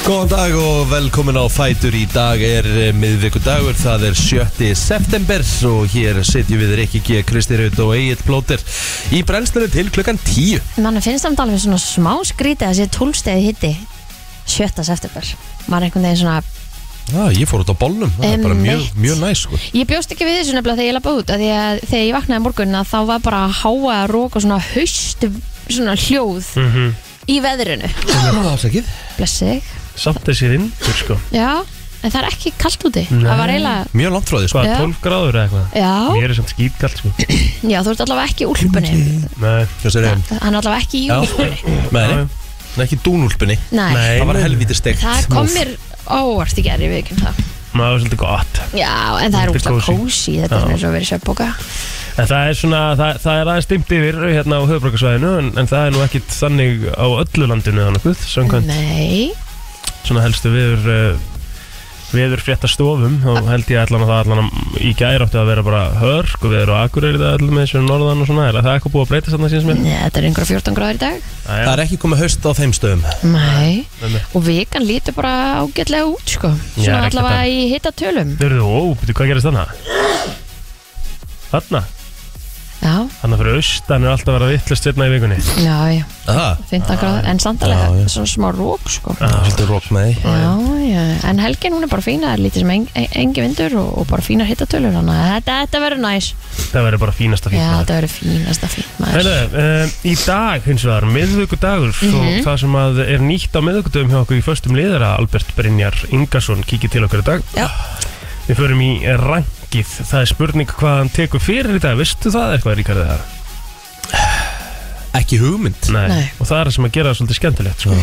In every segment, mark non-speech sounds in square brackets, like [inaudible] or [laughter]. Góðan dag og velkomin á Fætur í dag er eh, miðvikudagur, það er 7. september og hér sitjum við Rikki G. Kristirut og Egil Blóter í brennslunni til klukkan 10 Mann finnst samt alveg svona smá skrítið að sé tólstegi hitti 7. september Maður einhvern veginn svona Já, ég fór út á bollum, það er bara mjög, Einmitt. mjög næs sko. Ég bjóst ekki við þessu nefnilega þegar ég lappa út af Því að þegar ég vaknaði morgun að þá var bara háa rók og svona haust svona hljóð Mhm. í veðrinu Ásakið Blessi þig Samt þessi vindur sko Já, en það er ekki kalt úti Það var eiginlega Mjög langt frá því sko. Hvað, Já. 12 gráður eða eitthvað? Já, Mér er samt skýtkalt sko já, þú ert allavega ekki í úlpunni Nei, Þessi er Hann er allavega ekki í Já, úlpunni með Já, já. henni Ekki dúnúlpunni, Nei, Nei. það var helviti steikt það kom Úff. mér óvart í gerði við ekki um það maður er svolítið gott Já, en það er Þetta er úrst að kósí. kósi Þetta er Já. svona eins og verið sveppbóka En það er svona, það, það er aðeins dimt yfir hérna á höfbrukarsvæðinu en, en það er nú ekkit þannig á öllu landinu eða nokkuð Samkvæmt Nei svona helstu viður uh, viður frétta stofum Ah. og held ég allan að það allan að í gæri áttu að vera bara hörk og viður og akureyri það allir með þessu norðan og svona er það eitthvað búið að breyta sann að síðan sem Nei, þetta er einhverja 14 gráður í dag ég Það er ekki komið haust á þeim stöðum Nei Nei, nei. Og vikan lítur bara ágætlega út, sko Já, Svona er ekki allavega þetta- í hitta tölum Þau eru þú, ó, betur hvað gerist þannig? Þarna, Já, þannig fyrir austan er alltaf að vera vittlust hérna í vikunni já, já, Aha, 15 gráður En Já, sandalega, já. svona smá rók, sko það er svolítið rók með því Já, já, en helgin hún er bara fína, það er lítið sem en, en, engi vindur og, og bara fínar hittatölur Þannig að þetta, þetta verður næs Það verður bara Já, fínasta fínt maður. þetta verður fínasta fínt maður Heyrðu, um, í dag hins vegar, miðvikudagur Mhm. og það sem að er nýtt á miðvikudagum hjá okkur í föstum liðara, Albert Brynjar Ingarsson kikið til okkur í dag Já. Við förum í rangið, það er spurning hvað hann tekur fyrir í dag, veistu það eitthvað Ríkarði það? Ekki hugmynd Nei. Mhm. Og það er það sem að gera það svolítið skemmtilegt sko.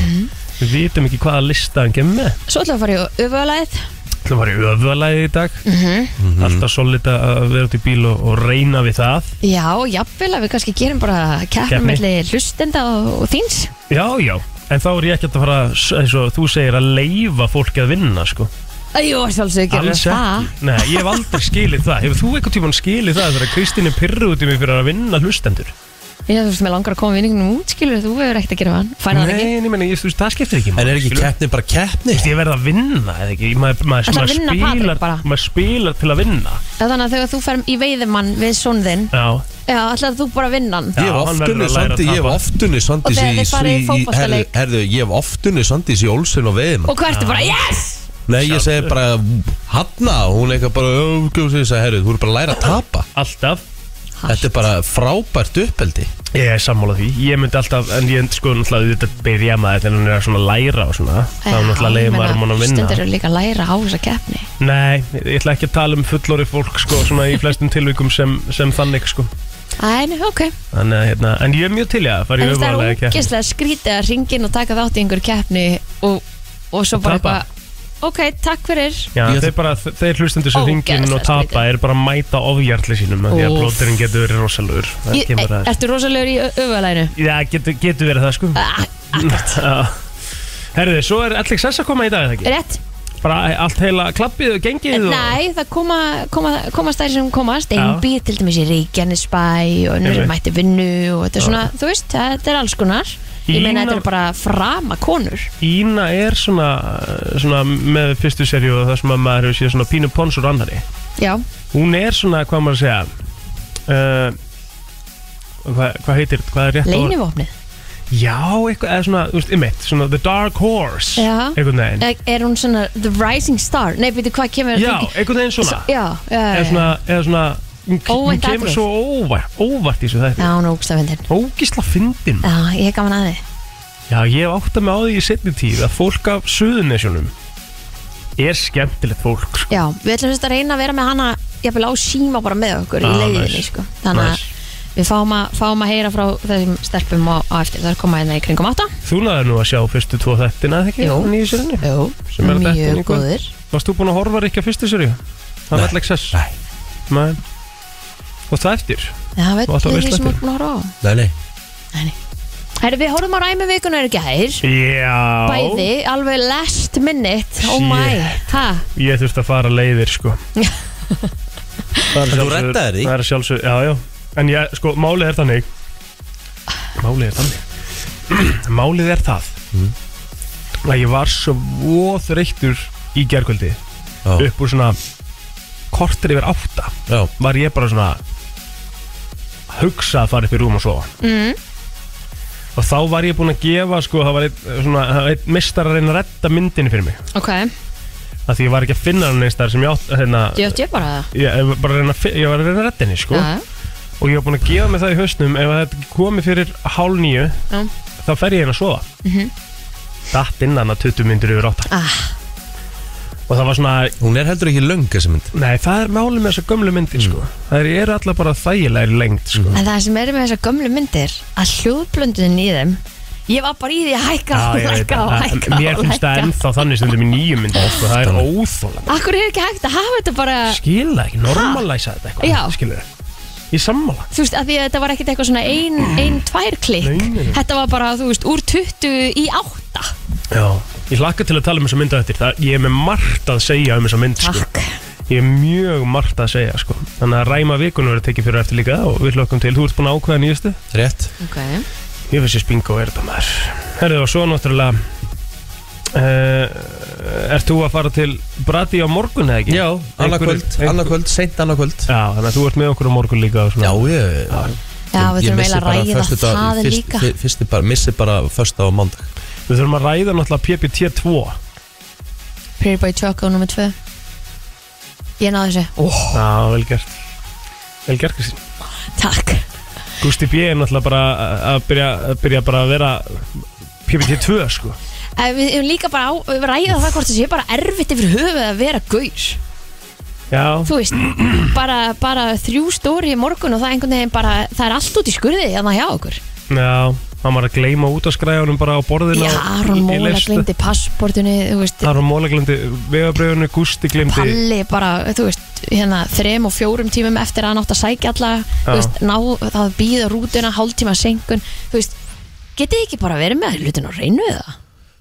Við vitum ekki hvaða lista hann kemur með Svo ætlum við að fara í öfugalæð Það var í öfðalagi í dag Mhm. Alltaf solid að vera út í bíl og, og reyna við það Já, jafnvel að við kannski gerum bara keppnum Keppni. milli hlustenda og, og þíns Já, já En þá er ég ekkert að fara, að s- eins og þú segir, að leifa fólki að vinna, sko. Jú, sjálfsögur gerum við það Nei, ég hef aldrei skilið það. Hefur þú einhvern tímann skilið það þegar Kristín er pyrru út í mig fyrir að vinna hlustendur? Já, þú veist, mér langar að koma vinningunum út, skilur þú hefur ekkert að gera hann, færðu hann ekki Nei, nei, meni, ég, þú veist, það skiptir ekki. En er ekki kætt? keppni bara keppni? Ég verð að vinna, eða ekki? Maður maður- Ætlar að maður vinna Patrik bara? spilar, maður spilar til að vinna. Já, Þannig að þegar þú ferð í veiðumann við sonn þinn Já, Já, ætlaði þú bara að vinna hann Ég hef Já, hann verður oftunni að læra að Sandi, ég hef tapa. oftunni Sandi Og þegar þið farið í fótboltaleik. Herðu, ég hef oftunni Sandi í Olsson og Veðimann Og hvað ertu bara, yes! Nei, ég segi bara Hanna, hún leikar bara Öfgjóðs þess að herðu, þú eru bara að læra að tapa alltaf. Þetta er bara frábært uppeldi Ég er sammála því, ég myndi alltaf, en ég sko náttúrulega þetta byrja maður þegar hún er að svona læra og svona þá Já, náttúrulega leiði ég meina, maður mann að vinna Stundir eru líka að læra á þessa keppni Nei, ég ætla ekki að tala um fullori fólk sko, svona í flestum tilvikum sem, sem þannig sko Æ, nei, ok en, hérna, en ég er mjög til í að En fara í það er öfugalega keppni ógislega skrítið að ringin og taka þátt í einhver keppni og, og svo Og bara tapa. eitthvað Ok, takk fyrir Já, Ég þeir, bara, þeir hlustendur sem hringin Ógeðslega og tapa skrítið. er bara að mæta ofjarlir sínum af því að Úff. blóterinn getur verið rosalur það Ég- kemur að e, Ertu rosalegur í öfugalæðinu? Já, getur, getur verið það sko Ah, [laughs] Já. Herðu, svo er LXS að koma í dag, er það ekki? Rétt? Bara allt heila klappið og gengið og... Nei, það koma, koma, komast þær sem komast Einbi, til dæmis í Reykjanesbæ og önnur Einmitt. mætti vinnu og þetta er svona, þú veist, þetta er alls konar Ég meina Ína- þetta er bara frama konur Ína er svona, svona með fyrstu serju og það sem að maður hefur séð svona pínu pons og rannari Já, hún er svona, hvað maður að segja uh, hvað, hvað heitir, hvað er rétt orð? leinivopnið Já, eitthvað, eða svona, þú veist, ymmit svona The Dark Horse, Já. einhvern veginn Er er hún svona The Rising Star? Nei, veitu hvað kemur Já, einhvern veginn svona Já, já, já, eða já. svona, eða svona hún, hún Óvænt kemur atrið. svo óvart, óvart í þessu já þetta hún er úkstafindin Ógisla fyndin Já, ég er gaman að þið Já, ég hef átt að með á því í setni tíð að fólk af Suðunesjónum er skemmtilegt fólk, sko Já, við ætlum fyrst að reyna að vera með hana jafnvel á síma bara með okkur í Ah, leiðinni nice. sko. Þannig að Nice. við fáum að, fáum að heyra frá þessum stelpum á, á eftir Það er koma hérna í kringum átta Þú laðið nú að sjá fyrstu tvo þettina, eða ekki? Jú. Nýju sérinu. Jú, Sem er að detta inn í mjög kvöld. góður Varst þú búin að horfa ekki að fyrstu sérju? Það Nei. var LXS. Nei, Nei. Og það eftir. Já, það veit Og alltaf ég veist því sem eftir. út búin að horfa á nei, nei Herri, við horfum á ræmi vikunar í gær Já. Bæði, alveg last minute Oh my, ha Ég þurfti að fara leiðir, sko. [laughs] Það er En þú sjálfsögður- reddaðir því? Það er sjálfsögur, já, já. En ég, sko, málið er þannig. [clears throat] Mm. Málið er þannig. málið er það. að ég var svo þreyttur í gerkvöldi Já, upp úr svona kortir yfir átta já, var ég bara svona að hugsa að fara upp í rúm og sofa mm. og þá var ég búinn að gefa sko, það var einn, svona, það var einn mistar að reyna að redda myndinni fyrir mig Ok, af því ég var ekki að finna hann einstæðar sem ég átt hérna, djótt ég bara það ég, ég, var bara að reyna, að fi- ég var að reyna að redda henni sko. Já, og ég var búinn að gefa mig það í hausnum ef þetta komi fyrir hálf nýju Já. þá fer ég hérna að sofa mm Mhm. -hmm. datt innan að 20 myndir yfir 8 Ah. og það var svona hún er heldur ekki löng þessi mynd nei, það er málið með þessa gömlu myndir sko. það eru allar bara þægilegri lengt sko. En það sem er með þessar gömlu myndir að hljóðblöndunin í þeim ég var bara í því að hækka Já, og ég veit hækka og það. hækka og mér finnst það hækka. ennþá þannig sem þetta er með nýju myndir sko. það er óþólandi Akkur er ekki hægt að hafa þetta bara skila ekki, normalæsa þetta Já. eitthvað skilur ég sammála þú veist, að því að þetta var ekkert eitthvað svona ein, ein tvær klikk Nei, nei, nei. þetta var bara, þú veist, úr 20 í 8 Já. ég hlakka til að tala um þessa mynda eftir það, ég er með margt að segja um þessa mynd sko. Takk ég er mjög margt að segja sko. þannig að ræma vikunum verður tekið fyrir eftir líka og við hlokkum til, þú ert búin að ákveða nýjastu Rétt okay. ég finnst ég spingo er þetta maður herðu og svo náttúrulega uh, ert þú að fara til Brati á morgun eða ekki? Já, annarkvöld, Einhver- annarkvöld, seint annarkvöld Já, þannig að þú ert með okkur á morgun líka og svona. Já, ég Já, ég við þurfum missi eiginlega bara að ræða föstudag- það fyrst- líka fyr- fyrsti bara, missi bara första á mándag Við þurfum að ræða náttúrulega PPT2 Pretty Boy Choco nr. 2 Ég náði þessu, Já, vel gert Vel gert, Kristín takk Gusti B er náttúrulega bara að byrja, að byrja bara að vera PPT2 sko Eh, Við erum líka bara á, við ræða það hvort þessi er bara erfitt yfir höfuð að vera gaur Já, Þú veist, bara, bara þrjú stóri í morgun og það einhvern veginn bara, það er allt út í skurði að hjá okkur já, hann var að gleyma út að skræða honum bara á borðinu Já, á- Aron í- í Móla leistu. gleymdi passportinu, þú veist, Aron Móla glemdi vegabröðinu, Gusti glemdi Palli bara, þú veist, hérna þrem og fjórum tímum eftir að hann átt að sækja alla Já. þú veist, ná, það býða rútuna hálftíma senkun, þú veist getið þið ekki bara verið með hlutin og reynu við það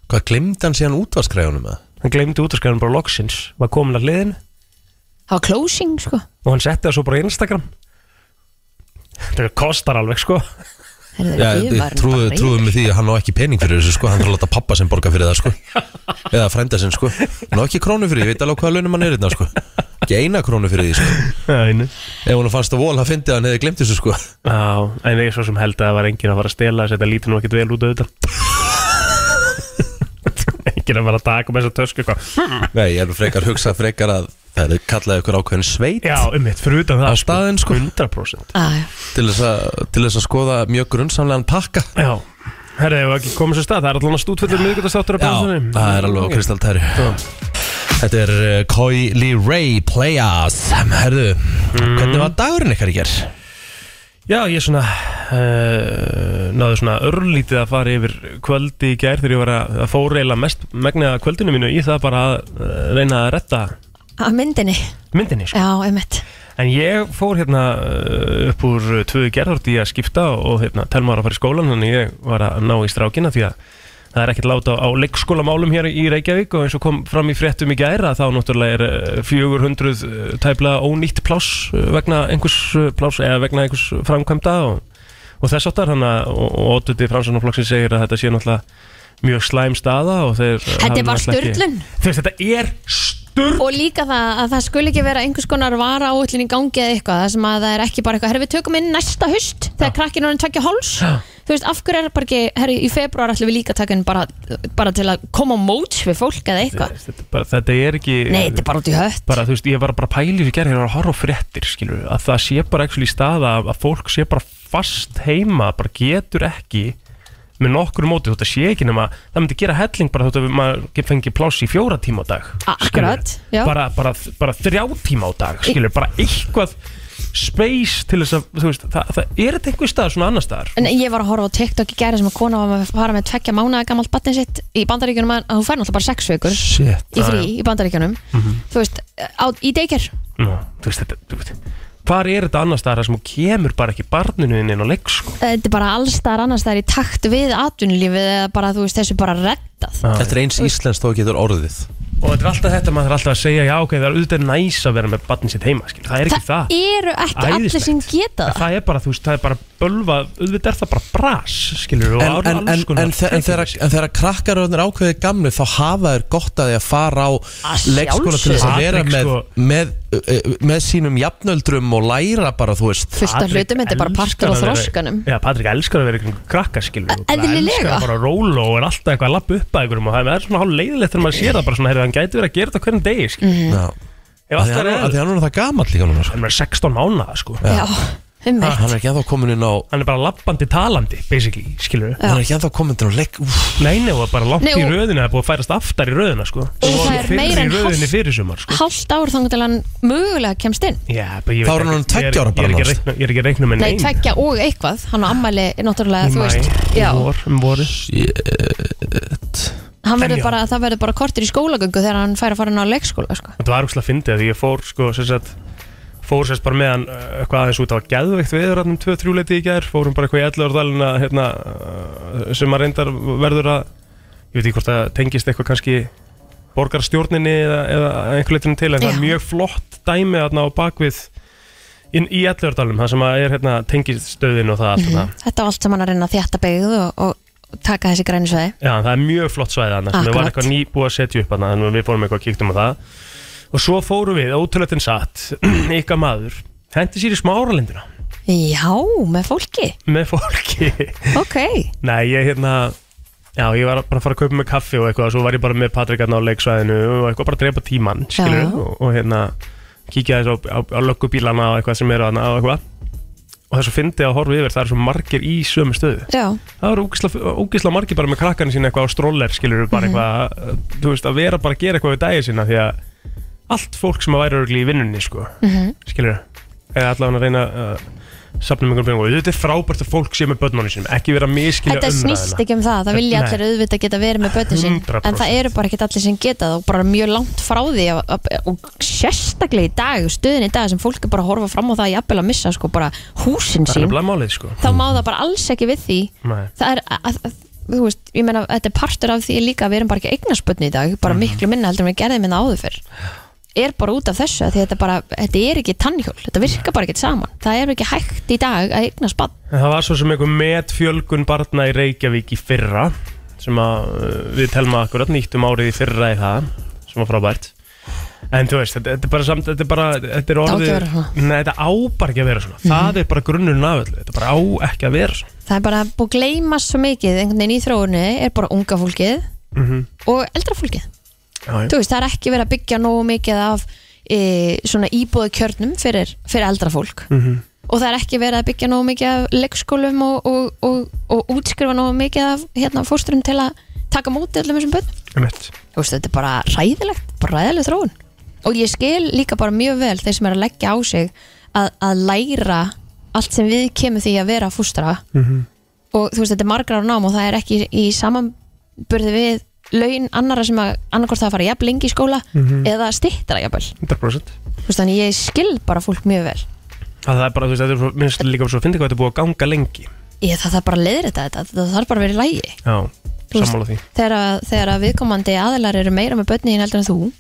Hvað glemdi hann síðan útvarskræðunum að? Hann glemdi út að skræða honum bara loksins var komin að liðinu það var closing, sko og hann setti það svo bara í Instagram Þetta kostar alveg sko Herðu, Já, við værum trúðu, bara reiðir. trúðu með því að hann á ekki pening fyrir þessu sko, hann þarf að láta pappa sem borga fyrir það [laughs] sko eða frænda sem sko hann á ekki krónu fyrir, ég veit alveg hvaða launum hann er þetta sko ekki eina krónu fyrir því sko Já, einu. ef hún fannst að vol, hann fyndi að hann hefði glemt þessu sko Já, en ég svo sem held að það var enginn að fara að stela þess að þetta lítur nú ekkert vel út auðvitað [laughs] Enginn að fara að taka með þessa tösku sko. eitthvað nei, ég er nú frekar hugsa frekar að það er kallaði ykkur ákveðin sveit Já, um mitt, fyrir utan það Á staðinn, sko. 100% Á, já. til þess, að, til þess að skoða mjög grunnsamlegan pakka Já, herri, ef við ekki komum sér stað Það er allan að stútfellur miðgötastáttur að já, bransunni það er alveg á kristaltæri þetta er uh, Koi Lee Ray Playas herðu, hvernig var dagurinn ykkar í ger? Já, ég svona uh, Náðu svona örlítið að fara yfir kvöldi í gær Þegar ég var að, að fóra eila mest Megnaða kvöldinu mínu í það bara að uh, reyna að retta Á myndinni, myndinni sko. já, einmitt En ég fór hérna uh, upp úr uh, tvö gerðort í að skipta og hérna, telma var að fara í skólan þannig ég var að ná í strákina því að það er ekkert láta á, á leikskólamálum hér í Reykjavík og eins og kom fram í fréttum í gæra þá náttúrulega er uh, 400 uh, tæpla ónýtt pláss uh, vegna einhvers uh, pláss eða vegna einhvers framkvæmda og, og þess áttar hann að og, og Otuti Framsóknarflokksins segir að þetta sé náttúrulega mjög slæm staða og þeir Þetta hafi er bara náttúrulega ekki- störlun Þú veist, þetta er sturlun og líka það að það skulle ekki vera einhvers konar vara áhullin í gangi eða eitthvað það sem að það er ekki bara eitthvað, herri við tökum inn næsta höst þegar krakkin orðin tvekja háls þú veist, af hverju er bara ekki, herri í februar ætlum við líka að taka inn bara, bara til að koma á móts við fólk eða eitthvað Þú veist, Þetta, er bara, þetta er ekki nei, þetta er bara út í hött bara, þú veist, ég var bara pælið fyrir gerð, ég var að horfa á fréttir, skilur, að það sé bara ekki í staða að að fólk sé bara fast heima, bara getur ekki með nokkru móti, þetta sé ekki nema, það myndi gera helling bara þótt að við- maður fengi pláss í fjóra tíma á dag, skilurðu. Akkurat, já. bara, bara, bara þrjá tíma á dag, skilur, bara eitthvað space til þess að, þú veist, það, það er þetta einhver stað svona annar staðar, en ég var að horfa á TikTok í gæri sem að kona var með að fara með tvekja mánaða gamalt batnið sitt í bandaríkjunum að að hún fær náttúrulega bara sex vikur shit í frí í bandaríkjunum Mhm. þú veist, á, í deykjur Nú, þú veist, þetta, þú veist, hvar er þetta annar staðar þar sem þú kemur bara ekki barninu inn inn á leikskó þetta er bara allstar annars það er í takt við atvinnulífið eða bara þú veist þessu bara reddað þetta er eins íslensk þó getur orðið og þetta er alltaf þetta, maður er alltaf að segja já, ok, það er auðvitað næs að vera með barnið sitt heima, skil, það er ekki það, eru ekki allir sem geta það það er bara, þú veist, það er bara bölva, auðvitað er það bara bras, skilur, og En, en, en, alls konar en, þe- en þegar en þegar krakkar eru ákveðið gamlu þá hafa þeir gott að því að fara á leikskóla til þess að sjálfsögðu. vera Patrik, með, sko. með, eh, með sínum jafnöldrum og læra bara, þú veist fullt af Patrik hlutum, þetta er bara elskar partur á að vera- þróskanum Já, Patrik elskar að vera ykkur krakka, skilur við, og bara Eðlilega. elskar að bara róla og er alltaf eitthvað að lappa upp að ykkur og það er svona hálf leiðilegt þegar maður sér það bara svona, heyrðu, hann gæti verið að gera þetta hverjum degi, skilur mm. Já. Mhm. Af því Ef alltaf hann er af því eðlilegt, hann er það gamall líka núna sko. hann er 16 mánaða, sko já, um Ah. Ha, Hann er ekki ennþá komin inn á Hann er bara lappandi talandi, basically, skilur við Hann er ekki ennþá komin inn á leik Úff, Nei, nei, og það er bara langt Nei, í og- röðinu, það er búið að færast aftar í röðina, sko Og það er Fyrr meira en í röðinni hálft- fyrir sumar, sko hálft ár þangur til hann mögulega kemst inn Já, bara Þá er hann ég veit ekki- orðinn tveggja ég er- ára bara Ég er ekki að nánast. reikna- ég er ekki að reikna með nei, neinu. tveggja og eitthvað, hann á ammæli náttúrulega, þú Í veist maí, já, í vor, um vorið hann En verður já. bara, það verður bara kortir í skólagöngu þegar hann fær að fara inn á leikskóla sko. Þetta var úrslega fyndið af því ég fór sko sem sagt fór sérst bara með hann uh, eitthvað aðeins út á geðveikt viður hann um 2-3 leiti í gær fórum bara eitthvað í 11 orðalina hérna, uh, sem að reyndar verður að ég veit ekki hvort það tengist eitthvað kannski borgarstjórninni eða, eða einhver leitinu til en það Já. er mjög flott dæmi þarna á bakvið inn í 11 orðalinum það sem að er hérna tengist stöðin og það allt mm þetta var allt sem hann er að reyna að þjætta byggð og, og taka þessi grænisvæði Já, það er mjög flott svæði hann sem við Akkurat. var eitthvað nýbúið að setja upp hann þannig að við fórum eitthvað að kíktum á það og svo fórum við, ótrúleitin satt [clears throat] ykkar maður, hendi sér í smáralindina já, með fólki, með fólki [laughs] ok Nei, ég hérna Já, ég var bara að fara að kaupa með kaffi og eitthvað og svo var ég bara með Patrik hann á leiksvæðinu og eitthvað bara að drepa tímann, skilur Já. og, og hérna kíkja þess á, á, á löggubílana og eitthvað sem eru hann og eitthvað og þess að fyndi að horfa yfir, það er svo margir í sömu stöðu já, það eru ógisla, ógisla margir bara með krakkarnir sína eitthvað á stroller skilur við Mhm. bara eitthvað eh, þú veist að vera bara að gera eitthvað við dagið sína því að allt fólk sem að væri örgli í vinnunni sko, mm -hmm. Mhm. skilur við eða allavega að reyna að safna mjög peningum og þetta er frábært að fólk sé með börnunum sínum ekki vera að miskilja þetta snýst ekki um það, það vilja Nei. allir auðvitað geta verið með börnin sín 100%. en það eru bara ekkert allir sem geta það og bara mjög langt frá því að- að- og sérstaklega í dag, stöðin í dag sem fólk er bara að horfa fram á það að jafnvel að missa sko bara húsin það er sín nefnilega málið sko þá má það bara alls ekki við því Nei. það er, að, að, að- þú veist, ég meina þetta er partur af því líka að við erum bara ekki eignarspötni í dag bara miklu minna heldur en við gerðum minna áður fyrr er bara út af þessu að því þetta bara þetta er ekki tannhjól, þetta virkar bara ekki saman það er ekki hægt í dag að eigna spann En það var svo sem einhver metfjölgun barna í Reykjavík í fyrra sem að uh, við telma akkurat nýttum árið í fyrra í það sem var frábært en þú veist, þetta, þetta er bara samt þetta er bara, þetta á ekki er að orðið vera svona. Mhm. Nei, þetta á bara ekki að vera svona það er bara grunnurinn af öllu, þetta bara á ekki að vera svona það er bara búið að gleyma svo mikið einhvern veginn í þróunni er bara unga fólkið og eldra fólkið já, Þú veist, það er ekki verið að byggja nógu mikið af e, svona íbúðu kjörnum fyrir, fyrir eldra fólk og það er ekki verið að byggja nógu mikið af leikskólum og, og, og, og útskrifa nógu mikið af hérna, fósturum til að taka móti öllum þessum börnum einmitt. Þú veist, þetta er bara ræðilegt, bara ræðileg þróun og ég skil líka bara mjög vel þeir sem er að leggja á sig að, að læra allt sem við kemur því að vera fústra Mhm. og þú veist, þetta er margra á nám og það er ekki í, í samanburði við laun annara sem að annarkvort það að fara jafn lengi í skóla Mhm. eða stittra jafnvel, 100% þú veist, þannig ég skil bara fólk mjög vel, að það er bara, þú veist, þetta er svo, minnst líka svo að finna hvað þetta er búið að ganga lengi ég það þarf bara að leiðir þetta þetta það þarf bara að vera í lægi já, Þú veist- sammála því þegar, að- þegar að viðkomandi aðilar eru meira með börnin heldur en þú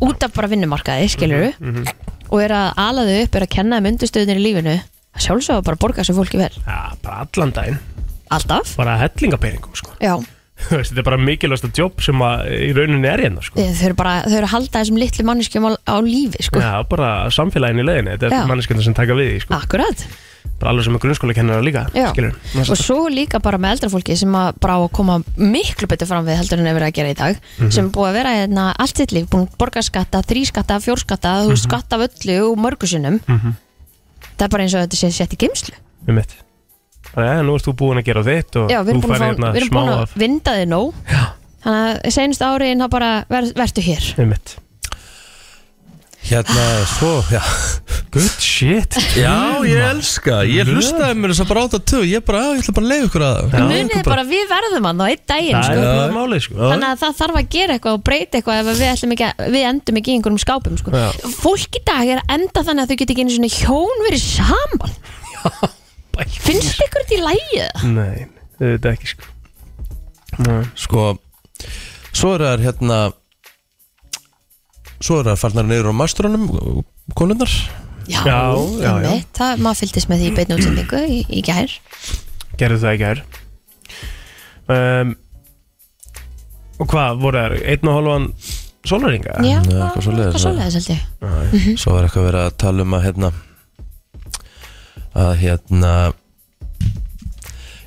út af bara vinnumarkaði, skilur Mhm, og er að ala þau upp, er að kenna þeim undirstöðunir í lífinu að sjálfsögða bara að borga þessu fólki vel já, bara allan daginn, alltaf, bara hellingapeningum sko. [laughs] já, Þú veist, þetta er bara mikilvægsta jobb sem að í rauninni er hérna sko. þau eru bara þau eru að halda þessum litlu manneskjum á, á lífi sko. Já, bara samfélagin í leiðinni, þetta Já. er manneskjöndar sem taka við því, sko. akkurat Bara alveg sem er grunnskóla kennara líka, Já. skilur. og svo líka bara með eldra fólki sem að bara á að koma miklu betur fram við heldur en er verið að gera í dag Mhm. sem er búið að vera hérna allt sitt líf búin að borga skatta, þrískatta, fjórskatta þú Mhm. veist skatta af öllu og mörgusinnum það er bara eins og þetta sé sett í geimslu Um mitt. Bara, ja, nú ert þú búin að gera þitt og Já, við erum þú búin að, færði fá, hérna við erum smá búin að af. vinda þig nóg Já. Þannig að senust áriðin þá bara ver, vertu hér Um mitt. Hérna, svo, já Good shit. Já, ég elska, ég hlustaði mér þess að bara átta töð Ég bara, já, ég ætla bara að leiða ykkur að það Já, Munið þú þið bara við verðum hann á einn daginn Það sko. er bara málið, sko. Þannig að það þarf að gera eitthvað og breyta eitthvað ef að við, ætlum ekki, að- við endum ekki í einhverjum skápum sko. Já. Fólk í dag er að enda þannig að þau geta ekki einu svona hjón verið saman Bæ. Finnst ykkur þetta í lægið? Nei, þetta ekki, sko. Nei. Sko, svo eru þær hérna svo er það farnar niður á mastrunum konunnar Já, Já, já, já. einmitt. Það, maður fylgdist með því í beinu útsendingu í, í gær gerðu það í gær um, og hvað voru þær, einn og hálfan sólaringa? Já, eitthvað það- svoleiðis, eitthvað já. svoleiðis held ég svo var eitthvað verið að tala um að hérna að hérna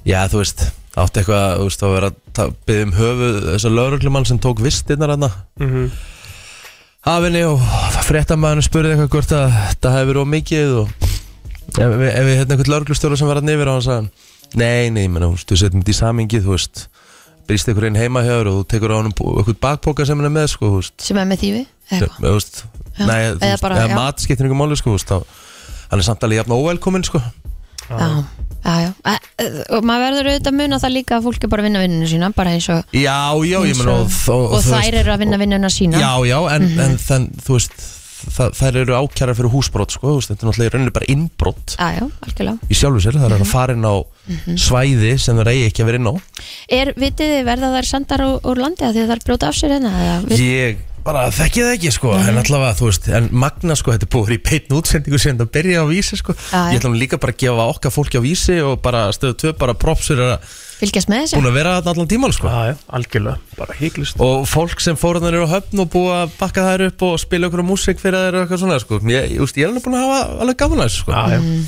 já þú veist átti eitthvað þú veist, að vera að ta- biðja um höfuð þessar lauruglumann sem tók vistinnar hann Mhm. hafinni og fréttamaðurinn spurði eitthvað hvort að þetta hefði verið of mikið og ef, ef, ef við hérna einhvern lauruglustjóra sem var að nefnir á hann sagði hann, nei nei, menn, þú veist, við setjum þetta í samingið þú veist, brýst einhver einn heima hjá þér og þú tekur á hann eitthvað bakpoka sem hann er með sko, þú veist sem er með þýfi eða eitthvað. Þú veist, Já, nei, þú eða veist, bara- já. eða mat skiptir ykkur máli sko, þú veist, þá, hann er samt alveg jafn óvelkominn sko. Já, já, já Æ, ö, Og maður verður auðvitað að muna það líka að fólk er bara að vinna vinnuna sína bara eins og, já, já, ég eins menn og, og, þú þær eru Mhm. að vinna vinnuna sína já, já, en, en þann, þú veist það, þær eru ákjæra fyrir húsbrot sko, þú veist, þetta er náttúrulega í rauninni bara innbrot já, já, algjörlega í sjálfu sér, það er Mhm. að fara inn á svæði sem það reyði ekki að vera inn á Er, vitið þið, verða þær sendar úr, úr landi að því að þær brjóta af sér hérna? eða við- Mhm. ég bara þekki það ekki sko en allavega þú veist, en Magna sko þetta er búið í peitn útsendingu sem þetta byrja á vísi sko Já, já. ég ætla nú líka bara að gefa okkar fólki á vísi og bara stöðu tvö bara propsur að Fylgjast með þessu? búin að vera þarna allan tíman sko Já, já, algjörlega, bara hygglust og fólk sem fóruðan eru á höfn og búið að bakka þær upp og spila okkur á músík fyrir þær og eitthvað svona sko. ég, ég, veist, ég er alveg búin að hafa alveg gaman að þessu sko. Já, já, Mm.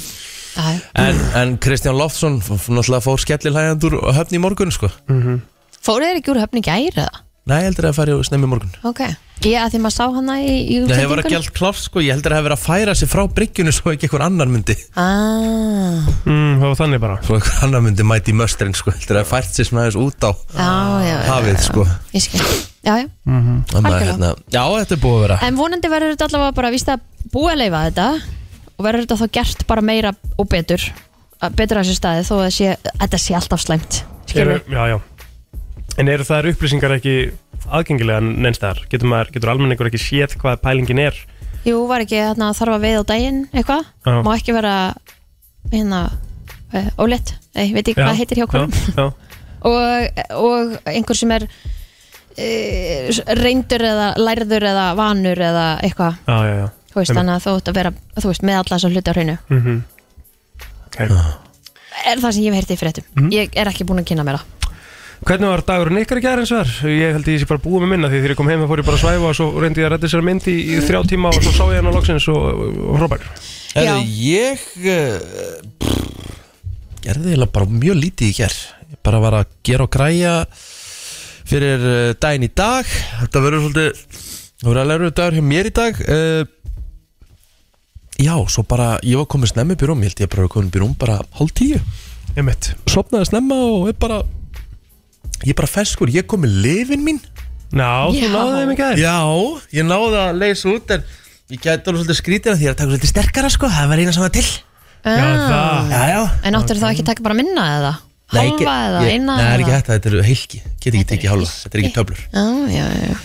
Já, já. en, en Kristján Loftsson f- f- náttúrulega fór skellilhægjand úr höfn í morgun sko. Fóruð þeir ekki úr höfni gæri það? nei, ég heldur að það færi snemmi í morgun Ok, ég að því maður sá hana í, í Nei, það var ekki útlendingunum allt klárt sko, ég heldur að það hefur að færa sig frá bryggjunu svo ekki einhver annar myndi ah, mm, það var þannig bara svo einhver annar myndi mæti í möstrin sko, heldur að það fært sig svona aðeins út á Já, já, já, hafið já, sko Ég skil, já, já Þannig að, Algjörlega. hérna, Já, þetta er búið að vera En vonandi verður þetta allavega bara víst að búa að leifa þetta og verður þetta þá gert bara meira og betur að- betur að þessu staði þó að sé, að þetta sé alltaf slæmt eru, Skilur, Já, já En eru þær upplýsingar ekki aðgengilega nennstæðar? Getur, maður- getur almenningur ekki séð hvað pælingin er? jú, var ekki þarna að þarf að veiða á daginn eitthvað, Já. má ekki vera hérna uh, ólétt, nei, veit ekki hvað heitir hjá hverjum Já, já, [laughs] og, og einhver sem er e, reyndur eða lærður eða vanur eða eitthvað já, já, já. þú veist Einmitt. þannig að þú ert að vera þú veist, með alla þessa hluti á hreinu Mm -hmm. okay. er það sem ég hef heyrtið fyrir þetta Mhm. ég er ekki búin að kynna mér það Hvernig var dagurinn ykkar í gær eins og þar? Ég held ég sé bara búið með minna því þegar ég kom heim þá fór ég bara að svæfa og svo reyndi ég að redda sér mynd í, í þrjá tíma og svo sá ég hann á loksins og, og hrópar Herðu, Já. ég uh, gerði eiginlega bara mjög lítið í ger Ég bara var að gera og græja fyrir uh, daginn í dag Þetta verður svolítið Það verður að læra dagur hjá mér í dag uh, Já, svo bara Ég var komið snemma upp í rúm, ég held ég bara var komið upp í rúm bara hálf tíu, Ég mitt sopnaði snemma og er bara Ég er bara feskur, ég kom með lifin mín Ná, Já. þú náðu þeim í gær Já, ég náði að leysa út en ég gæti alveg svolítið skrítið af því að ég er að taka svolítið sterkara sko, það var eina sem var til Ah. það Já, já, en áttur þá ekki að taka bara minna eða Nei, halva eða ég- eina Nei, það er ekki eða hægt, þetta eru heilki Get ekki tekið hálfa, þetta er ekki töflur Já, já, já.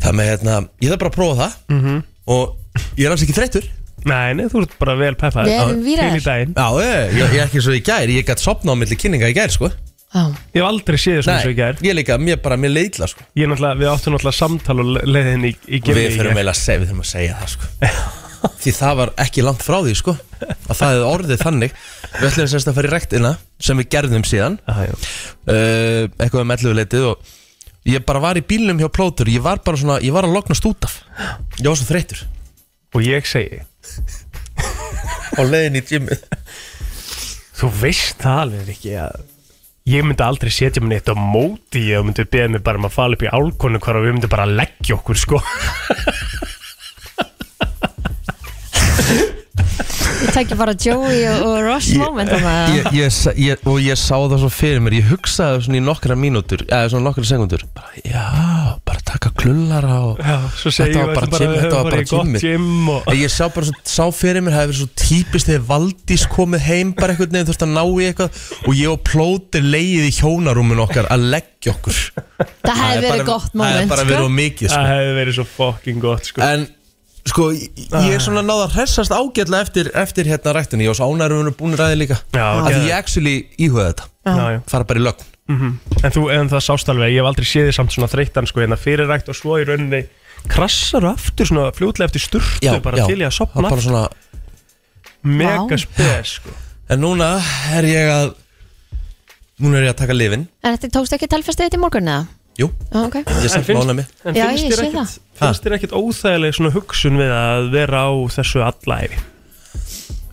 Það með hérna, ég þarf bara að prófa það Og ég er alls ekki þreyttur Nei, nei, þú ert bara vel peppað Við erum vírar. Til í daginn Já, ég, ég, ég er ekki svo í gær, ég gæti sopna á milli kynninga í gær, sko Já. Ég hef aldrei séð þessum svo í gær ég líka, mér bara, mér leidla, sko Ég náttúrulega, við áttum náttúrulega samtal og le- leiðin í, í Og gerði við í þurfum gær. eiginlega að segja, við þurfum að segja það, sko Því það var ekki langt frá því, sko Að það hefði orðið þannig Við ætlum semst að fara í rektina, sem við gerðum síðan Já, já. uh, eitthvað um 11 leitið og ég bara var í bílnum hjá plótur ég var bara svona, ég var að lognast út af ég var svo þreytur Og ég segi á leiðin í tímið Þú veist það alveg ekki að Ég myndi aldrei setja mig neitt á móti Ég myndi beða mig bara um að fara upp í álkonu hvar og við myndi bara leggja okkur sko ég tekja bara Joey og, og Ross moment þarna, eða? ég, ég, sa- ég, og ég sá það svo fyrir mér ég hugsaði svona í nokkra mínútur eða svona nokkra sekundur bara, já, bara taka klullara og Já, svo segi Þetta ég var við bara ætlum gym, að þetta var fara bara í gott gymmið. gym og... En ég sá bara svo, sá fyrir mér, það hefur svo típist þegar Valdís komið heim bara einhvern veginn þurft að ná í eitthvað og ég og plótir leið í hjónarúmin okkar að leggja okkur það hefði verið gott Það moment hefði bara sko. verið of mikið sko. [laughs] Það hefði verið svo fucking gott sko En sko, ég- ég er svona náða að hressast ágætlega eftir, eftir hérna rættinni Ég var svo ánæruðinu búin ræði líka Já, Af ok. Því ég actually íhugaði þetta Já, já. Fara bara í lögn En þú, en það sást alveg, ég hef aldrei séð þið samt svona þreyttan sko, hérna fyrirrækt og svo í rauninni krassar aftur svona fljótlega eftir sturtu bara til ég að það sopna er bara svona, mega Vá. spes sko. En núna er ég að Núna er ég að taka lifin En þetta tókst ekki telfestið þetta í morgun eða? Jú, Já, ok ég En samt finnst- mána mig En Já, finnst ég þér sé ekkit, það. finnst þér ekkit óþægileg svona hugsun við að vera á þessu allæfi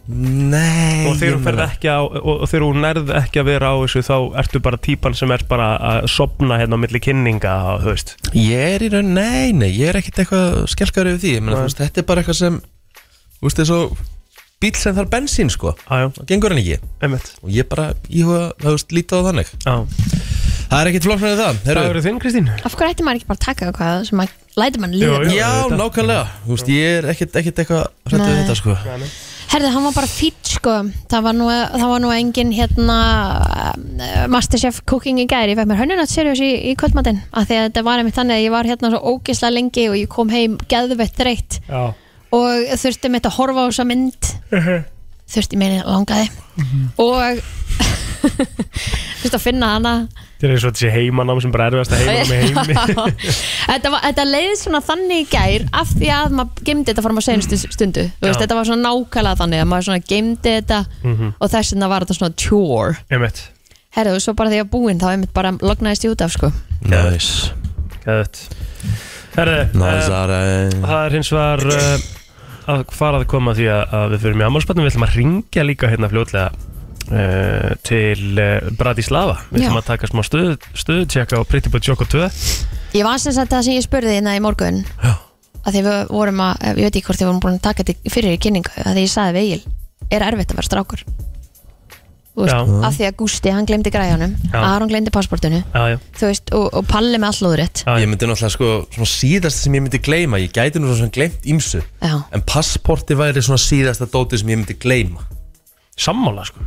Nei og þegar ég hún ferð meina- ekki á og, og þegar hún nærð ekki að vera á þessu þá ertu bara típan sem er bara að sopna hérna á milli kynninga og þú veist Ég er í raun, nei, nei, ég er ekkert eitthvað skelkar yfir því Ég meina, Nei. þú veist, Þetta er bara eitthvað sem Þú veist, þessu bíl sem þarf bensín, sko aðjó, Það gengur hann ekki einmitt Og ég bara íhuga, þú veist, lítið á þannig á. Það er ekkert flóknar en það Það Heru, eru þinn Kristín? Af hverju ætti maður ekki bara að taka eitthvað sem að læti mann líða Jú, jú. vel? Já, auðvitað. nákvæmlega Þú veist, ég er ekkert, ekkert eitthvað hrættu við Nei. þetta, sko Herði, hann var bara fýtt sko Það var nú, það var nú engin hérna eh, Masterchef cooking í gæri Ég fekk mér hönnunat seriós í, í kvöldmatinn af því að þetta var einmitt þannig að ég var hérna svo ógislega lengi og ég kom heim geðveitt þreytt Já og þurfti mitt að horfa á þessa mynd þurfti meina langaði og [laughs] þurfti að finna hana Þetta er eins og þessi heimanám sem bara erfiðast að heima með heimi þetta, var, þetta leiði svona þannig í gær af því að maður gemdi þetta fram á seinustu stundu Þú veist, Já. þetta var svona nákvæmlega þannig að maður svona gemdi þetta og þess vegna var þetta svona tjór [laughs] Einmitt herðu, svo bara því að búinn þá einmitt bara lognaðist ég út af sko Næs, Gæðut Herði, næs, eh, aðra það er hins vegar uh, að fara að koma að því að, að við fyrir mjög ammálspatnum Við ætlum að ringja líka hérna fljótlega uh, til uh, Bratislava Við ætlum Já. að taka smá stöðu, stöðu tjekka á Pretty Boy Choco 2 ég var sem sagt það sem ég spurði hérna í morgun Já. að því við vorum að, ég veit ekki hvort við vorum búin að taka þetta fyrir í kynningu að því ég saði við Egil er erfitt að vera strákur Þú veist, Já. af því að Gústi, hann glemdi græjanum Já. Aron glemdi passportinu Já, já þú veist, og, og Palli með allóðrétt Já, Ég myndi náttúrulega, sko, svona síðast sem ég myndi gleyma Ég gæti nú svona gleymt ímsu já, En passporti væri svona síðasta dótið sem ég myndi gleyma Sammála sko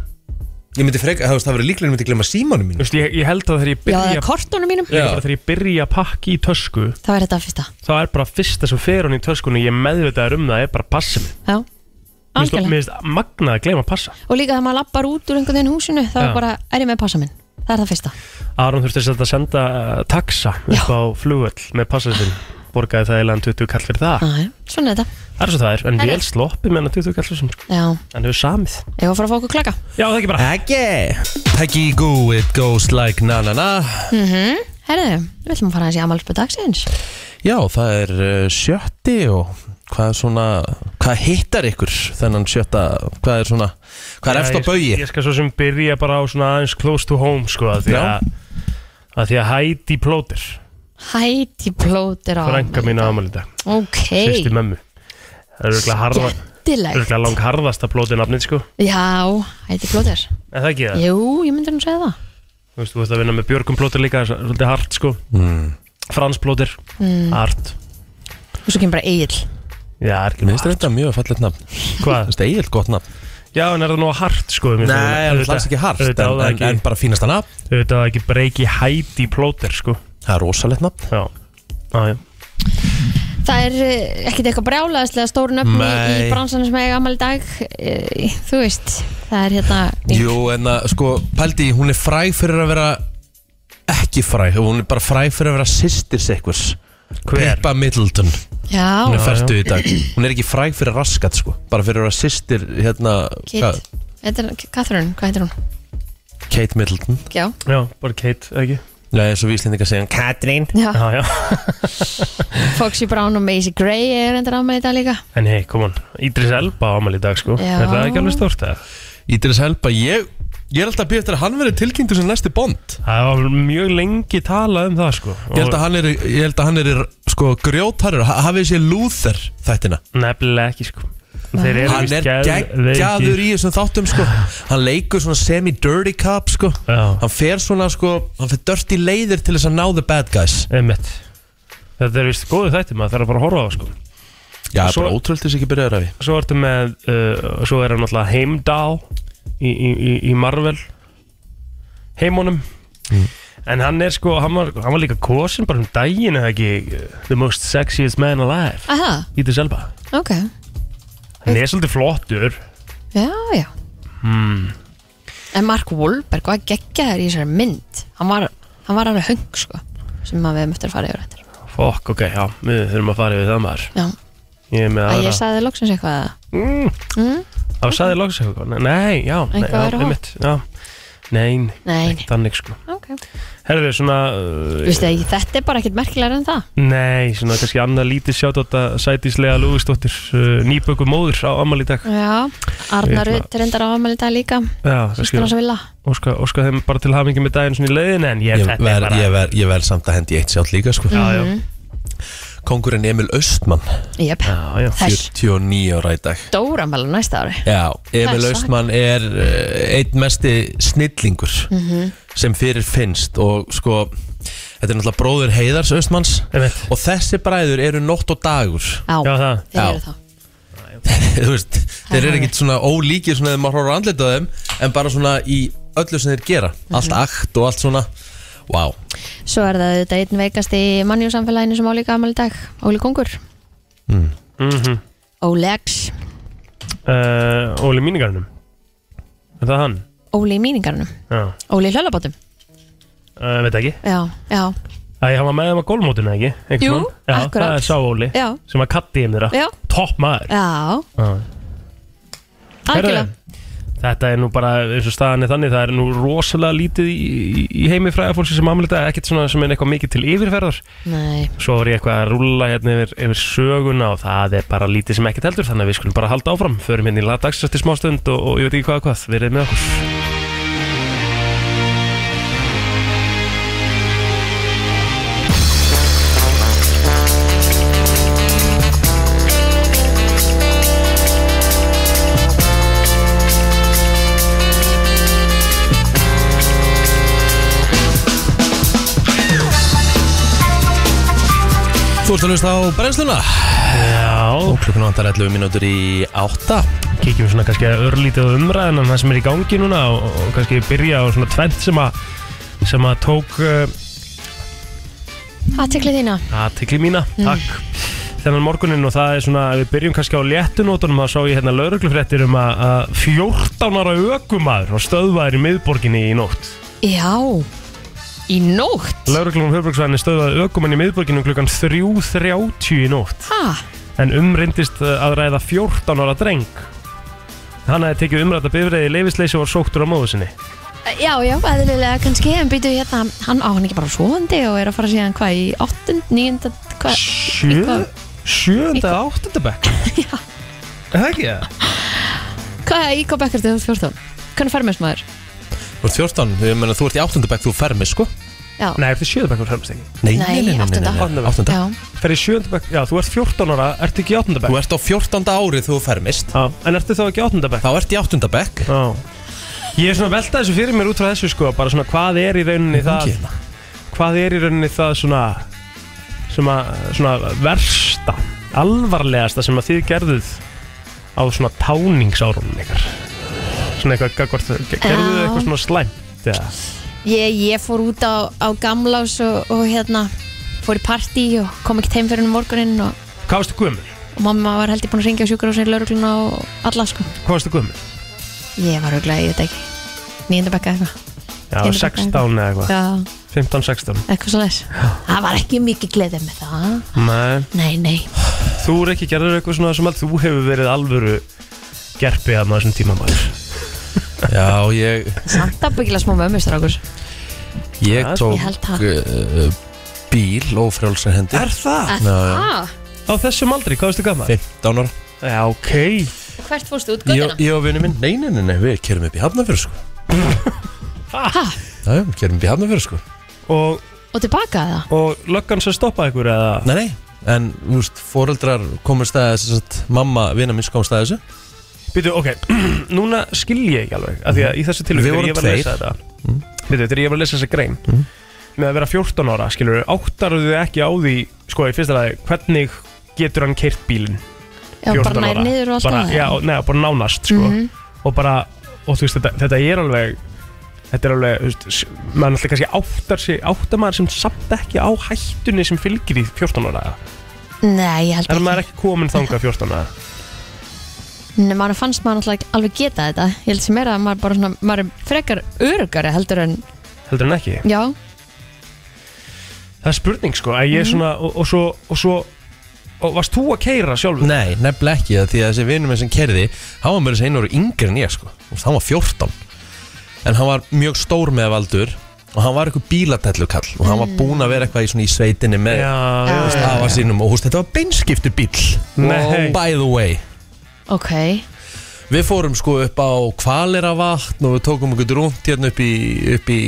Ég myndi freka, það, það verið líklega en ég myndi gleyma símanum Þú mínu veist, ég, ég held að þegar ég já byrja það er kortunum mínum Já. bara þegar ég byrja að pakka í tösku það væri þetta fyrsta, þá er bara fyrsta sem fer hún í töskunni ég er meðvitaður um það er bara passi mig já Mér finnst- algjörlega, mér finnst magnað að gleyma að passa og líka þegar maður lappar út úr einhvern veginn húsinu, þá Já. er bara, er ég með passa minn það er það fyrsta, Aron þurfti sem sagt að senda uh, taxa Já. upp á flugöll með passa sinn borgaði það eiginlega en 20 kall fyrir það já, já, svona er þetta það er svo það er en Herri. vel sloppið með hann 20 kall fyrir sem sko. já, hann hefur samið ég var að fara að fá okkur klaka já það ekki bara Ekki Ekki gú, it goes like na na na mhm, herðu, við ætlum að fara aðeins í amalspöð dagsins Já, það er uh, sjötti og hvað er svona Hvað hittar ykkur þennan sjötta Hvað er svona, hvað er Já, efst á ég- baui ég skal svo sem byrja bara á svona aðeins close to home sko að því Já. að, að því að Heidi Plóter Heidi Plóter á frænka mín á ámæli dag Ok, sýsti mömmu það er örgulega harða skemmtilegt örgulega lang harðasta Plóter nafnið sko Já, Heidi Plóter en það ekki það Jú, ég myndi nú segja það þú veist, þú veist að vinna með Björgum plótir líka það er svolítið hart sko, mm. Frans plótir mm. hart, Og svo kemur bara Egil já, er ekki Mér neitt finnst þetta mjög fallet nafn Mér hvað, finnst þetta eigið gott nafn já, en er það nú hart sko, Nei, mér finnst það það- er alls ekki hart auðvitað á en, það en, ekki, en bara fínasta nafn auðvitað á það ekki breyki hæti plótir sko, Það er rosalegt nafn já Já, já. Það er eh, ekkert eitthvað brjálaðislega stór nöfni Nei. í bransanum sem eiga amal dag eh, Þú veist, það er hérna Jú, en að, sko, Paldi, hún er fræg fyrir að vera Ekki fræg, hún er bara fræg fyrir að vera sýstir sekkurs Hver? Pippa Middleton hún Já, er færtu í dag hún er ekki fræg fyrir raskat sko bara fyrir að vera sýstir hérna Kate Þetta er Catherine, hvað heitir hún? Kate Middleton Já, já, bara Kate, eða ekki Nei, eins og við íslendingar segjum Katrín já. já, já. [laughs] [laughs] Foxy Brown og Maisie Gray er endur amal í dag líka En hei, kom on, Ídris Elba ámæli í dag sko Já. Er það ekki alveg stórt eða? Ídris Helba, ég ég er alltaf að býja eftir að hann verði tilkynntu sem næsti bond Það var mjög lengi talað um það sko ég held að hann er, ég held að hann er sko grjótarur, ha- hafið sér Luther þættina, Nefnilega ekki sko Þeir eru hann víst er geggjaður í þessum þáttum sko, hann leikur svona semi-dirty cop sko, Já, hann fer svona sko, hann fer dirty leiðir til þess að ná the bad guys einmitt Þetta er vist góðu þætti maður, það er bara að horfa á það sko Já, Svo- bara ótrúld þess ekki byrjaður af því Svo ertu með, uh, svo er hann náttúrulega Heimdall í, í, í, í Marvel Heimunum En hann er sko, hann var, hann var líka kosin bara um daginn eða ekki uh, The most sexiest man alive Aha, Ítis Elba ok Hann er svolítið flottur Já, já En Mark Wahlberg, hvað geggja þær í þessari mynd hann var, hann var alveg höng sko, sem að við möttum að fara yfir þetta Fokk, ok, já, við þurfum að fara yfir það maður Já, Ég er með að aðra ég sagði loksins eitthvað eða? Mm. Mm. Það sagði loksins eitthvað Nei, já, nei, Eitthvað já, verra einmitt, já. Nei, Nei, nei, ekki þannig sko ok Herðu, svona uh, Vistu, ég- Þetta er bara ekkert merkilegar en það Nei, svona kannski annað lítið sjátt að sætíslega Lúfisdóttir uh, nýböku móður á ammali í dag Já, Arnar Ég ætla- Rutt reyndar á afmæli í dag líka Já, Sýstur kannski hans að vilja óska, óska þeim bara til hafingi með daginn svona í leiðin en ég, Ég þetta er verð bara ég ver, ég ver samt að hendi eitt sjálf líka sko. Já, Mhm. já, Kongurinn Emil Östmann Jöp, já, já, þess 49 ára í dag Dóra mæla næsta ári Já, Emil Það er Östmann er uh, einn mesti snillingur Mhm. sem fyrir finnst og sko, þetta er náttúrulega bróður Heiðars Östmanns einmitt og þessi bræður eru nótt og dagur [laughs] Já, Já, það, þeir Já. eru það þú veist, þeir eru hárrétt. ekkit svona ólíkir svona þegar maður horfður á andlit á þeim en bara svona í öllu sem þeir gera Mhm. allt akt og allt svona wow. Svo er það auðvitað einn veikast í mannjúsamfélaginu sem á líka afmæli í dag Óli Kongur mhm Óli X uh, Óli Míningarnum Er það hann? Óli í míningarnum Já, Óli í hlöllabátum uh, veit ekki Já, já, Það ég hafa með þeim að gólmótinu ekki Einhvern Jú, tímann? Já, akkurat. Það er sá Óli já, sem að katti um þeirra já, Topp maður já Já. Algjörlega Herðu, Þetta er nú bara eins og staðan er þannig Það er nú rosalega lítið í, í, í heimi fræðafólki sem amlita Ekkert svona sem er eitthvað mikið til yfirferðar Nei, Svo var ég eitthvað að rúlla hérna yfir, yfir söguna og það er bara lítið sem ekkert heldur þannig að við skulum bara halda áfram, förum hérna í lagdagsast í smá stund og, og ég veit ekki hvað og hvað, verið með okkur Þú ert að hlusta á brennsluna Já, og klukkan vantar 11 mínútur í 8 kíkjum svona kannski að örlítið á umræðan en það sem er í gangi núna og, og kannski byrja á svona tvent sem að sem að tók uh, aðtekli þína aðtikli mína, takk þennan morgunin og það er svona ef við byrjum kannski á léttunótunum þá sá ég hérna lauruglufréttir um að, að 14 ára ökumæður og stöðvæðir í miðborginni í nótt Já, í nótt Lauruglum Hörbergsvæðinni stöðvaði ökumenn í miðborginum klukkan 3.30 í nótt Ha, en umrindist að ræða 14 ára dreng Hann hafði tekið umræta bifræði í leifisleysi og var sóktur á móðu sinni já, já, eðlilega kannski En býtu hérna, hann á hann ekki bara svoðandi Og er að fara síðan hvað í áttund, níunda Hvað, í hvað, Sjönda eða áttunda bekk Já Ekki það? hvað, í hvað bekkar þið 14? Hvernig fermis maður? Þú ert 14, ég meina þú ert í 8. bekk, þú fermi sko Já, Nei, ertu sjöunda bekk og hörmst ekki Nei, Nei, áttunda. áttunda. já, Fer í sjöunda bekk, já, þú ert 14 ára, ertu ekki í áttunda Þú bekk ert á 14. árið þú fermist Já, en ertu þá ekki í áttunda bekk þá ert í 8. bekk Já Ég er svona að velta þessu fyrir mér út frá þessu sko, bara svona hvað er í rauninni það Ógeðna. hvað er í rauninni það svona svona, svona versta alvarlegasta sem að þið gerðuð á svona táningsárunum ykkar svona eitthvað gagvart, gerðuð þið Já. eitthvað svona slæmt eða Ég, ég fór út á, á gamlás og, og hérna fór í partí og kom ekkert heim fyrir um morguninn og, hvað varstu gömul? og mamma var heldur búin að ringja á sjúkarhúsin laurugluna og alla sko hvað varstu gömul? Ég var auðvitað, ég veit ekki nýjöndabekka eitthvað já, Kemur 16 eða eitthvað Já, 15-16 eitthvað svo leis Það var ekki mikið gleðið með það nei Nei, nei, þú er ekki gerður eitthvað svona sem að þú hefur verið alvöru gerpi að maður þessum tíma maður Já, ég, samt að byggila smá mömmistrákur ég Það- tók Ég held það. uh, bíl og frjálsar hendi er það? Já, já. ah, á þessum aldri, hvað varstu gammal? 15 ára já, ok Hvert fórstu út Ég, göttina? ég og vinnu minn, nei, nei, nei, nei, við kerum upp í Hafnarfjörð sko Ha, Já, já, við kerum upp í Hafnarfjörð sko og, og tilbaka það? og löggan sem stoppaði ykkur eða? Nei, nei, en, þú veist, foreldrar komur staðið þess að mamma, vinnu minn komur staðið þessu Býtu, ok, [clears throat] núna skil ég ekki alveg af Því að í þessu tilvík Við vorum ég var að tveir. Mm. lesa þetta Býtu, þegar ég var að lesa þessa grein Með að vera 14 ára, skilur Áttarðu þið ekki á því, sko, í fyrsta lagi Hvernig getur hann keirt bílinn Já, 14 bara nær ára? niður og allt bara, það? Já, neða, bara nánast, sko Mhm. Og bara, og þú veist, þetta, þetta er alveg Þetta er alveg, þú veist s- Maður alltaf kannski áttar sig, áttar maður sem samt ekki á hættunni sem fylgir í 14 ára eða? Nei, ég held Er maður ekki ekki komin þangað 14 ára? Nei, maður fannst maður náttúrulega ekki alveg geta þetta Ég held sem er að maður bara svona Maður er frekar örugari heldur en heldur en ekki Mm. Já, það er spurning sko, að Mm. ég svona og, og svo, og svo og varst þú að keira sjálfur? Nei, nefnilega ekki það því að þessi vinnum minn sem kerði hann var mér þessi einu ári yngri en ég sko Þú veist, hann var 14 en hann var mjög stór með valdur og hann var eitthvað bílatællukall og hann var búinn að vera eitthvað í, svona, í sveitinni með Já, þú já, veist, afa sínum og húst, þetta var beinskiptu bíl Nei. by the way ok Við fórum sko upp á kvalera vatn og við tókum okkur rúnt hérna upp í, upp í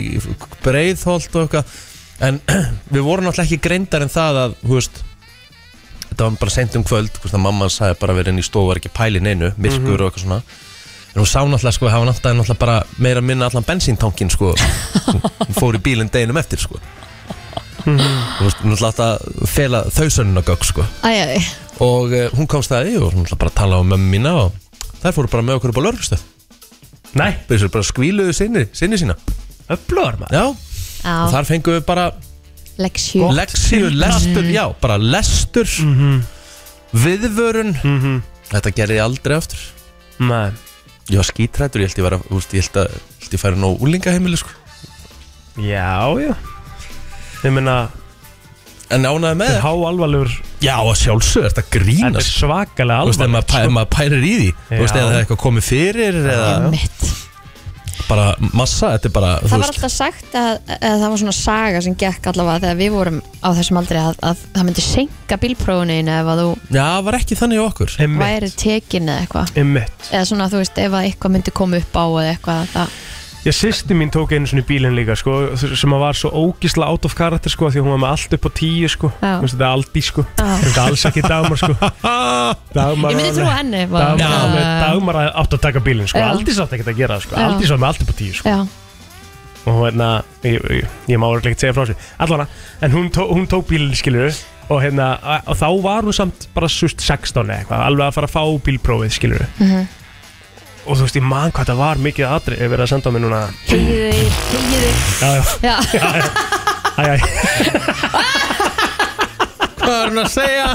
breiðholt og eitthvað en [clears throat] við vorum náttúrulega ekki greindar en það að, þú veist þetta var bara sent um kvöld, þú veist að mamma sagði bara verið inn í stofu, var ekki pælin einu, myrkur og eitthvað svona en hún sá náttúrulega sko, hafa náttúrulega, náttúrulega bara meira að minna allan bensíntankin sko hún fór í bílinn deginum eftir sko þú veist, náttúrulega átti að fela þau sönnunagögg sko Æjæj, og uh, hún komst að því og hún ætla bara að tala á mömmu mína og þær fóru bara með okkur upp á lörgustöð Nei, þessar bara skvíluðu sinni, sinni sína öflugar maður já, og á, þar fengum við bara leksjú leksíu, lestur, já, bara lestur Mhm. viðvörun þetta gerði ég aldrei aftur Nei, ég var skítrættur, ég held ég var að, úst, ég held að, ég held ég færi nóg úlingaheimili sko já, já Ég meina, en ánaði með þetta er það, háalvarlegur já, að sjálfsög, þetta sko. Þetta er grínast svakalega Þú veist, ef maður alvarlegt pæ- ef maður pærir í því Þú veist, Já. eða það er eitthvað komið fyrir Eða Mitt. bara massa, þetta er bara þú Það var veist- alltaf sagt að, að það var svona saga sem gekk allavega þegar við vorum á þessum aldrei að, að það myndi senka bílprófunin ef að þú Já, það var ekki þannig hjá okkur væri Sko, Einmitt, tekin eða eitthvað einmitt eða svona þú veist ef að eitthvað myndi koma upp á eða eitthvað að það Ég sýsti mín tók einu svona í bílinn líka sko, sem að var svo ógisla out of character sko, því að hún var með allt upp á tíu sko. Já. Þú veist, þetta er Aldi sko. Já. þetta er alls ekki Dagmar sko. [laughs] Ég Dagmar myndi trúa henni var- Dagmar, Já. alveg- Dagmar átt að taka bílinn sko. Já. Aldi sátt ekki að gera það sko. Já. Aldi sátt með allt upp á tíu sko. Já, og hérna, ég, ég, ég má orðilegt segja frá sér allavega, en hún, tó, hún tók bílinn skilur og hérna, og þá var hún samt bara sust 16 eða eitthvað alveg að fara að fá bílprófið skilur Mhm. og þú veist, ég man hvað það var mikið aðri ef verið að senda á mig núna tegiði, tegiði já, já, Já, æ, æ, Hvað er hún að segja?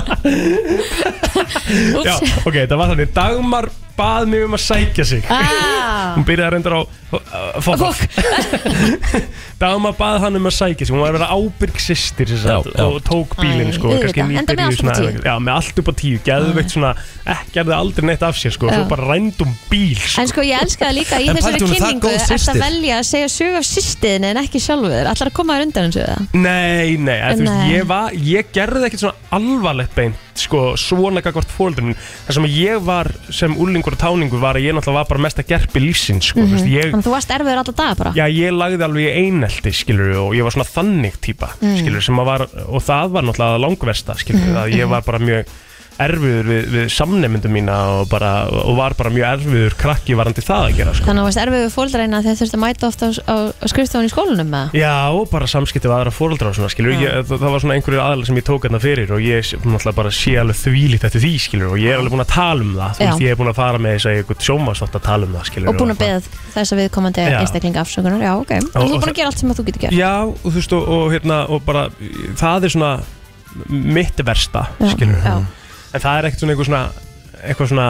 já, úps ok, það var þannig Dagmar bað mig um að sækja sig Ah, hún byrjaði að reynda á uh, fokk fokk. Dagmar bað hann um að sækja sig hún var að vera ábyrg sýstir Já, já. og tók bílinn Æ, sko, auðvitað. kannski Enda með nýbyrjuð allt upp á svona- tíu. Ah. já, með allt upp á tíu, geðveikt svona ekki að það aldrei neitt af sér sko, Já. þú bara rændum bíl sko. En sko ég elska það líka í En þessari pældu, hún er það kynningu góð Er systir. að velja að segja sög af sýstiðinni en ekki sjálfur Ætlar að koma þér undan eins og það nei, nei, að, þú veist, Nei. ég, var, ég gerði ekkert svona alvarlegt beint sko, svona gagvart fóreldurinn það sem ég var sem úlingur og táningur var að ég náttúrulega var bara mest að gerpi lífsins sko, þú veist, ég, Þannig að þú varst erfiður alltaf dag bara Já, ég lagði alveg í einelti, skilur og ég var svona þannig típa, mm. skilur sem að var, og það var náttúrulega langversta, skilur Mm. að ég var bara mjög erfiður við, við samnemyndum mína og, bara, og var bara mjög erfiður krakki varandi það að gera, sko. Þannig að þú varst erfiður fóldreina þegar þurftu að mæta ofta á, á, á skrifstofunni í skólanum með Já, og bara samskipti við aðra fóröldra og svona, skilur, Já. ég, það, það var svona einhverju aðla sem ég tók hérna fyrir og ég sé- náttúrulega bara sé alveg þvílíkt eftir því, skilur, og ég er alveg búin að tala um það, þú Já. veist, ég er búin að fara með þess að eitthvað sjómasvátt að tala um það, skilur. og búin að beða þess að viðkomandi Já. einstaklinga afsökunar Já, ok, en þú Og- og er búin það- að gera allt sem að þú getur gert Já, og þú veist, og, og hérna, og bara, það er svona mitt versta, Já, skilur já. En það er ekkert svona eitthvað svona, eitthvað svona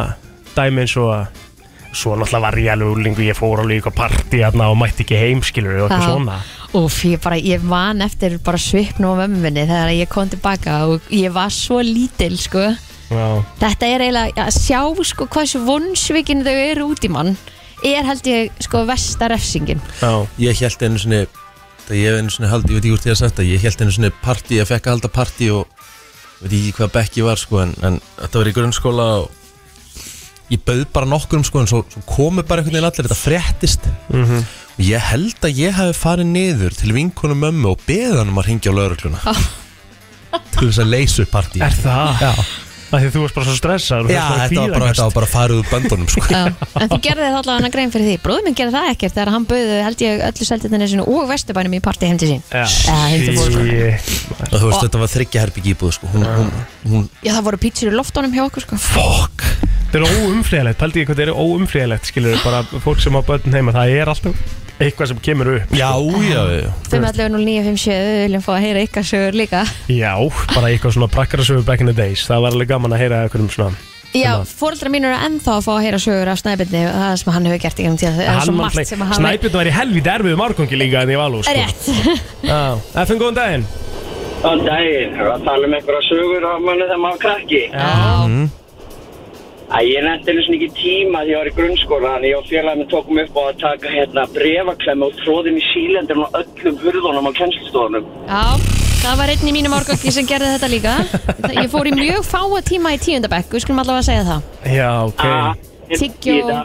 dæmi eins og að Svo náttúrulega var ég alveg úlingu, ég fór alveg í eitthvað partí hérna og mætti ekki heim, skilur og eitthvað Já. svona Úf, ég bara, ég man eftir bara svipn og mömmu minni þegar ég kom tilbaka og ég var svo lítil, sko Já, Þetta er eiginlega að sjá, sko, hversu vonsvikin þau eru út í mann er held ég, sko, versta refsingin já, Ég held einu sinni Það ég hef einu sinni haldi, ég veit ekki hvort ég hef sagt það Ég held einu sinni partí, ég fekk að halda partí og veit ekki hvað bekk ég var sko en, en þetta var í grunnskóla og ég bauð bara nokkur um sko en svo, svo komu bara einhvern veginn allir, þetta fréttist Mhm. og ég held að ég hafi farið niður til vinkonum mömmu og beðið hann um að ringja á laurugluna [laughs] til þess að leysu partí er það? Já, Af því að þú varst bara svo stressað Já þetta, var bara, þetta var bara farið úr böndunum sko. Já, en þú gerði það allavega grein fyrir því Bróðum minn gerði það ekkert þegar hann bauði held ég öllu seldinni sinu og vesturbænum í partí heim til sín Já, þetta fór sko. Shit. og þú veist þetta var þryggja herbyggj íbúð sko. hún, hún, hún, Já, það voru pítsur í loftunum hjá okkur, sko fuck Þetta er óumflýðalegt, pældi ég hvað þetta er óumflýðalegt skilur bara fólk sem á börn heima, það er alltaf eitthvað sem kemur upp Já, já, já 5.11.09.57 við viljum fá að heyra ykkar sögur líka Já, bara eitthvað svona prakkarasöfu back in the days Það var alveg gaman að heyra eitthvað um svona Já, sem að- fóreldrar mínur eru ennþá að fá að heyra sögur af Snæbjörni og það sem hann hefur gert í gegnum tíðan það er svo margt sem að hann Snæpjörn var í helvítið erfiðum árgangi líka en ég var alveg sko. Rétt, Já, FN, góðan daginn Þann daginn, við varum að tala um einhverja sögur á manni þegar maður var krakki. Mhm. Æ, ég nefndi einu svona ekki tíma því ég var í grunnskóla, þannig ég og félagin tókum upp á að taka hérna brefaklemmu og tróðum í sílendur og öllum hurðunum á kennslustofunum. já, það var einn í mínum árgangi sem gerði þetta [laughs] líka Það- Ég fór í mjög fáa tíma í tíundabekk, við skulum allavega að segja það Já, ok Ah, Tyggjó.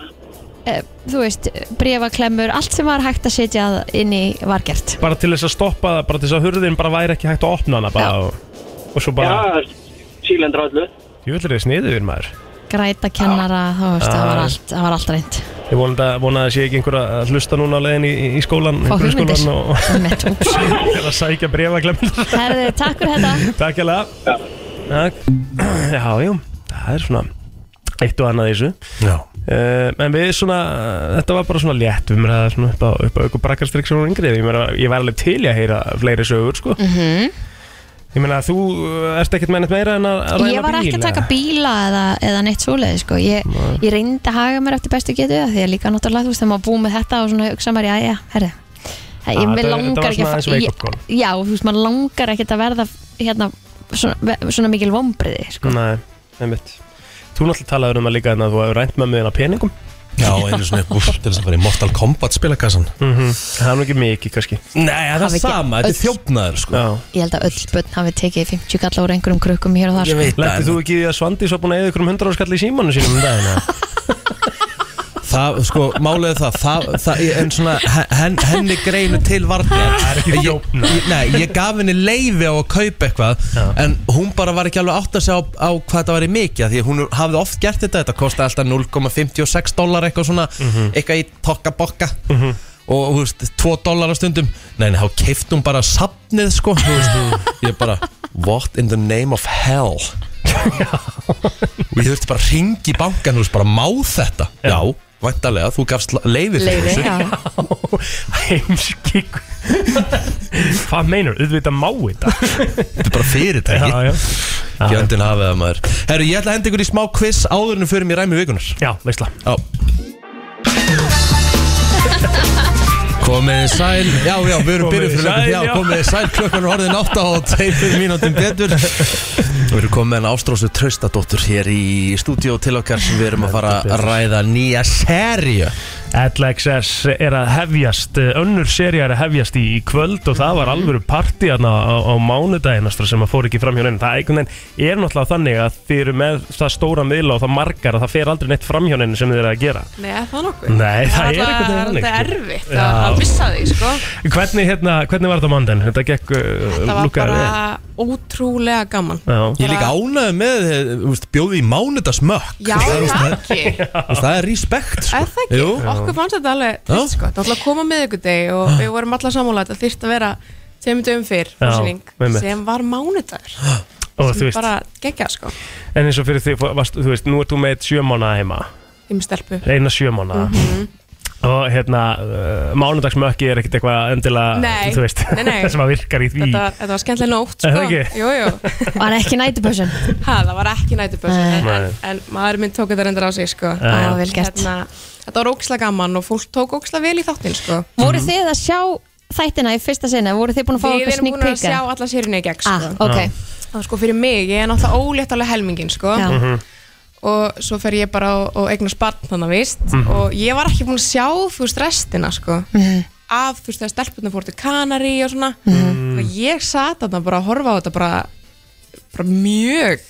Eh, Þú veist, brefaklemmur, allt sem var hægt að setja inn í var gert Bara til þess að stoppa það, bara til þess að hurðin bara væri ekki hægt að opna hana bara Já. og, og svo bara, Já, sílendur öllu. ég vil reyða sniður maður Græta kennara, þú veist, það var Já. allt, það var allt reynd Ég vona að, vona að sé ekki einhver að hlusta núna á leiðin í, í- í skólan, Fá hugmyndir grunnskólan og Einmitt, úps. [laughs] er að sækja brefaklemmin Herðu, takk fyrir þetta Takk alveg Takk [clears throat] Já, jú, það er svona eitt og annað í þessu Já uh, En við svona, þetta var bara svona létt Við mér að svona upp á, upp á ykkur brakkarstrykk sem hún yngri Ég, meira, ég var alveg til í að heyra fleiri sögur sko. Ég meina að þú uh, ert ekkert með neitt meira en að, að ræna Ég var ekki að bíl, taka eða? bíla eða, eða neitt svoleið sko. ég, ég reyndi að haga mér eftir bestu getu af Því að líka náttúrulega þú veist þegar maður búið með þetta og svona hugsa maður, já, já, herri Það, ég, Ah, mig þetta- þetta var langar ekki svona að aðeins fa- wake up call. ég, Já, þú veist, maður langar ekkert að verða hérna, svona, ve- svona mikil vombriði sko. Nei, einmitt Þú náttúrulega talaður um það líka en að þú hefur rænt með mig en að peningum Já, einu svona upp til þess að fara í Mortal Kombat spilakassan mm Það er nú ekki mikið kannski Nei, það Hafi er ekki sama, þetta er öll- þjófnaður sko Já Ég held að öll börn hafi tekið 50 kalla úr einhverjum krukkum hér og þar sko. Ég veit Lettið þú það, ekki í því að Svandi svo búin að eða ykkur um 100 ára skall í símanu [laughs] sínum um daginn eða? það, sko, málið er það, það, það en svona, hen, henni greinu til varnar Það er ekki þjófna Nei, ég gaf henni leifi á að kaupa eitthvað en hún bara var ekki alveg átt að segja á, á hvað þetta var í mikið, af því að hún hafði oft gert þetta, þetta kosti alltaf 0,56 dólar eitthvað svona, eitthvað í tokkabokka og þú veist, 2 dólar á stundum nei, nei, þá keift hún bara sapnið sko, þú veist, ég bara what in the name of hell og ég þurfti bara að ringi í bankan, þú veist, bara má þetta já, væntalega, þú gafst leiði Leiði, já Heimskik Hvað meinar, auðvitað má þetta þetta er bara fyrirtæki Já, já Gjöndin hafið það maður Herru, ég ætla að henda ykkur í smá quiz áður en við förum í ræmi vikunar Já, veistla Já Komið þið sæl Já, já, við erum Komið byrjuð fyrir þið leikum sæl, Já, já. komið þið sæl, klukkan er orðin átta og teipur mínútum betur Við erum komið en Ástrósu Traustadóttur hér í stúdíó til okkar sem við erum að fara að ræða nýja serju LXS er að hefjast eh, önnur seri er að hefjast í, í kvöld og það var alvöru partí hérna á, á mánudaginn astra, sem að fór ekki fram hjá neina það einhvern veginn er náttúrulega þannig að þið eru með það stóra miðla og það margar að það fer aldrei neitt fram hjá neina sem þið eru að gera Nei, er það nokkuð Nei, það Það er er einhvern veginn alltaf þannig, er sko. erfitt Já. að að missa því sko. hvernig, hérna, hvernig var þetta á mánudaginn? Þetta gekk uh, Það var lúkkaði bara vel? ótrúlega gaman Já. Ég er líka ánægði með, eh, þú veist, bjóði í mánudagsmökk Já, takki Þú veist, Það er respekt [laughs] sko. Er það ekki? Jú. Okkur fannst þetta alveg Já. trist, sko. Það ætlaði að koma með ykkur deg og við vorum allar sammála að þetta þyrfti að vera tveimur dögum Ah. fyrr Já, frásýning, einmitt. sem var mánudagur og þú sem veist, bara geggja sko en eins og fyrir því varst, þú veist, nú ert þú með eitt sjö mánuða heima í með stelpu Mm. eina sjö mánuða Mhm. og hérna, uh, mánudagsmökki er ekkert eitthvað endilega, Nei, þú veist nei, nei. það [laughs] sem að virkar í því Þetta, þetta var skemmtileg nótt Er sko. það ekki? Jú, jú, [laughs] Var ekki nætupössun ha, það var ekki nætubössin en, en, Nei. en maður minn tók þetta reyndar á sig sko. Já, já. Og Vel gert. Þetta var óksla gaman og fólk tók óksla vel í þáttin sko. Voru þið að sjá þættina í fyrsta sinna? Voru þið búin að fá Við eitthvað erum sneak búin að peek? sjá eða? alla sérinu í gegn Ah, sko. ok og sko fyrir mig, ég er náttúrulega ólétt alveg helmingin sko. Já. Mhm. og svo fer ég bara og, og eignar spartn þannig vist Mhm. og ég var ekki búin að sjá þú veist restina sko Mhm. af þú veist þegar stelpunna fór til Kanari og svona Mhm. og ég sat þarna bara að horfa á þetta bara, bara mjög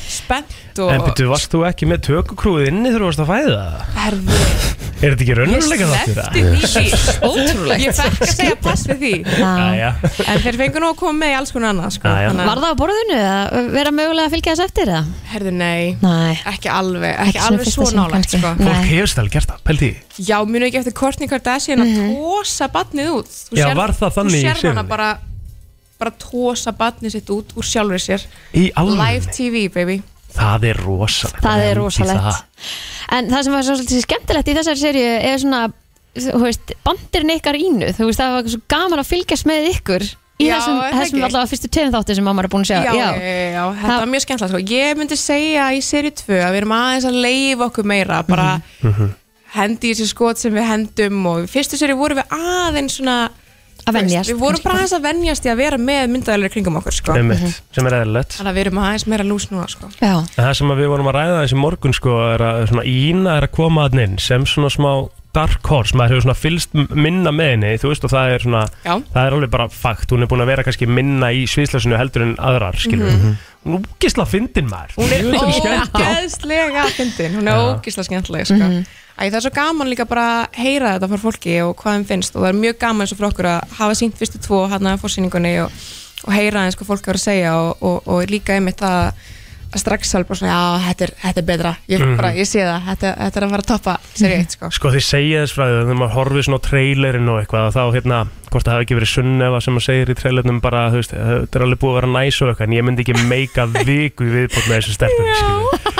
spennt og En betur, varst þú ekki með tökukrúið inni þegar þú varst að fæða? herðu Er þetta ekki ég raunveruleika sleppti þáttur það? [laughs] því Ótrúlegt. ég fekk að segja pass við því Já. Jæja, en þeir fengur nú að koma með í alls konar annað sko. Já, já. Þannig að- Var það á borðinu eða vera mögulega að fylgja þess eftir eða? herðu nei Nei ekki alveg, ekki, svona alveg fyrsta svo sinn nálægt kannski. sko. Nei. fólk hefur stæl gert það, pældi því Já, munu ekki eftir Kourtney Kardashian Mhm. að tósa batnið út þú Já, var það þannig í Þú sér hana sérunni? bara, bara tósa batnið sitt út úr sjálfri sér Í alveg, Live TV, baby það er rosalegt Það er Pældu í það. rosalegt En það sem var svo svolítið skemmtilegt í þessari serju er svona þú veist, bandirinn ykkar ínu þú veist, það var svo gaman að fylgjast með ykkur í Já, þessum, er það þessum ekki? allavega fyrstu tveim þátti sem mamma er búin að Já, segja já, já, þetta Það- var mjög skemmtilegt sko. Ég myndi segja í seri 2 að við erum aðeins að leifa okkur meira bara Mhm, hendi í þessi skot sem við hendum og í fyrstu seri vorum við aðeins svona Að þú veist, venjast, Við vorum kannski. bara aðeins að venjast í að vera með myndaðalir kringum okkur sko. einmitt, sem er eðlilegt Þannig að við erum aðeins meira lús núna sko. já, En Það sem að við vorum að ræða þessi morgun sko er að svona Ína er að koma að inn sem svona smá dark horse, maður hefur svona fylst minna með henni, þú veist og það er svona Já. það er alveg bara fakt, hún er búin að vera kannski minna í sviðslasinu heldur en aðrar skilur mm -hmm. hún er úkisla fyndin maður Mhm. Hún er Djöfull skemmtileg. ógeðslega fyndin Hún er ógeðslega skemmtileg sko. Æ, það er svo gaman líka bara að heyra þetta frá fólki og hvað þeim finnst og það er mjög gaman eins og fyrir okkur að hafa sínt fyrstu tvo hann að fórsýningunni og, og heyra eins hvað fólk er að segja og, og, og líka einmitt það að strax alveg bara svona, já, þetta er, þetta er betra ég, Mhm. bara, ég sé það, þetta, þetta er að fara að toppa serið [laughs] eitt, sko Sko þið segja þess frá því að þegar maður horfið svona á trailerinn og eitthvað að þá hérna, hvort það hafi ekki verið sunnefa sem maður segir í trailernum bara, þú veist, þetta er alveg búið að vera næs og eitthvað en ég myndi ekki meika viku í viðbótt með þessu stefnum, skilur.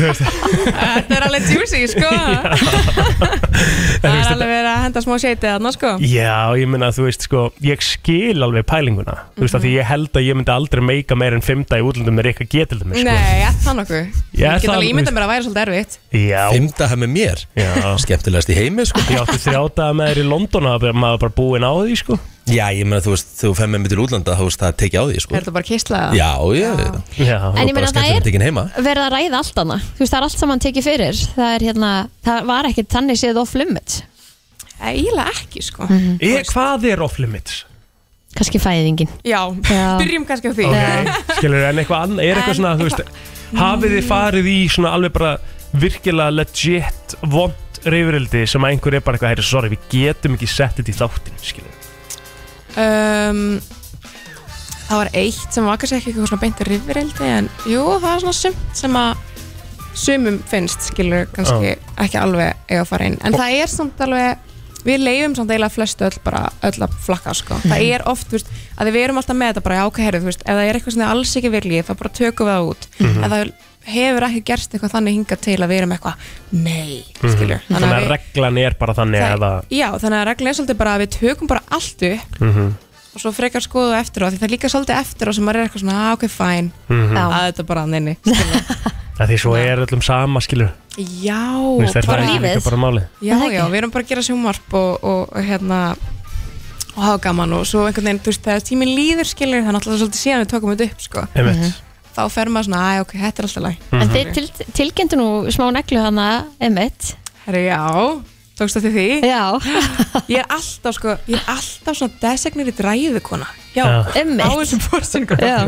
Þetta er alveg juicy, sko [laughs] Það er alveg verið að henda smá sjeitið þarna, sko Já, ég meina, þú veist, sko, ég skil alveg pælinguna, þú veist, af Mhm. því ég held að ég myndi aldrei meika meir en fymta í útlöndum með eitthvað getildum, sko. Nei, er það Ég nokkuð? er Ég get það- alveg ímyndað mér að væri svolítið erfitt Já, Fymta það með mér já. Skemmtilegast í heimi sko Ég átti þrjátaða með þér í London að maður var bara búinn á því, sko. Já, ég meina þú veist, þú fem með mig til útlanda Þú veist, það tekja á því Er sko þetta bara kislaða? Já, ég Já, En ég meina Bara það skemmtilegt er ekki heima verið að ræða allt annað Þú veist það er allt saman tekið fyrir Það, er, hérna, það var ekkert þannig séð off limit Ægilega ekki sko ég, "Eh, hvað er off-limits? Kanski fæðingin Já, [laughs] Já. byrjum kannski á því okay. skilur, en eitthvað annað, er eitthvað En svona, þú veist, hafið Mm. þið farið í svona alveg bara virkilega legit vond reyfurildi sem að einhver er bara eitthvað, heyri, sorry, við getum ekki sett þetta í þáttin, skilur. um, Það var eitt sem var kannski ekki eitthvað svona beinti rifrildi En jú, það var svona sumt sem að Sumum finnst skilur kannski ekki alveg eiga að fara inn En það er samt alveg Við leifum samt eiginlega flestu öll bara öll að flakka sko. Það er oft, þú veist, að því við erum alltaf með þetta bara, já, ok, herru, þú veist, ef það er eitthvað sem þið alls ekki viljið, þá bara tökum við það út. Mhm. En það hefur ekki gerst eitthvað þannig hingað til að við erum eitthvað, nei, skilju. Mhm. Þannig að reglan er bara þannig að það, það, já, þannig að regla er svolítið bara að við tökum bara allt upp Mhm. og svo frekar skoðu eftir á því það er líka svolítið eftir á sem maður er eitthvað svona ah, ok, fæn, Mhm. Já, að þetta bara neini [laughs] að því svo er öllum sama, skilur. já, Þú veist, er bara það ekki lífið. líka bara málið? já, Það ekki. já, við erum bara að gera sjónvarp og, og, og hérna og hafa gaman og svo einhvern veginn, þú veist, þegar tíminn líður skilur það er náttúrulega svolítið síðan við tökum þetta upp sko. Einmitt. Mhm. þá fer maður svona, að ok, þetta er alltaf læg en þeir til, tilkynntu nú smá neglu hana Emmett herri, já, tókst þetta því Já, ég er alltaf, sko, ég er alltaf svona designir í dræðu kona Já. já, á Emmett þessum fórsingum Já.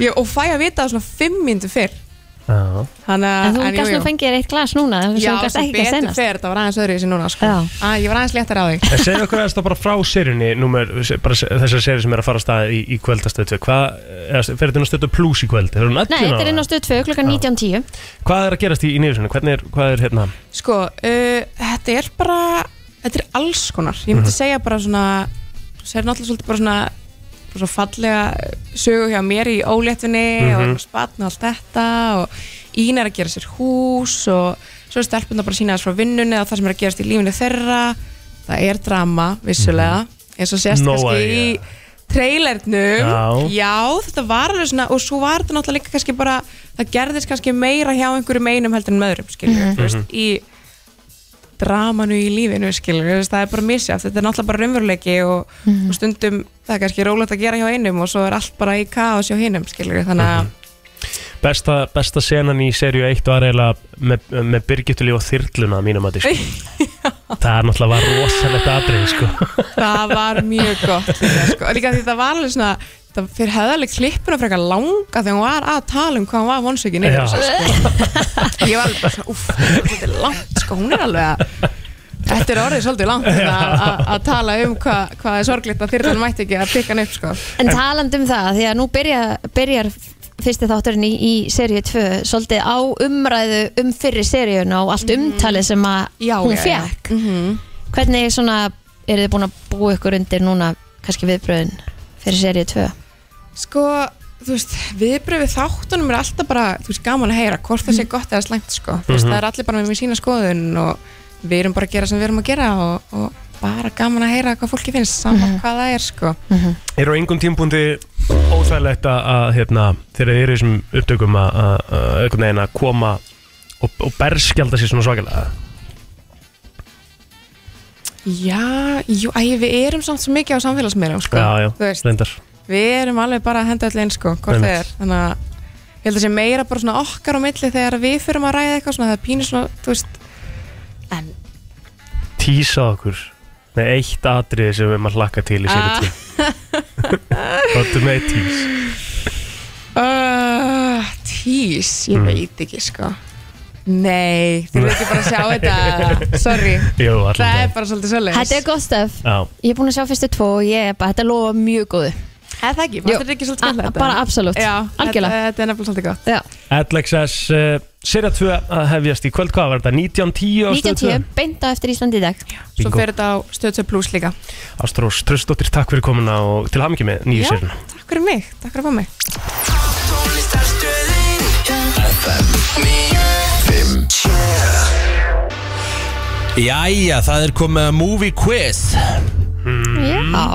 Ég, og fæ að vita það svona fimm myndu fyrr Já. Hanna, En þú gæst nú fengið þér eitt glas núna þú Já, gast sem ekki að betur senast fyrr, það var aðeins öðru í þessi núna sko. Já. að, Ég var aðeins léttar á þig En segðu okkur aðeins þá bara frá sérjunni, númer, bara þessar sérjur sem er að fara að staða í, í kvöldastötu. Hvað, eða, fer þetta inn á stötu plus í kvöld? Er hún Nei, 11 þetta er inn á ára? stöð 2 klukkan 19.10 Hvað er að gerast í, í nýðursunni? Hvernig er, hvað er hérna? Sko, uh, þetta er bara Þetta er alls konar Ég myndi Mhm. segja bara svona Það er náttúrulega svolítið bara svona bara Svo fallega sögu hjá mér í óléttunni mm Mhm. -hmm. og spatna allt þetta og Ín er að gera sér hús og svo er stelpunna bara að sína þess frá vinnunni og það sem er að gerast í lífinu þeirra það er drama, vissulega eins og sést Mhm. Nóg að kannski í gera. trailernum Já. þetta var alveg svona og svo var þetta náttúrulega líka kannski bara það gerðist kannski meira hjá einhverjum einum heldur en möðrum skilur, þú veist, í dramanu í lífinu skilur, þú veist, það er bara misjaf, þetta er náttúrulega bara raunveruleiki og, og stundum það er kannski rólegt að gera hjá einum og svo er allt bara í kaos hjá hinum skilur, þannig að Besta, besta senan í serju 1 var eiginlega með, með Birgittulí og Þyrluna mínum að sko. [laughs] það er náttúrulega var rosalegt atrið sko. það var mjög gott líka, sko. líka því það var alveg svona það fyrir hefðarlega klippuna frekar langa þegar hún var að tala um hvað hún var vonsökin yfir Já. þessu, sko. ég var alveg bara svona uff, þetta er langt sko, hún er alveg að Þetta er orðið svolítið langt hérna, að- að að tala um hvað hva er sorglitt að þyrlan mætti ekki að pikka hann upp sko. En taland um það, því að nú byrja, byrjar fyrsti þátturinn í, í seríu 2 svolítið á umræðu um fyrri seríun og allt umtalið sem að Mm. Já, hún já, já. Mhm. fekk Hvernig svona eru þið búin að búa ykkur undir núna kannski viðbröðin fyrir seríu 2 Sko, þú veist, viðbröfið þáttunum er alltaf bara, þú veist, gaman að heyra hvort Mhm. það sé gott eða slæmt, sko. Þú veist, það er allir bara með mér sína skoðun og við erum bara að gera sem við erum að gera og, og bara gaman að heyra hvað fólki finnst saman Mhm. hvað það er sko Er á engum tímpúndi óþægilegt að, að hérna, þegar þið eru í þessum upptökum að, að, að einhvern veginn að koma og, og berskjálda sér svona svakalega Já, jú, æ, við erum samt svo mikið á samfélagsmiðlum sko. Já, já, Þú veist, reyndar við erum alveg bara að henda öll einn sko, hvort það Einmitt. er þannig að ég held að sé meira bara svona okkar á milli þegar við fyrum að ræða eitthvað svona það er pínu svona, þú veist en Tísað okkur með eitt atriði sem við maður hlakka til í sér Ah. ah. [laughs] Ráttu með eitt tís Uh, tís, Mm. ég veit ekki sko Nei, þið eru ekki bara að sjá þetta Sorry, Jú, allan það er dag bara svolítið svolítið Þetta er gott stöf Já, Ég er búin að sjá fyrstu tvo og ég er bara, þetta lofa mjög góðu það ekki, Jú. fannst þetta ekki svolítið A- skemmtilegt, Bara eða? absolutt, Já, þetta, algjörlega þetta er nefnilega svolítið gott Já. LXS uh, Serja 2 að hefjast í kvöld, hvað var þetta? 19.10 á Stöð 1910, beinta eftir Íslandi í dag Svo Bingo. fer þetta á stöðsöð pluss líka tvö? Ástrós Tröstóttir, takk fyrir komuna og til hamingi með nýju Já, sérna takk fyrir mig, takk fyrir að fá mig Jæja, það er komið að movie quiz Já,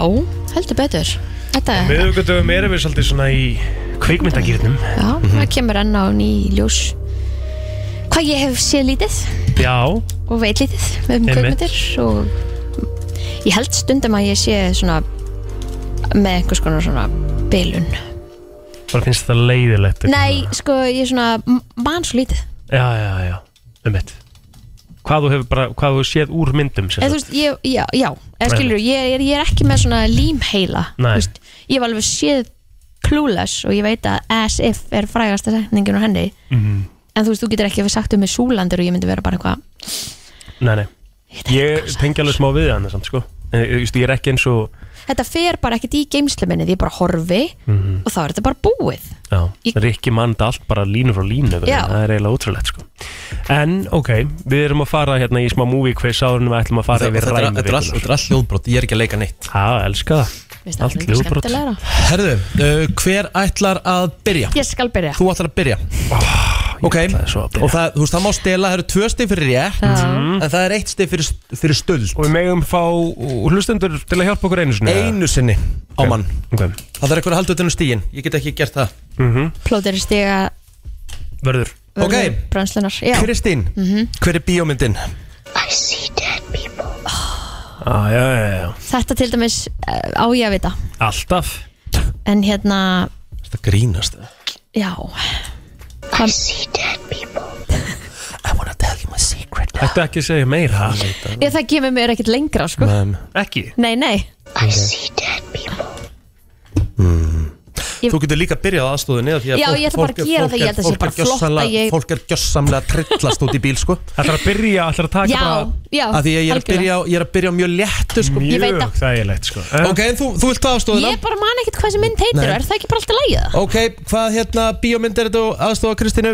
heldur betur Þetta er, Miðugundum erum við svolítið svona í kvikmyndagýrnum já, það kemur enn á ný ljós Hvað ég hef séð lítið Já, og veit lítið um Einmitt. kveikmyndir og ég held stundum að ég sé svona með einhvers konar svona bylun bara finnst þetta leiðilegt Nei, sko, ég er svona m- man svo lítið Já, já, já, um mitt Hvað þú hefur bara, hvað þú séð úr myndum sem Eða þú sagt. veist, ég, já, já, eða skilur ég, er- ég er ekki með svona límheila þú Nei. veist, Ég hef alveg séð Clueless og ég veit að As If er frægasta setningin á henni Mhm. En þú veist, þú getur ekki sagt um mig Súlandur og ég myndi vera bara eitthvað Nei, nei, ég tengi alveg smá við hann samt, sko. En, þú veist, Ég er ekki eins og Þetta fer bara ekkert í geimslu minni Því ég bara horfi Mhm. og þá er þetta bara búið Já, Ég- Rikki mann allt bara línu frá línu einhvern Já. veginn. Það er eiginlega ótrúlegt sko En, ok, við erum að fara hérna í smá movie quiz áður en við ætlum að fara Þetta yfir er ræmi þetta er allt þetta er allt hljóðbrot, ég er ekki að leika neitt Já, elska það Mér finnst það Allt miklu hljóðbrot. skemmtilegra. Herðu, uh, hver ætlar að byrja? Ég skal byrja Þú ætlar að byrja Ok, ætlaði svo að byrja. og það, þú veist, það má stela, það eru tvö stið fyrir rétt En það er eitt stið fyrir, fyrir stöld Og við megum fá hlustendur til að hjálpa okkur einu sinni Einu sinni á Ok, mann ok. Það þarf eitthvað að halda utan um stígin, ég get ekki gert það Plóter stiga Verður Ok, Brænslunar Já Kristín, Mhm. hver er bíómyndin? ah, já, já, já, já. Þetta til dæmis eh, á ég að vita Alltaf En hérna Þetta grínast Já I wanna tell you my secret Ættu ekki að segja meira Ég, það gefur mér ekkert lengra sko um, Ekki Nei, nei Þú getur líka byrjað aðstóðinni Já, ég ætla bara að gera það, ég held að sé bara flott að ég- Fólk er gjössamlega að trillast út í bíl sko Ætlar að byrja, ætlar að taka Já, bara [laughs] já Af því að ég er að algjörlega. byrja á- ég er að byrja á mjög léttu sko Ég veit Mjög það. þægilegt sko Mm. Ok, en þú, þú vilt aðstóðina Ég bara man ekkert hvað sem mynd heitir Nei. Er það ekki bara alltaf lægið það? Ok, hvað hérna bíómynd er þetta og aðstóða Kristínu?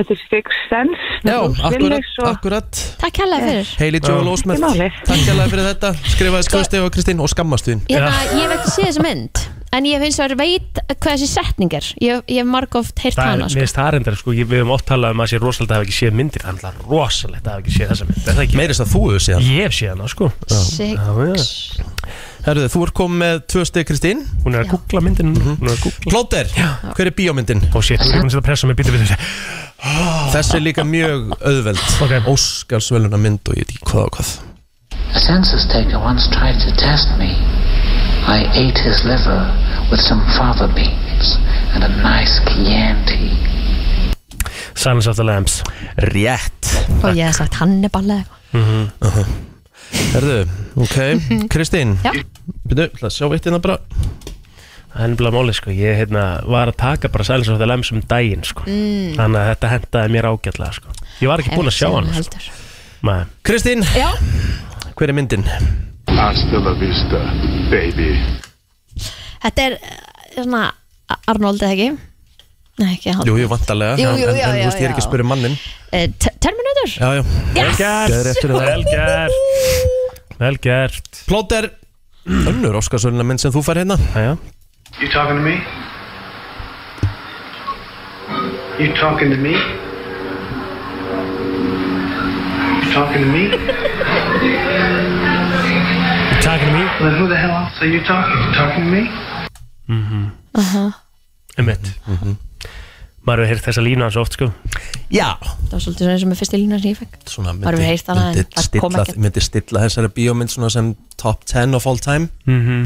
Þetta er Sixth Sense með Já, Bruce akkurat, Willis og akkurat Takk hella fyrir Heili Joel Ósmert, máli. Sko- takk hérlega fyrir þetta Skrifaði skrifstegu á Kristín og skammast þín Hérna, ég hef ekki séð þessu mynd En ég hef eins og er veit hvað þessi setning er Ég, ég hef margóft heyrt Það er, hana mér sko finnst það reyndar sko, ég- við höfum oft talað um að það sé rosalega að hafa ekki séð myndir, það er alltaf rosalega að hafa ekki séð þessa mynd, er það ekki? Meirist að þú hefur séð hann Ég hef séð hana sko Já, já. Six Herðu, þú ert komið með tvö steg Kristín Hún er að googla myndin, hún er að googla Plóter, hver er bíómyndin? Ó shit, hún er búin að setja pressa með bíta við þessu Þessi er líka mjög auðveld Ok. Óskarsveluna mynd og ég veit ekki hvað og hvað A census taker once tried to test me. I ate his liver with some fava beans and a nice Chianti. Silence of the Lambs Rétt Og ég hef sagt Hannibal eða eitthvað. Herðu, ok, Kristín Mhm. Já. Byrju, ætla að sjá eitt hérna bara Það er nefnilega máli sko, ég hérna, var að taka bara Silence of the Lambs um daginn sko Þannig að þetta hendaði mér ágætlega sko Ég var ekki búin að sjá Mm. Hefur séð hann hana sko. heldur. Nei. Kristín, Já, hver er myndin? Hasta la vista, baby. Þetta er eh, svona Arnold eða ekki? Nei, ekki hann Jú, jú, vantarlega Jú, jú, en, en, já, en, já, þú veist, ég er ekki að já. spyrja mannin Eh, Te- Terminator? Já, já Vel gert, Geðrétt fyrir það. vel gert Vel gert Plóter, önnur Óskarsveluna mynd sem þú fær hérna Jæja. You talking to me? You talking to me? You talking to me? talking to me? Well, then who the hell else are you talking? You talking to me? Emmett Maður hefur heyrt þessa lína svo oft sko Já, það var svolítið svona sem er fyrsti lína sem ég fekk svona Bara við heyrt hana, en myndi, það kom stilla, ekkert. myndi stilla þessari bíómynd svona sem top 10 of all time Mhm.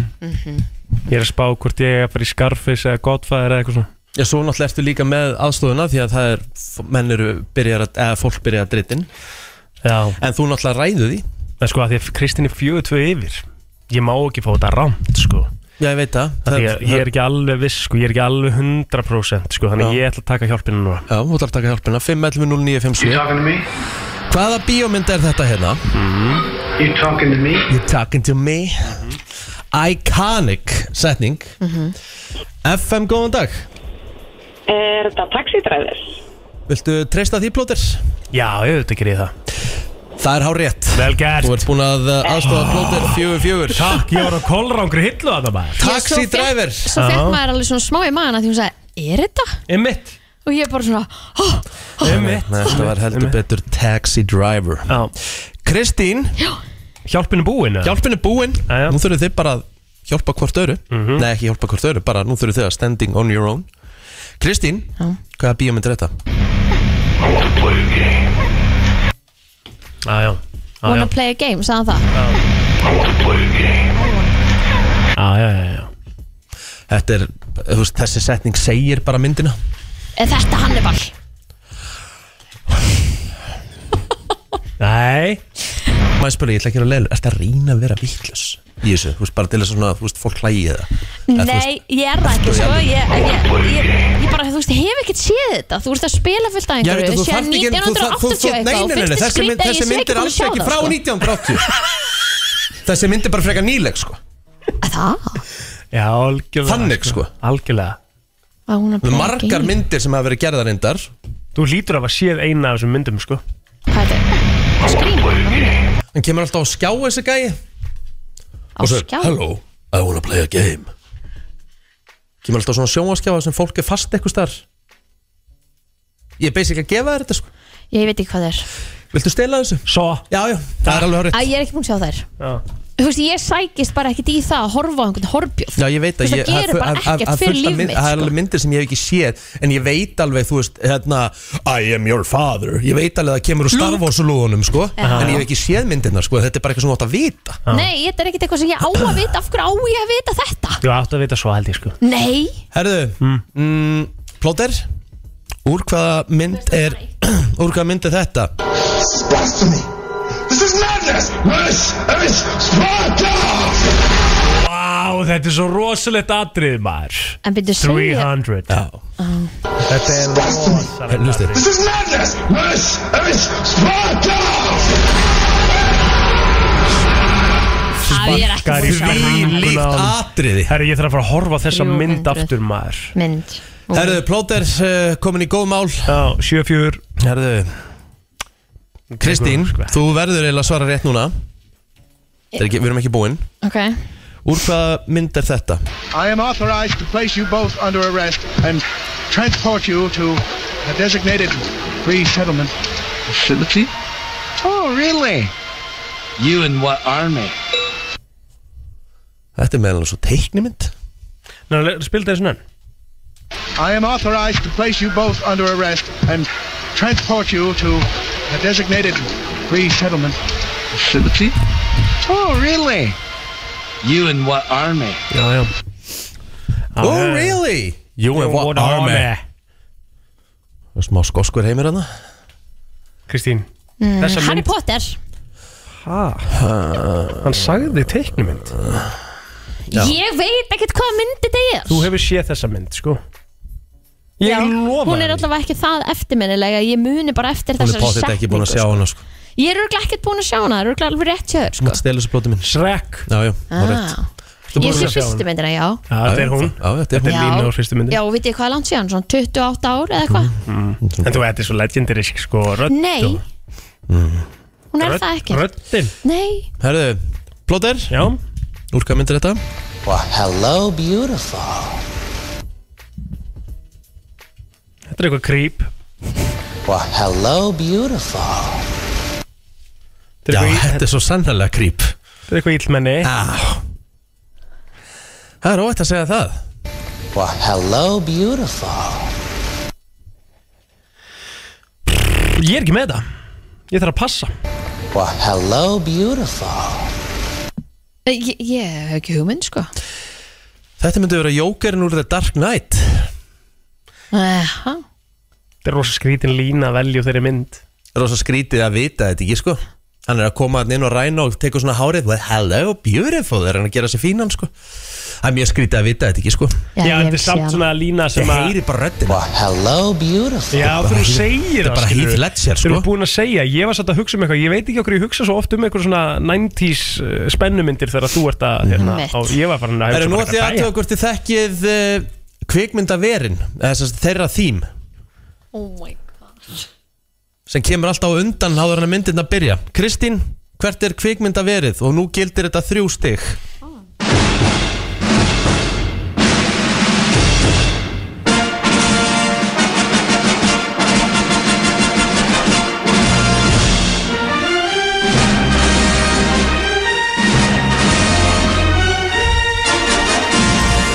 Ég er að spá hvort ég er að fara í Scarface eða Godfather eða eitthvað svona Já, svo náttúrulega ertu líka með aðstofuna því að það er, menn eru byrjar að, eða fólk byrjar að drittin Já En þú náttúrulega ræðu því En sko að því að Kristín er fjögur tvö yfir Ég má ekki fá þetta rámt sko Já, ég veit það Því að ég er ekki alveg viss sko Ég er ekki alveg 100% sko Þannig Já. ég ætla að taka hjálpina núna Já, þú ætlar að taka hjálpina, 5.11.09.57 You talking to me? Hvaða bíómynd er þetta hérna? You talking to me? You're talking to me Iconic setning Mhm. FM, góðan dag Er þetta taxidræðir? Viltu treysta því plóter? Já, ég veit ekki það Það er hár rétt Vel gert Þú ert búin að uh, aðstofa plóter fjögur fjögur Takk, ég var á kolrangri hillu að það maður Svo Taxi fékk- driver Svo fekk maður alveg svona smá í maðan því hún sagði, er þetta? Emmett Og ég bara svona, hó, Emmett Nei, þetta var heldur betur taxi driver Já, Kristín, hjálpinu búin eða? hjálpin er búin Já, Mhm. já. Nú þurfið þið bara að hjálpa hvort öru Nei, ekki hjálpa hvort öru, bara nú þurfið þið að standing on your own Kristín, hvaða bíómynd er þetta? Já, já Já, já. wanna play a game, sagði hann það Já, já, já, já Þetta er, þú veist, þessi setning segir bara myndina Er þetta Hannibal? Nei maður spyrja, ég ætla ekki að leila, ert að reyna að vera vittlös í þessu, þú veist, bara til þess að svona, þú veist, fólk hlægi það Nei, ég er það ekki sko ég, en ég, ég, ég bara, þú veist, ég hef ekkert séð þetta Þú ert að spila fullt að Já, veitu, einhverju þú Sér þarft ekki, þú þarft, þú 1980 þarft, nei, eitthvað nei, nei, nei, Fyrst þessi mynd, skrýta þessi ég sé mynd er búin að alls sjá ekki það, frá sko. 1980 þessi mynd er bara frekar nýleg, sko Það? Já, algjörlega Þannig, sko. Algjörlega Var hún Það eru að playa margar game? myndir sem hafa verið gerðar reyndar Þú lítur af að séð eina af þessum myndum, sko Hvað er þetta? Skrýn hann kemur alltaf á skjá þessi gæi Á og skjá segir, hello, I wanna play a game kemur alltaf á svona sjónvaskjá sem fólk er fast eitthvað starf ég er basically að gefa þér þetta, sko Ég veit ekki hvað það er viltu stela þessu? Svo Já, já, það er alveg horrið Æ, ég er ekki búin að sjá þær Já, Þú veist, ég sækist bara ekkert í það að horfa á einhvern horfbjóð Já, ég veit að Þú ég, veist, það gerir bara að- að- ekkert að fullt fyrir af líf mynd- mitt, Það er sko. alveg myndir sem ég hef ekki séð En ég veit alveg, þú veist, hérna I am your father Ég veit alveg að það kemur úr Star Wars lúðunum, sko En ég hef ekki séð myndirna, sko Þetta er bara eitthvað sem þú átt að vita Nei, þetta er ekkert eitthvað sem ég á [coughs] að vita Af hverju á ég að vita þetta? þú átt að vita svo held ég, sko Nei, Herðu, mm. plóter Úr hvaða mynd er [clears throat] Úr hvaða mynd er þetta? Blasphemy! This is madness! This is Sparta! Vá, þetta er svo rosalegt atrið, maður en byrju að segja 300 Já Þetta er rosalegt Hlustið. atrið This is madness! This is Sparta! að ég er ekki Sparkar í búin að sjá Því Sparkar. hana. líkt atriði Herri, ég þarf að fara að horfa á þessa 300. mynd aftur, maður Mynd Herðu, plóter uh, komin í góð mál Já, 74 Herðu Kristín, Sko. þú verður eiginlega að svara rétt núna Þetta er ekki, Við erum ekki búin Ok, Úr hvaða mynd er þetta? I am authorized to place you both under arrest and transport you to a designated resettlement facility. Oh, really? You and what army? Þetta er meðan svo teiknimynd Ná, le- spildu þessu nönn I am authorized to place you both under arrest and transport you to a designated resettlement facility. Oh, really? You and what army? Já, já Oh really? You and what army? Það er Smá skoskur heimir hérna. hana Kristín Þessa Mm. Harry mynd Potter Hæ? Hann sagði teiknumynd Ég veit ekkert hvað myndi þetta Þú er hefur séð þessa mynd, sko Ég lofa Hún er því. allavega ekki það eftirminnilega Ég muni bara eftir Hún er þessari potið ekki búin að sjá sko. hana sko Ég er örugglega ekkert búin að sjá hana Það er örugglega alveg rétt hjá þér sko. Hún stelur þessu plóti minn Shrek Já, já, það er rétt ah. Ég sé fyrstu myndina, já Já, þetta er hún Já, þetta er Þetta er hún lína úr fyrstu myndin Já, og veit ég hvað er langt síðan, svona 28 ár eða eitthvað En þú, þetta er svo legendarisk, sko rödd Nei Mm. og- Hún er rödd- það ekki Röddin Nei, Herðu, plóter Já Úr hvað myndir þetta? Þetta er eitthvað creep Þetta er Já, eitthvað í- þetta er svo sannlega creep Þetta er eitthvað illmenni Á. Það er óvægt að segja það Well, hello, beautiful. Ég er ekki með það Ég þarf að passa Well, hello, beautiful. Ég, ég hef ekki hugmynd sko Þetta myndi vera jókerinn úr The Dark Knight Aha. Þetta er rosa skrítin lína að velja úr þeirri mynd Rosa skrítið að vita þetta ekki sko Hann er að koma hann inn og ræna og teka svona hárið well, Hello beautiful, er hann að gera sig fínan sko Það er mjög skrítið að vita þetta ekki sko Já, ég þetta hef er séð samt hana svona lína sem Ég að heyri bara röddina Well, hello, beautiful. Já, bara þú Heath- segir þetta er bara skilurðu. Heath Ledger, Þeir eru sko. búin að segja, ég var satt að hugsa um eitthvað Ég veit ekki okkur ég hugsa svo oft um eitthvað svona 90s uh, spennumyndir þegar þú ert að hérna, Einmitt. á, Ég var farin að Það eru hugsa nú bara að því eitthvað, aðtöða jæja. hvort þið þekkið uh, kvikmyndaverin eða sem sagt þeirra þím Oh my sem kemur alltaf á undan háður hann að myndin að byrja Kristín, hvert er kvikmyndaverið og nú gildir þetta þrjú stig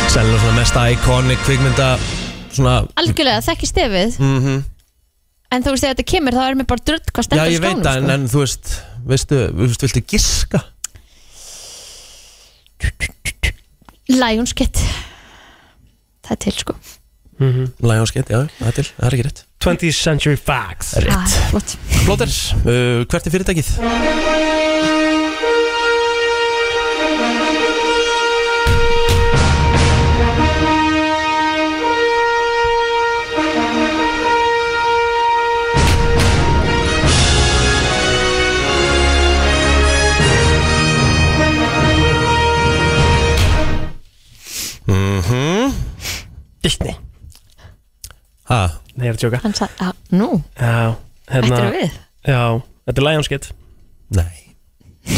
Sennilega svona mesta iconic kvikmynda svona mhm. Algjörlega, þekki stefið En þú veist, þegar þetta kemur, þá er mér bara drutt hvað Já, stendur sko. ég veit skánum, það, en, en þú veist, veistu, veistu, viltu giska? Lions Kit Það er til, sko Lions Gate, já, það er til, það er ekki rétt 20th Century Facts Það er ah, rétt flott. Plóter, uh, hvert er fyrirtækið? Disney Ha, Nei, ég er að tjóka Hann sagði, ah, nú, Já, ættir hérna við Já, þetta er Lionsgate nei [laughs]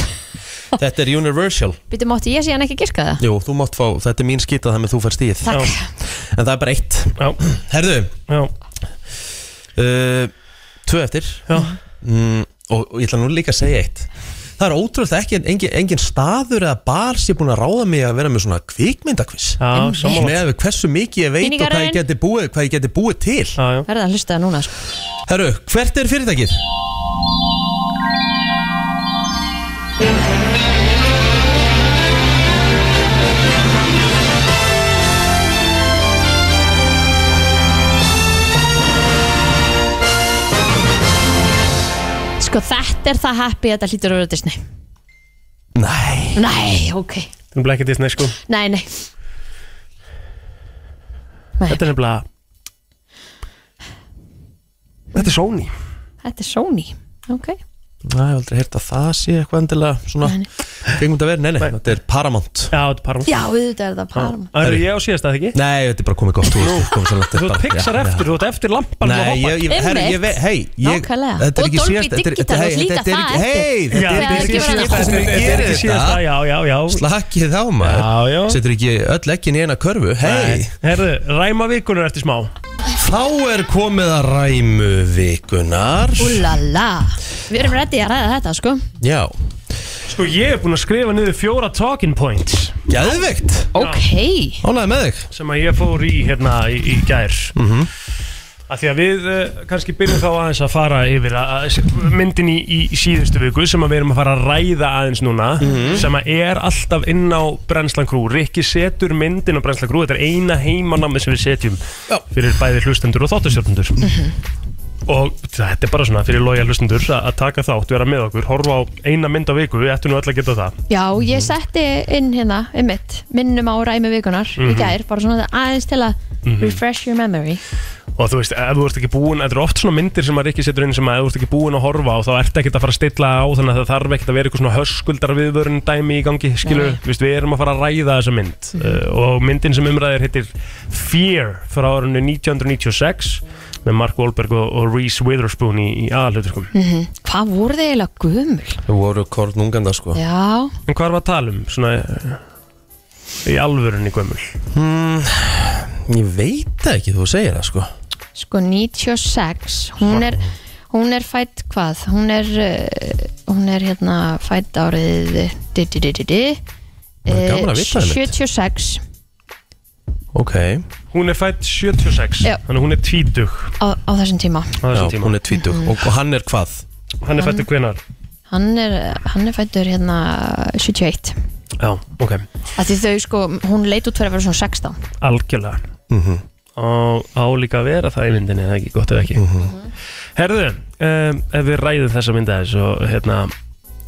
Þetta er Universal Býtum átti ég síðan ekki giska það Jú, þú mátt fá, þetta er mín skita þannig að þú fær stíð Takk, En það er bara eitt Já, Herðu, já, uh, tvö eftir já mm, og, og ég ætla nú líka að segja eitt Það er ótrúlega ekki engin, engin staður eða bar sem er búin að ráða mig að vera með svona kvikmyndakviss Já, sammála með við hversu mikið ég veit og hvað ég Minningarinn. geti búið, hvað ég geti búið til Já, já verða að hlusta það núna, sko Herru, hvert er fyrirtækið? Sko, þetta er það happy að þetta hlýtur að vera Disney Nei Nei, ok, Þetta er nefnilega ekki Disney sko nei, nei Þetta er nefnilega Þetta er Sony Þetta er Sony, ok Nei, ég hef aldrei heyrt að það sé eitthvað endilega svona kringum þetta verið, nei, nei, þetta er Paramount Já, þetta er Paramount Já, auðvitað er Ah. það Paramount Það eru ég á síðast að ekki Nei, þetta er bara komið gott úr Þú ert Pixar eftir, þú ert eftir lampan Nei, ég, ég, herri, ég vei, hei ég, Nákvæmlega. Þetta er Og ekki Dolby síðast þetta er- þetta- Digital, þú ert hei, líka þetta er það ekki- Hei, eftir. þetta er Já, ekki þetta er síðast ekki sem ég Þetta er gerir ekki síðast að, þetta já, já, já Slakkið þá maður Já, já. Setur ekki öll ekkin í eina körfu Hei, Herðu, ræma vikunum eftir smá þá er komið að ræmu vikunar Úlala, við erum reddi að ræða þetta, sko Já, Sko, ég er búinn að skrifa niður fjóra talking points geðveikt Ok, Ánæði með þig sem að ég fór í hérna í, í gær mm -hmm. að því að við uh, kannski byrjum þá aðeins að fara yfir að, að myndin í, í síðustu viku sem að við erum að fara að ræða aðeins núna sem að er alltaf inn á Brennslan Krú, Rikki setur myndin á Brennslan Krú, þetta er eina heimanami sem við setjum Já. fyrir bæði hlustendur og þáttastjórnendur og þetta er bara svona fyrir loja hlustendur að að taka þátt, vera með okkur, horfa á eina mynd á viku, við ættum nú öll að geta það Já, ég setti inn hérna, einmitt, minnum á ræmi vikunar Mhm. í gær, bara svona aðeins til að refresh your memory. og þú veist, ef þú ert ekki búin þetta eru oft svona myndir sem að Rikki setur inn sem að ef þú ert ekki búin að horfa á þá ert ekkert að fara að stilla á þannig að það þarf ekkert að vera eitthvað svona höskuldar viðvörun dæmi í gangi, skilur, Nei. Mhm. þú veist, við erum að fara að ræða þessa mynd uh, og myndin sem umræðir heitir Fear frá árunni 1996 með Mark Wahlberg og, og Reese Witherspoon í, í aðalhuturkum Mm. Hvað voru þið eiginlega gömul? Þú voru kornunganda sko Já, en hvað er að tala um, svona uh, í alvörunni gömul Ég veit það ekki, þú segir það sko sko 96, hún er, Hún er fætt hvað? Hún er, uh, hún er hérna fætt árið di, di, di, di, di, Bara gaman að eh, vita það einmitt. 76 Ok, Hún er fætt 76 Já. Þannig að hún er tvítug á, á þessum tíma á já, þessum tíma hún er tvítug og, Mhm. og hann er hvað? Hann er fættur hvenar? Hann er, hann er fættur hérna 71 Já, ok að Því þau sko, hún leit út fyrir að vera svona 16 Algjörlega Mhm. og á líka að vera það í myndinni eða ekki, gott eða ekki Mhm. Herðu, um, ef við ræðum þessa mynda þess og hérna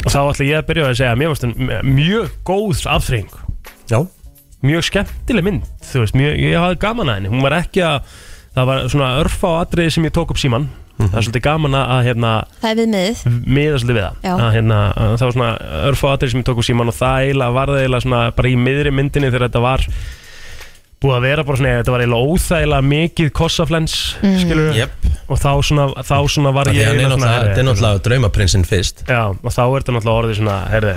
þá ætla ég að byrja á að segja að mér varst hún mjög góð afþreying Já, mjög skemmtileg mynd þú veist, mjög, ég hafði gaman að henni hún var ekki að, það var svona örfa á atriði sem ég tók upp síman það er svolítið gaman að hérna Það er viðmiðið miða svolítið við Já. það að, hérna, að það var svona örfá aðrið sem ég tók úr síman og það eiginlega var það eiginlega svona bara í miðri myndinni þegar þetta var búið að vera bara svona þetta var eiginlega óþægilega mikið kossaflens mm. skilur jöp og þá svona, þá svona var Því ég hann er eiginlega náttúrulega, svona, herri, þetta er náttúrulega draumaprinsinn fyrst Já, og þá er þetta náttúrulega orðið svona, herði,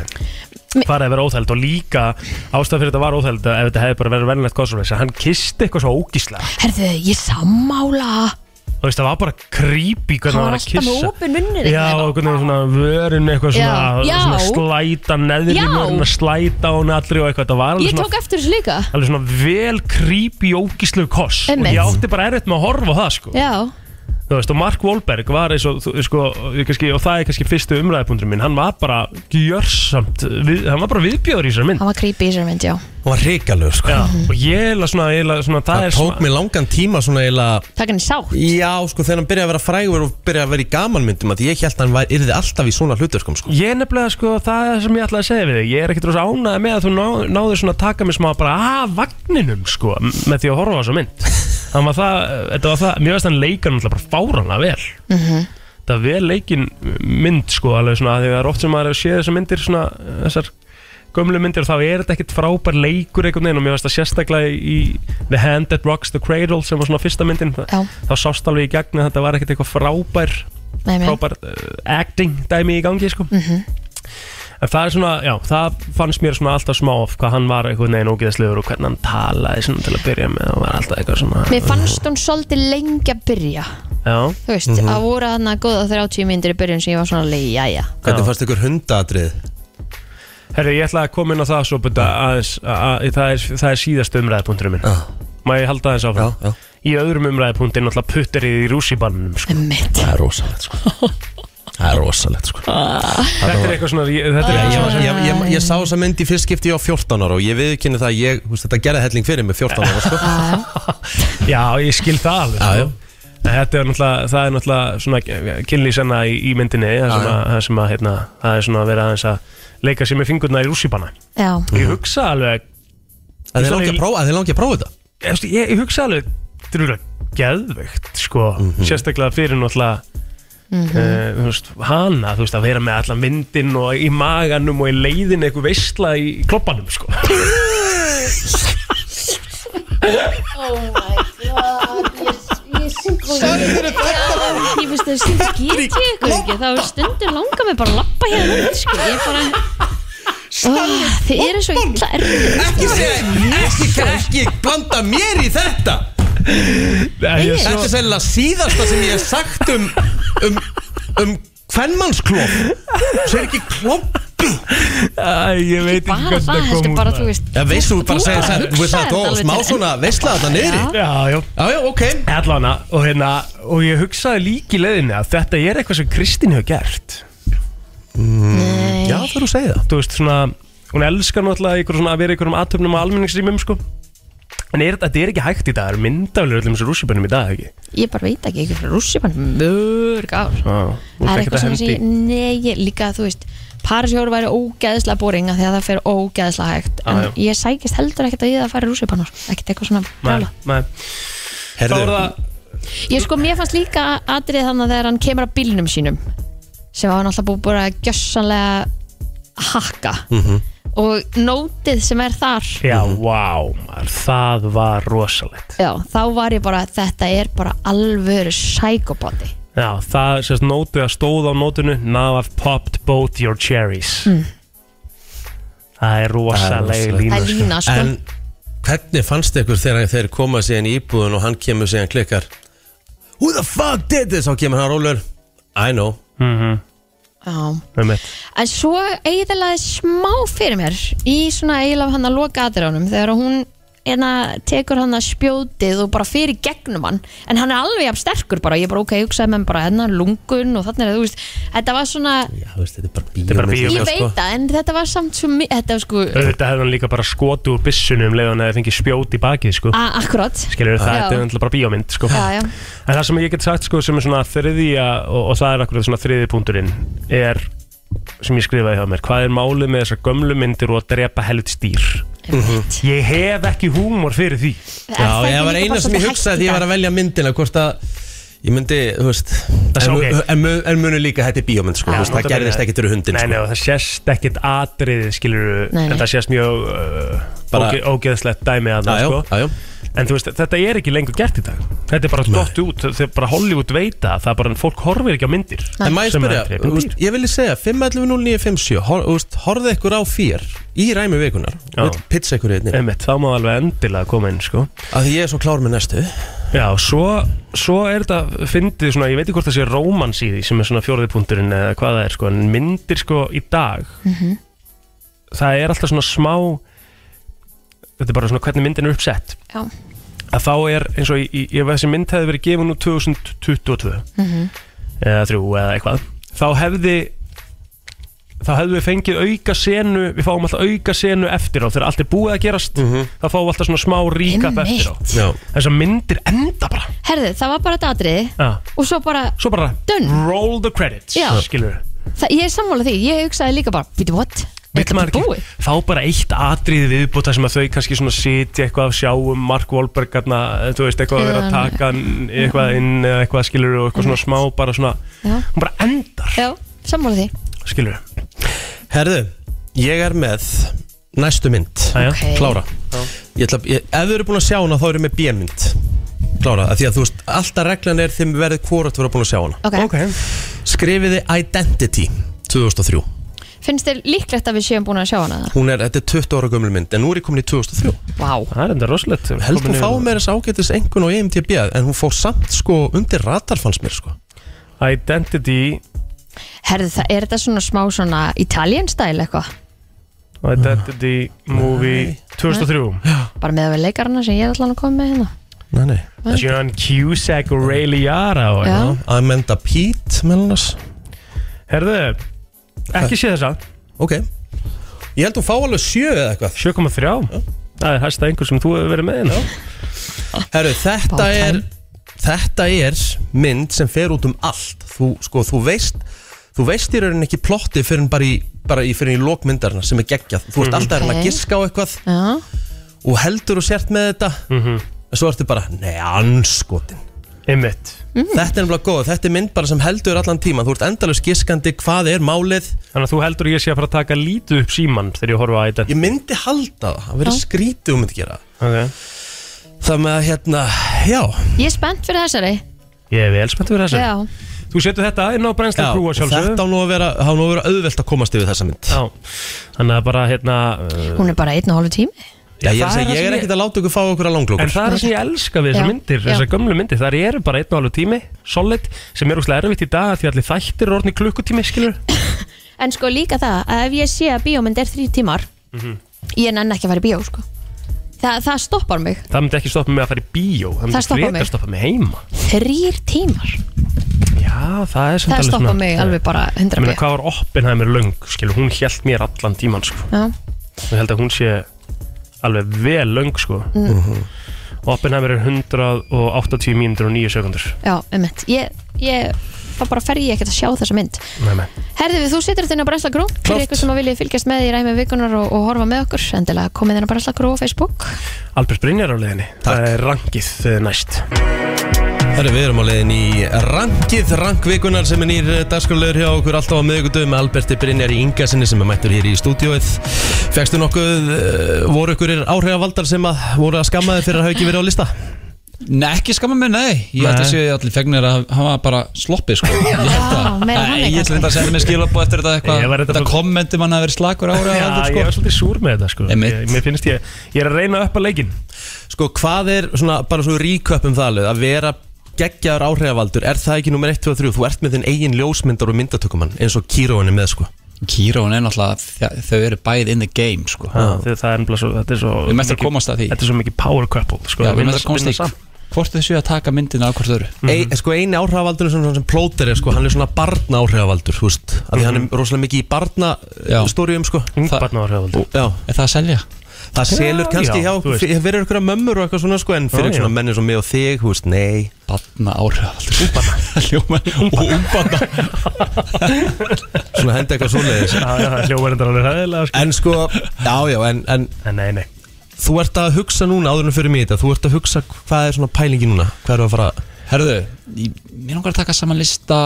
hvað er að vera óþæld og líka ástæð fyrir þetta var óþæld ef þetta hefði bara verið verðinlegt kossaflens að hann kisti eitthvað svo ógíslega Herðu, ég sammála þú veist, það var bara creepy hvernig Hann hann var var að alltaf með kissa opinn munnir Já, og einhvern veginn svona vörun eitthvað svona, Já, já. svona slæta neðri Já. vörun að slæta hún allri og eitthvað, það var alveg Ég svona, tók eftir þessu líka alveg svona vel creepy ógíslu koss Einmitt. og ég átti bara erfitt með að horfa á það sko Já, þú veist, og Mark Wahlberg var eins og þú- sko, ég kannski, og það er kannski fyrstu umræðipunktur minn, hann var bara gjörsamt við, hann var bara viðbjóður í þessari mynd hann var creepy í sér mynd, já Hún var hrikalur sko já, og ég eiginlega svona, eiginlega svona það, Það er tók svona, mig langan tíma svona eiginlega Takk henni sátt Já, sko, þegar hann byrjaði að vera frægur og byrjaði að vera í gamanmyndum að ég held að hann væri, yrði alltaf í svona hluturkum sko. ég nefnilega sko það er sem ég ætlaði að segja við þig, ég er ekkert rosa ánæði með að þú ná, náður svona að taka mig smá bara að vagninum sko, m- með því að horfa á þessu mynd þannig var það, þetta var það, mér veist hann leikar náttúrulega bara fáranlega vel mm -hmm. það er vel leikin mynd sko alveg svona, af því að það er oft sem maður er að sé þessar myndir svona, þessar gömlu myndir og þá er þetta ekkert frábær leikur einhvern veginn og mér veist það sérstaklega í The Hand That Rocks the Cradle sem var svona fyrsta myndin, Já. þá sást alveg í gegn að þetta var ekkert eitthvað frábær Nei, nei. frábært uh, acting dæmi í gangi sko. Mhm. en það er svona, já, það fannst mér svona alltaf smá of hvað hann var einhvern veginn ógeðslegur og hvernig hann talaði svona til að byrja með og var alltaf eitthvað svona Mér fannst hún svolítið lengi að byrja já, Þú veist, Mhm. að voru hann að góða 30 myndir í byrjun sem ég var svona leið, jæja Hvernig Já. fannst ykkur hundadrið? herri, ég ætla að koma inn á það svo byrja aðeins, að, að, það, er, það er síðast umræðapunkturinn minn Já. má ég halda aðeins áfram já í öðrum umræðapunktin náttúrulega putterið í rússibannunum sko. Mitt Það er rosalegt [laughs] sko Það er rosalegt sko þetta er eitthvað svona, ég, þetta er Ég, eitthvað ég, svona ég, ég, ég sá þessa mynd í fyrst skipti ég á 14 ára og ég viðkynni það að ég, þú veist, þetta gerði helling fyrir mig 14 ára [laughs] sko já, ég skil það alveg Já, sko. já. En Þetta er náttúrulega, það er náttúrulega svona kynlýsanna í, í myndinni það sem að, það sem að hérna, það er svona að vera aðeins að leika sér með fingurna í rússipanna Já, Mhm. Ég hugsa alveg, Að þið langi að prófa, að þið langi að prófa þetta ég, ég, ég hugsa alveg þetta er örugglega geðveikt sko, Mhm. sérstaklega fyrir náttúrulega mm Mhm. veist, hana, þú veist, að vera með allan vindinn og í maganum og í leiðin eitthvað veistla í kloppanum sko. ég finnst það stundum get ég ykkur ekki þá stundum langar mig bara að lappa hérna út sko. ég bara oh, þið eru svo illa erfið Ekki segja, ekki, ekki blanda mér í þetta Nei, ég, Þetta er sérlega síðasta sem ég hef sagt um um, um hvernmannsklóf Sér ekki klóf Æ, ég veit ekki bara hvernig það, það þetta kom skal út bara, maður. þú veist Já, veist þú, bara segja það, þú veist hugsaðir það, þetta þá alveg smá til svona enda. veisla þetta niðri Já. Já, já Já, já, ok Allana, og, hérna, og ég hugsaði líki leiðinni að þetta er eitthvað sem Kristín hefur gert Nei. Já, þú eru að segja það Þú veist svona, hún elskar náttúrulega ykkur svona að vera í einhverjum aðtöfnum og almenningsrýmum sko En er, þetta er ekki hægt í dag, það er myndaflega öllum þessu rússibönnum í dag ekki ég bara veit ekki ekki frá rússi bara mörg ár Það það er eitthvað sem ég nei, ég- líka þú veist Parisjóru væri ógeðslega boringa því að það fer ógeðslega hægt en já. ég sækist heldur ekkert að ég það fari rússipannar ekkert eitthvað svona brjála. Þá Herðu, er það, Ég sko, mér fannst líka atrið þannig að þegar hann kemur á bílnum sínum sem var náttúrulega búið bara að gjössanlega hakka og nótið sem er þar já, vá, maður, það var rosalegt já, þá var ég bara, þetta er bara alvöru sækobati Já, það sést nótið að stóð á nótinu Now I've popped both your cherries Mm. Það er rosalegt. það rosaleg lína er sko. lína, sko en hvernig fannst ykkur þegar þeir koma síðan í íbúðun og hann kemur síðan klikkar Who the fuck did this? Þá kemur hann rólur I know Mhm, Já. með mitt En svo eiginlega smá fyrir mér í svona eiginlega hann að loka aðrjónum þegar hún hérna, tekur hann að spjótið og bara fyrir gegnum hann en hann er alveg jafn sterkur bara ég bara ok, ég hugsaði með hann bara hérna lungun og þannig að þú veist, þetta var svona Já, veist, þetta er bara sko. bíó er bara bíómynd, ég veit það, en þetta var samt svo mi- þetta var sko, Þetta hefði hann líka bara skotu úr byssunum um leiðan að það fengið spjót í bakið sko. a- akkurat Skilur það, Ah. Já. þetta er náttúrulega bara bíómynd sko. Já, já. En það sem ég get sagt sko, sem er svona þriðja og, og það er akkurat svona þriði punkturinn er sem ég skrifaði hjá mér hvað er málið með þessar gömlu myndir og að drepa helvits dýr Ég hef ekki húmor fyrir því Mhm. Já, ég var eina sem ég hugsaði því ég var að velja myndina hvort að ég myndi, þú veist Það en, sé okay. ok. en, mun- en munu líka þetta er bíómynd sko, þú veist, það gerðist ekkert fyrir hundin Nei, sko. nei, og það sést ekkert atriðið skilur Nei, nei. en það sést mjög uh, Bara- óge, ógeðslegt dæmi Já, að það já, sko. já, já. En þú veist, þetta er ekki lengur gert í dag Þetta er bara dott út, þegar bara Hollywood veita það er bara, fólk horfir ekki á myndir En maður sem spyrja, að drepa þú veist, dýr. ég vilja segja 5.11.09.57, hor, þú veist, horfðu ykkur á fér í ræmi vikunar Já. og vill pizza ykkur einnig, Einmitt, þá má alveg endilega koma inn sko. af því ég er svo klár með næstu Já, svo, svo er þetta fyndið svona, ég veit ekki hvort það sé rómans í því sem er svona fjórði punkturinn eða hvað það er sko, en myndir sko í dag Mhm. það er alltaf svona smá þetta er bara svona hvernig myndin er uppsett Já. að þá er eins og í- í- ef þessi mynd hefði verið gefin úr 2022 Mhm. eða þrjú eða eitthvað þá hefði þá hefðu við fengið auka senu við fáum alltaf auka senu eftir á þegar allt er búið að gerast þá fáum við alltaf svona smá ríka eftir á Einmitt. Já, þessar myndir enda bara herðu, það var bara þetta atriði ja. og svo bara, svo bara Done. roll the credits Já. skilur það, ég er sammála því ég hugsaði líka bara, veitu what er þetta bara búið? þá bara eitt atrið viðbúta sem að þau kannski svona sitja eitthvað af sjáum Mark Wahlberg hérna, þú veist, eitthvað að vera að Já, taka hann eitthvað inn eða eitthvað skilur og eitthvað svona smá bara svona, Já. hún bara endar Já, sammála því skilur, herðu, ég er með næstu mynd Jæja. Ok. klára ég ætla, ég, ef þau eru búin að sjá hana þá eru með bjömynd klára, af því að þú veist alltaf reglan er þeim verðið hvort vera búin að sjá hana Ok, skrifiði Identity 2003 finnst þér líklegt að við séum búin að sjá hana? hún er, þetta er 20 ára gömul mynd en nú er ég komin í 2003 Vá það er enda rosalegt held Komin hún yfir- fá mér þess ágætis E engun og EMTB en hún fór samt sko undir ratar fannst mér sko Identity Herðu, það er þetta svona smá svona Italian style eitthvað Identity Movie 2003 Bara með að við leikarana sem ég er allan að koma með hérna nei nei Það séu hann Cusack og Ray Liara og Já, eitthvað. Amanda Pete meðal annars Herðu, ekki sé þessa ok ég held hún fá alveg sjö eða eitthvað 7,3 Það er hæsta einhver sem þú hefur verið með hérna herru þetta Bátæm. er þetta er mynd sem fer út um allt þú sko þú veist þú veist í rauninni ekki plotti fyrir en bara í bara í fyrir í lokmyndarna sem er geggjað þú veist alltaf er hann Ok. að giska á eitthvað já, og heldur og sért með þetta en svo ertu bara nei anskotin Einmitt Þetta er nefnilega góð, þetta er mynd bara sem heldur allan tíma Þú ert endalus giskandi, hvað er málið Þannig að þú heldur að ég sé að fara að taka lítið upp síman þegar ég horfa á ætlan Ég myndi halda það, það verið skrítið um myndi gera það. okay. Það með að hérna, já ég er spennt fyrir þessari Ég er vel spennt fyrir þessu Já, Þú setur þetta inn á brennslu Já, krúa og sjálfsögðu þetta á nú að vera, á nú að vera auðvelt að komast yfir þessa mynd Já, þannig að bara hérna uh, hún er bara einn og hálfu tími Já, ég er, það að segja, er það ég er sem ég- ekkert að láta ykkur fá okkur að En langlókur það er það sem ég elska við þessar Já, myndir, já. þessar gömlu myndir Það eru bara einn og alveg tími, solid Sem er úrslega erfitt í dag af því allir þættir er orðni klukkutími, skilur En sko líka það, að ef ég sé að bíómynd er þrjú tímar Ég nenn ekki að fara í bíó, sko Þa, Það stoppar mig, Það myndi ekki stoppa mig að fara í bíó Það myndi stoppar frekar mig. stoppa mig heima þrýr tímar Já, það er samt Það alveg stoppar svona- mig alveg bara Ég 100 meina, hvað var Oppenheimer löng, skilur, hún hjælt mér allan tíman, sko Já, Ég held að hún sé alveg vel löng, sko Oppenheimer er 180 mínútur og 9 sekundur já, einmitt Ég, ég, það bara fer ég ekkert að sjá þessa mynd Nei, nei Herðu við, þú setur þetta inn á Bræsla Grú fyrir Klárt. ykkur sem að vilja fylgjast með í ræmi vikunar og, og horfa með okkur, endilega komið inn á Bræsla Grú á Facebook Albert Brynjar á leiðinni Það er rangið eh, næst Herri, við erum á leiðin í rankið, rankvikunar sem er nýr dagskálegur hjá okkur alltaf á miðugudöðu með Alberti Brynjar í Ingasinni sem er mættur hér í stúdióið. Fekstu nokkuð, eh, voru ykkur áhrifavaldar sem að voru að skamma þið fyrir að hafa ekki verið á lista? Nei, ekki skamma mig, nei Ég ætla að séu allir fegnir að hann var bara sloppið sko. Ég ætla- meira hann Nei, Ég ætla kannski. þetta að senda mér skilabó eftir þetta Ég var eitthvað reyndar Þetta bara- kommentum hann að vera slakur [laughs] ára Já, ég aldur, var svolítið súr með þetta, sko sko. Einmitt. ég, Mér finnst ég, ég er að reyna upp að leikinn Sko, hvað er svona, bara svo ríköp um það alveg, að vera geggjaður áhrifavaldur Er það ekki nummer 1, 2 og 3 Þú ert með þinn eigin ljósmyndar og myndatökumann Eins og Kíróin er með sko Kíróin er náttúrulega þa- Þau eru bæði in the game sko. Já, Þið- það er ennbla svo, þetta er svo Við mestum að mikið- komast að því. Þetta er svo mikið power couple sko, Já, að við vinna- mestum að komast vinna að því. Hvort þau séu að taka myndina af hvort þau eru Ein, sko eini áhrifavaldurinn sem, sem plóter er sko, hann er svona barna áhrifavaldur þú veist, af því hann er rosalega mikið í barna Já. stórium sko Ungbarna áhrifavaldur Já, Er það að selja? það selur kannski já, hjá, þú veist. fyrir fyrir ykkur mömmur og eitthvað svona sko, en fyrir Já, já. svona menni sem mig og þig, þú veist, nei Banna áhrifavaldur [laughs] Ljóma Og umbanna svona henda eitthvað svoleiðis Já, já, það hljóður endar alveg hæðilega sko. En sko, já, já, en, en En nei, nei þú ert að hugsa núna áður en fyrir mig þetta, þú ert að hugsa hvað er svona pælingi núna, hvað er að fara Herðu, ég- mér langar að taka saman lista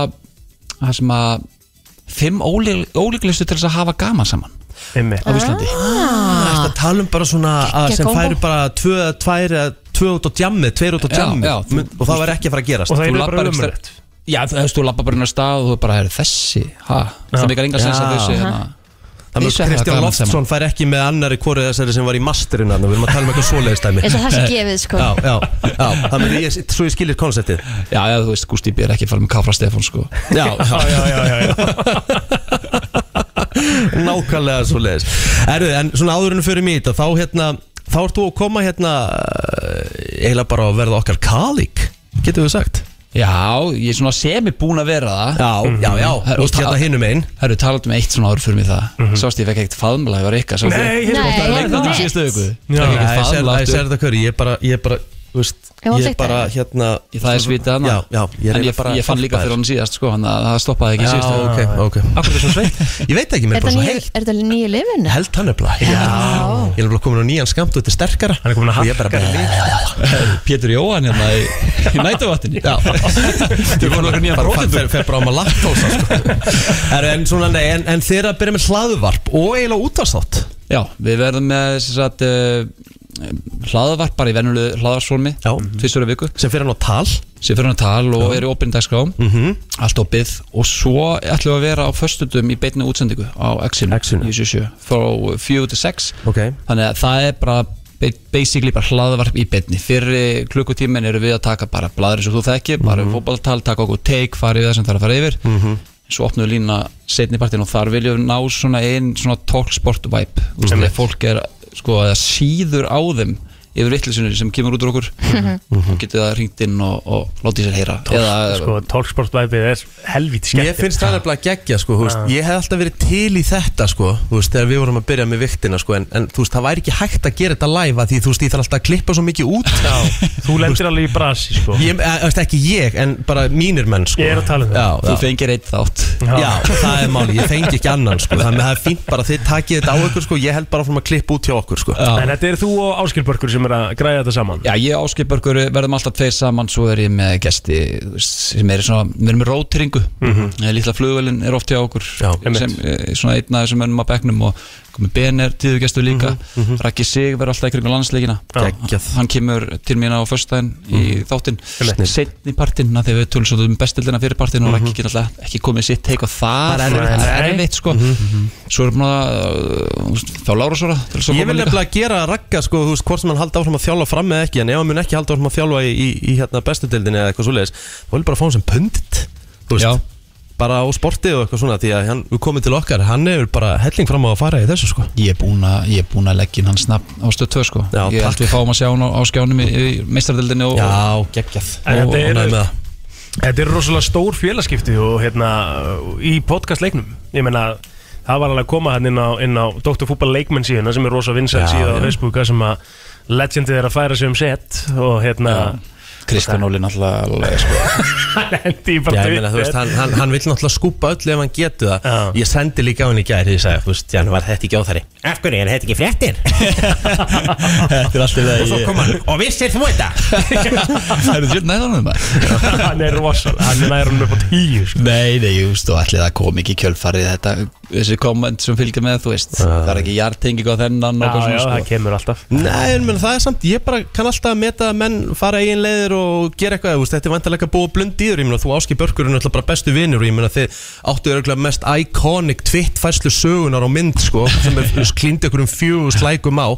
Það sem að Fimm ólík, ólíklistu til þess að hafa gaman saman Einmitt Á Íslandi ah. að tala um bara svona að Geggja sem kombo. færi bara tvö, tvær, eða tvö út á djammið, tveir út á Já, djammið já, þú- og það var ekki að fara að gerast Og það Þú er labbar bara ekki umrætt Já, þú veist, þú lappa bara inn á stað og þú er bara, herri, þessi, ha, það Já. mikar enga sens að Já. þau séu hérna. Það með Vissu að það Kristján var gaman Loftsson fær ekki með annari hvorið þessari sem var í masterinn hann Við erum að tala um eitthvað svoleiðist dæmi eins og það sé gefið sko Já, já, já, það með ég, svo ég skilir konseptið Já, já, þú veist, Gústi B. er ekki að fara með Kafra Stefán, sko. Já, Já, já, já, já, já. [laughs] nákvæmlega svoleiðist Erðu, en svona áðurinn fyrir mig í þetta, þá hérna Þá ert þú að koma hérna eh, eiginlega bara að verða okkar kalík Getum við sagt Já, ég er svona semi búin að vera það. Já, já, já, Mhm. þú veist hérna hinum einn Herru, talað um eitt svona áður fyrir mig það. Sást, ég fekk ekkert faðmla, ég var eitthvað, sást Nei, ég. hérna Nei, Það er leikur neitt. til síðustu viku. Já. Já, Æ, ekki Ég sér faðmla æ, ég sér aftur. þetta hverju, ég bara, ég bara, þú veist Ég var Ég sleikt bara, það. hérna Ég það er svitað Já, hana. já, ég er En eiginlega ég, bara ég fann líka hjálpaðir. fyrir hann síðast, sko, hann að það stoppaði ekki Já, síðustu viku. ok, ok Akkur er svona sveitt Ég veit ekki, mér er er bara þetta svo nýju- heitt er þetta nýju lifin? Held hann nefnilega Já. Ég er bara komin á nýjan skamt og þetta er sterkara Hann er komin að Og ég bara- Pétur Jóhann hérna í, í nætuvattinni. Já Ég er komin okkur nýjan brotendur Fer, fer bara á maður laktósa sko. Herru, En, svona, nei, en, en þeir að byrja með hlaðuvarp og eiginlega útastátt Já, við verðum með sem sagt, uh, hlaðvarp bara í venjulegu hlaðvarsformi Já. tvisur að viku sem fyrir hann á tal Mhm. sem fyrir hann að tal og er í opinni dagskrá -hmm. allt opið og svo ætlum við að vera á föstudum í beinni útsendingu á Exinu Exinu. í 77, frá 4 til 6 Ok. þannig að það er bara ba- basically bara hlaðvarp í beinni fyrir klukkutímin eru við að taka bara bladur sem þú þekki, bara Mhm. fótballtal, taka okkur take, fara yfir það sem það er að fara yfir -hmm. svo opnum við lína setni partin og þar viljum við ná svona einn svona talksport vibe, mm Mhm. -hmm. þegar fólk er sko að það síður á þeim yfir vittlisunni sem kemur út úr okkur Mhm. þá getur það ringt inn og, og látið sér heyra eða Sko, tólksportvæpið er helvít skemmt Ég finnst það nefnilega geggja sko, þú veist, Ég hef alltaf verið til í þetta sko, þú veist, Þegar við vorum að byrja með viktina sko, en, en þú veist, það væri ekki hægt að gera þetta live af Því þú veist, ég þarf alltaf að klippa svo mikið út Já. Þú lendir alveg í brasi, sko Ég, eh, þú veist, ekki ég, en bara mínir menn sko. Ég er að tala um það. Já, þú já. fengir eitt þátt Já, það er máli, ég fengi ekki annan sko. Þannig að það er fínt bara að þið takið þetta á ykkur sko. Ég held bara áfram að klippa út hjá okkur sko. Já. En þetta er þú og Áskilbörkur sem er að græja þetta saman Já, ég áskipurkur verðum alltaf tveir saman svo er ég með gesti þú veist, sem er svona, við erum með rótiringu mm -hmm. lítla flugvelin er oft hjá okkur Mhm. Já, sem er svona einn af þessum önnum að bekknum og komið Bener, tíðu gestur líka Mhm, Raggi Sig verður alltaf í kringum landsleikina Geggjað. hann kemur til mín á föstudaginn Mhm. í þáttinn, Einmitt. setni partinn af því við tölum svolítið um bestildina fyrir partinn og Raggi getur alltaf ekki komið sitt teik og það Það er erfitt. það er Nei. erfitt sko svo erum við að uh, fá Lára svara Ég vil nefnilega gera ragga sko, þú veist, hvort sem hann haldi áfram að þjálfa fram eða ekki En ef hann mun ekki haldi áfram að þjálfa í, í, í hérna bestudildinni eða eitthvað svoleiðis Þá vil ég bara fá hann sem pundit Þú veist, Já. bara á sportið og eitthvað svona Því að hann, við komum til okkar, hann hefur bara helling fram á að fara í þessu sko Ég er búinn að, ég er búinn að leggja inn hans nafn á stöð 2 sko Já, Ég takk. held við fáum að sjá hann á, á skjánum í, í meistardildinni og, Já, geggjað En Og þetta er- ánægð með það. Þetta er rosalega stór félagskipti og hérna í podcastleiknum Ég meina, það var alveg að koma hann inn á, inn á Dr. Fútbol leikmenn síðuna sem er rosa vinsæl Já, síðan á já. Facebook þar sem að legendið er að færa sig um set og hérna Kristján Óli náttúrulega alveg, sko. hann hendi í bara Já, ég meina, [laughs] þú veist, hann, hann, hann vil náttúrulega skúpa öllu ef hann getur það Já. Ég sendi líka á hann í gæri, ég sagði, þú veist, já, hann var þetta ekki áþæri Af hverju, er þetta ekki fréttir? Þetta er alltaf það ég kom hann, og vissir þú þetta? Það eru þjótt næðan um það hann er rosalega, hann nær hann upp á tíu sko. [laughs] Nei, nei, jú, veist, og allir það kom ekki í kjölfarið þetta Ah. Þessi komment sem fylgir með, þú veist Það er ekki jartengið á þennan og Já, já, sko. eitthvað það svona, sko. kemur alltaf Nei, en menn, það er samt, ég bara kann alltaf að meta að menn fara eigin leiðir og, og gera eitthvað þú veist, Þetta er vantilega að búa blund í þér Ég meina, Þú áskip börkur er náttúrulega bara bestu vinur og Ég meina þið áttu örgulega mest iconic tvitt færslu sögunar á mynd sko, sem er klíndi ykkur um fjú slækum á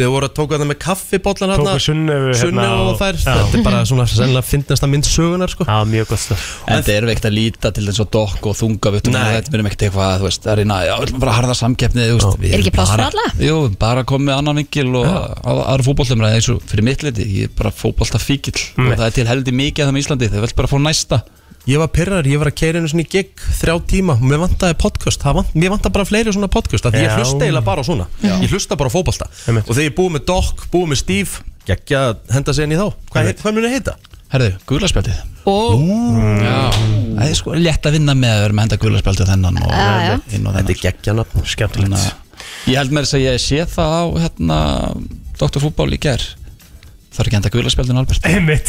Þið voru að tóka það með kaffibóllan Tóku Sunnefu, hérna, Sunnefu og og- þær Já. Þetta er bara svona sennilega fyndnasta mynd sögunar sko. Já, mjög gott stöf En það erum við ekkert að líta til þess að dokk og þunga við þetta verðum ekkert eitthvað að þú veist að reyna, já, við ætlum bara að harða samkeppni þú veist, við Er erum ekki pláss fyrir bara- alla? Jú, við bara komið annan vingil og á- aðra fótbollumræði eins og fyrir mitt liti, ég er bara fótbollta fíkil og það er til heldi mikið að það með Íslandi, þau vilt bara fá næsta Ég var pyrrar, ég var að keira einu svona í gig þrjá tíma, mér vantaði podcast það vant, mér vantaði bara fleiri svona podcast af því ég Já. hlusta eiginlega bara á svona, ég hlusta bara á fótbolta og þegar ég búið með Doc, búið með Steve geggja að henda sig inn í þá hvað, hei- hvað munu heita? Herðu, gularspjaldið Og Það er sko létt að vinna með að vera með að henda gularspjaldið á þennan og Já, já. inn og þennan Þetta er geggja nafn Skemmtilegt Ég held mér að segja að ég sé það á hérna, doktorfútból í ger Það er ekki að henda gularspjaldin Albert [laughs] Einmitt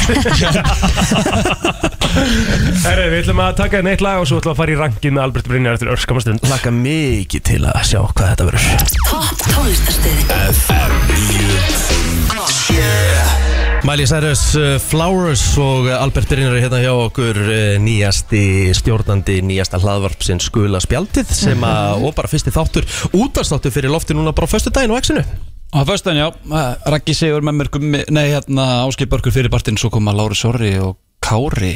Herri, við ætlum að taka einn eitt lag og svo ætlum við að fara í rangið með Albert Brynjar eftir örskamastund Laka mikið til að sjá hvað þetta verður Topp tónlistarstöðin Miley Cyrus, uh, Flowers og uh, Albert Brynjar er hérna hjá okkur uh, nýjasti stjórnandi, nýjasta hlaðvarp sem skula spjaldið sem að, og bara fyrsti þáttur, útastáttur fyrir lofti núna bara á föstu daginn á X-inu Á föstan, já, eh, Raggi Sigur með mér gummi, nei, hérna Áskip Börkur fyrir partinn, svo koma Lári Sorri og Kári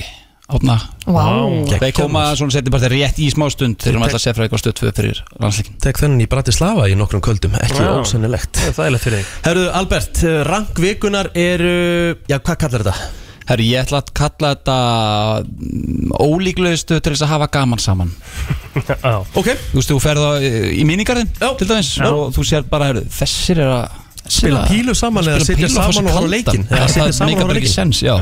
átna Vá Geggjað, Þeir koma maður. svona setjum partinn rétt í smá stund þegar maður ætla að segja frá eitthvað stöð tvö fyrir landsleikin tek þennan í Bratislava í nokkrum köldum ekki Já. ósennilegt Það er leitt fyrir þig Herru, Albert, eh, rangvikunar eru já, hvað kallar þetta? Herru, ég ætla að kalla þetta mm, ólíklegustu til þess að hafa gaman saman Já, Ok, Þú veist, þú ferð á, eh, í mínigarðin, Já. til dæmis Já. og þú sér bara, herru, þessir er að Spila pílu saman eða sitja saman og horfa á leikinn. Eða Það sitja það saman og meikar horfa á bara ekki leikinn. sens, já já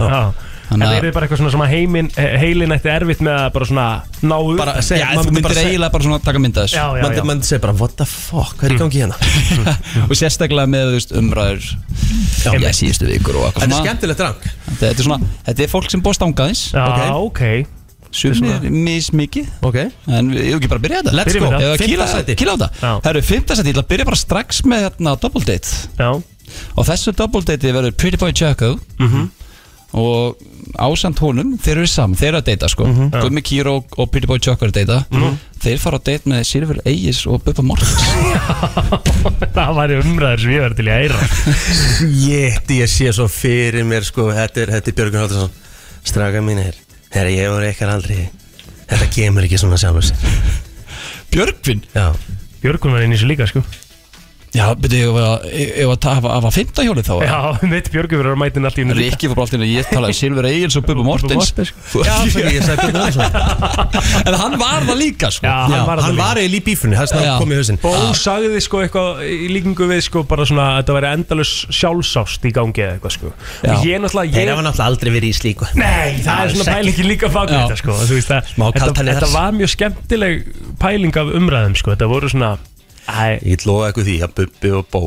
En Þannig það að- er bara eitthvað svona sem að heimin, heilin ætti erfitt með að bara svona náu Bara að segja, Já, þú myndir sko. eiginlega bara svona taka mynda þessu Já, já, mann já man segir bara, what the fuck, hvað er í [laughs] gangi hérna? og sérstaklega með þú veist, umræður já, já, síðustu vikur og Þetta er eitthvað svona skemmtilegt rang þetta, þetta er svona, þetta er fólk sem búið stangaðins Já, ok sumir mismikið Ok en við erum ekki bara að byrja þetta Let's Byrjum go, við eða Fimmta kýla, sæti. kýla á Já. þetta það eru fimmtasæti, ég ætla að byrja bara strax með hérna double date Já, og þessu double date verður Pretty Boy Jacko og ásand honum, þeir eru saman, þeir eru að deyta sko Mhm. Gummi Kíró og, og Pretty Boy Jacko eru að deyta þeir fara að deyta með Silver Egis og Bubba Mortens [laughs] það var umræður sem ég verði til í að eira Jétt, ég sé svo fyrir mér sko, þetta er, þetta er Björgun Haldursson Straka mínir, herra ég voru eitthvað aldrei Þetta kemur ekki svona sjálfur sér Björgvin Já, Björgun var inn í þessu líka, sko Já, byrju, ég var að tafa af að fymta hjólið þá eða? Já, [laughs] um mitt Björgun verður að mæta inn allt í einu líka. Rikki fór bara allt inn og ég talaði um Silver Egils og Bubba Mortens Mortens. sko. já fyrir ég sagði Björgun Haldursson En hann var það líka sko. Já, hann Hann var það líka var eiginlega í bífunni, það er Já. snart komið í hausinn Bó sagði sko eitthvað í líkingu við sko bara svona að þetta væri endalus sjálfsást í gangi eða eitthvað sko Já. og ég náttúrulega Þeir ég, hafa náttúrulega aldrei verið í slíku Nei, það er Alls svona ekki. pælingi líka bak við Já. þetta sko Þú veist að Smá þetta, kaldhæðni þetta þar. var mjög skemmtileg pæling af umræðum sko Þetta voru svona Æ, Ég get lofa ykkur því að Bubbi og Bó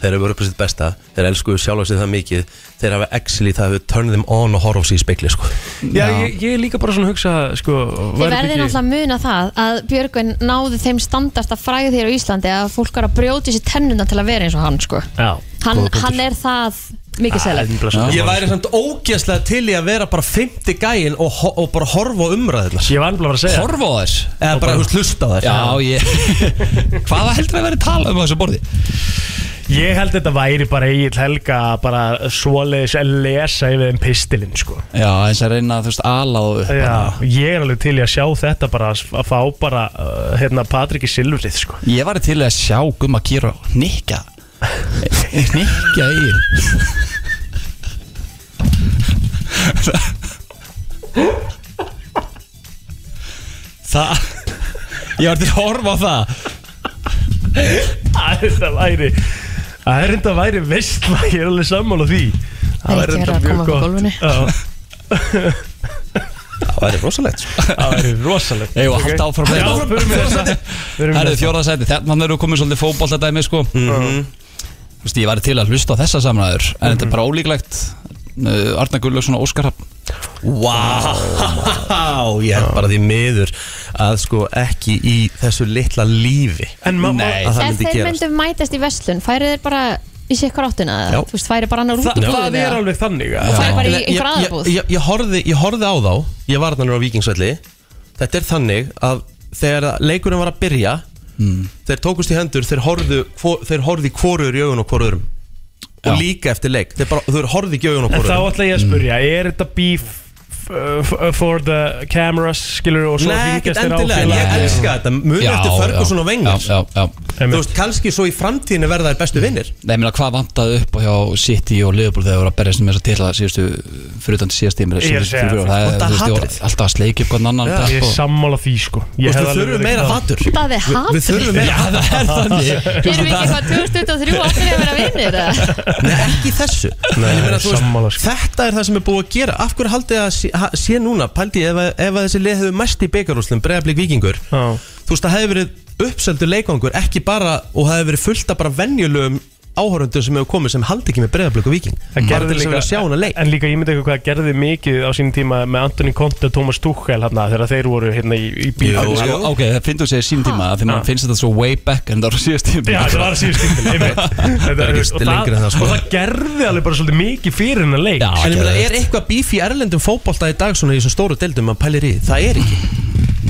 þeir eru upp á sitt besta, þeir elskuðu sjálf á sig það mikið þeir hafa actually það hefur turn them on og horfa á sig í spekli sko. já, ég, ég er líka bara svona að hugsa sko Þið verðið náttúrulega að muna það að Björgvin náði þeim standart að fræða þér á Íslandi að fólk var að brjóti sér tennuna til að vera eins og hann sko. Já, hann, hann er það Ah, mikið selið selið Ég væri samt ógeðslega til í að vera bara 50 gæin og, ho- og bara horfa á umræðunar Ég var nefnilega bara að segja Horfa á þess eða bara húst hlusta á þær Já, [laughs] ég Hvaða heldur við að vera að tala um á þessu borði? Ég held þetta væri bara Egil Helga bara svoleiðis að lesa yfir þeim pistilinn sko Já, eins að reyna þú veist alað og upp Já, ég er alveg til í að sjá þetta bara að fá bara uh, hérna Patriki Silvrið sko [laughs] Ég var til að sjá Gumma Kíró [laughs] Nikka Nikka Egil Það Ég var til að horfa á það Æ, Þetta væri Það er enda væri veistla, ég er alveg sammála því Það er ekki verið að koma upp á gólfinu. Já, það er rosalegt sko. Það væri rosalegt Ég var halda áfram með Já, þetta. förum við þessa Förum Það við eru þessa fjóraða sæti, þannig eru komið svolítið fótbolta dæmi sko Mhm. Þú veist, ég væri til að hlusta á þessa samræður En þetta er bara ólíklegt uh, Arna Gullaugsson og Óskar Hafn Wow, ég er bara því miður að sko ekki í þessu litla lífi En ma- ma- að það Ef myndi þeir gerast myndum mætast í vestlun færið þeir bara í sikkur áttina Já. eða, þú veist, færi bara annar út Þa, það er alveg þannig að Og færi bara í Ég- einhver ég- aðabúð. ég- ég- Ég horfði- ég horfði á þá Ég var þannig á vikingsvelli Þetta er þannig að þegar leikurinn var að byrja Hmm. Þeir tókust í hendur Þeir horfðu, hvor, þeir horfðu hvorur í augun og hvorurum Og líka eftir leik Þeir, bara, þeir horfðu ekki í augun og En þá hvorurum ætla ég að spurja, Mm. er þetta beef f- f- uh, for the cameras, skilur, og svo Nei, ekkert hringjast þeir á endilega, en ég félagið? elska þetta Muni Já, eftir Ferguson já, og Vengars já, já. Þú veist, kannski svo í framtíðinu verða þær bestu vinnir Nei, ég meina, hvað vantaði upp á hjá City og Liverpool þegar það voru að berjast með þess að tilla síðustu, fyrir utan til síðast tími Ég er að segja það. það, Vantaði það, það var hatrið. alltaf að sleikja upp hvernig annan Já. Ég er sammála því, sko Þú veist, við hefði alveg þurfum verið meira það. hatur. Það er hatur. Við þurfum meira Já, það er þannig. Erum við ekki hvað 2023 ákveðið að vera vinnir eða? ekki í þessu Nei, En ég meina, þú veist, sammála, sko. Þetta er það sem er búið að gera Af hverju haldið þið að sé, ha- sé núna Paldi, ef, að- ef að þessi lið hefur mest í beigarúslum Breiðablík vikingur Þú veist, það hefur verið uppseldur leikangur Ekki bara, og það hefur verið fullt af bara venjulegum áhörundur sem hefur komið sem haldi ekki með Breiðablík og viking Það Bara til gerði þess að líka, vilja sjá hana leik en líka ég myndi eitthvað hvað það gerði mikið á sínum tíma með Anthony Conte og Thomas Tuchel hérna, þegar þeir voru hérna í, í bíl Jú, sko, ok, það finnst þú að segja sínum tíma að því maður finnst þetta svo way back en það var síðast tíma Já, þetta var síðast tíma, einmitt Þetta er ekki og lengra en það, sko. Og það gerði alveg bara svolítið mikið fyrir hennar leik Já, En ég meina, er eitthvað bíf í erlendum fótbolta í dag svona í þessum stóru deildum að pælir í? Það er ekki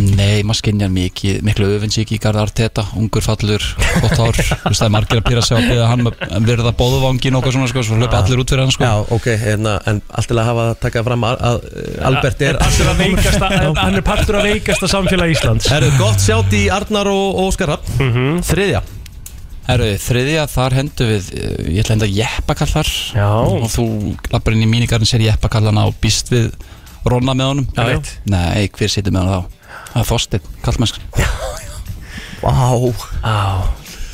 Nei, maður skinnjar mikið, miklu öfinsík í Garð Arteta, ungur fallur, gott [laughs] hár Þú veist, það er margir að pýra sig á að beða hann að verða bóðvangin og eitthvað svona, sko, svo hlaupi allir út fyrir hann, sko Já, ok, hérna, en allt til að hafa að taka fram að, að eh, Albert er Partur af veikasta, hann er partur af veikasta samfélag Íslands Herru, gott sjátt í Arnar og, og Óskar Rapp Mhm. Þriðja Herru, þriðja, þar hendu við, eh, ég ætla að henda jeppakall þar Já Og þú lappar inn í mínigarinn, sér jeppakallana og býst við Ronna með honum Já, veit. Nei, hver situr með honum þá? Það er Þorsteinn, kallmennskan Vá Á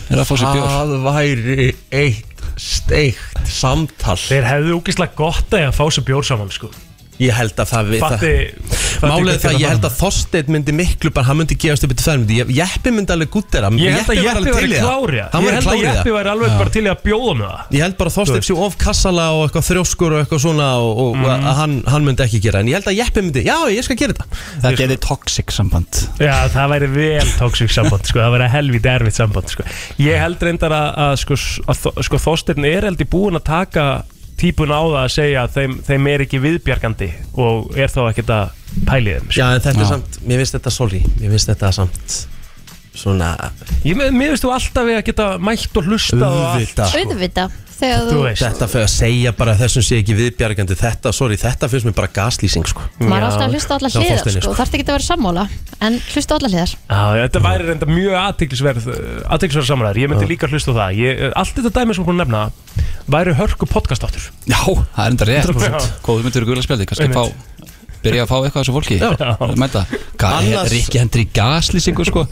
Er að fá sér bjór? Það væri eitt steikt samtal Þeir hefðu úkislega gott að fá sér bjór saman sko Ég held að það við Fatti það Málið er það, ég held að Þorstein myndi miklu bara, hann myndi gefast upp í þær myndi, Ég- Jeppi myndi alveg gúttera Ég held að Jeppi væri klári að Hann Ég væri held að klárið Jeppi væri alveg bara til í að bjóða með það Ég held bara að Þorstein sé of kassala og eitthvað þrjóskur og eitthvað svona og, Mm. og að hann, hann myndi ekki gera en ég held að Jeppi myndi, já ég skal gera þetta Það gerði toxic samband Já, það væri vel tóksvík samband sko. Það væri helvítið erfitt samband sko. Ég held reyndar að, að, sko, að Þo- sko, Þorsteinn er held í búin að taka típuna á það að segja að þeim, þeim er ekki viðbjargandi og er þá ekkert að pæli þeim sko. Já en þetta er samt, mér finnst þetta sorry Mér finnst þetta samt svona Ég me- mér veist þú alltaf við að geta mætt og hlusta og allt Auðvitað. Auðvita, þegar Þú þú veist. Þetta fyrir að segja bara að þessum sé ekki viðbjargandi Þetta, sorry, þetta finnst mér bara gaslýsing sko. maður er alltaf að hlusta á allar Já, hliðar Þorsteini, sko, þarf ekki að vera sammála en hlusta á allar hliðar Já, þetta væri reynda mjög aðtiklisverð aðtiklisverð samræður, ég myndi líka hlusta á það ég, Allt þetta dæmi sem hún nefna væri hörku podcast áttur Já, það er enda rétt 100%. Góðu myndur í gula spjaldi, kannski fá byrja að fá eitthvað af þessu fólki Já. Mæta, Annars- Rikki hendri gaslýsingu sko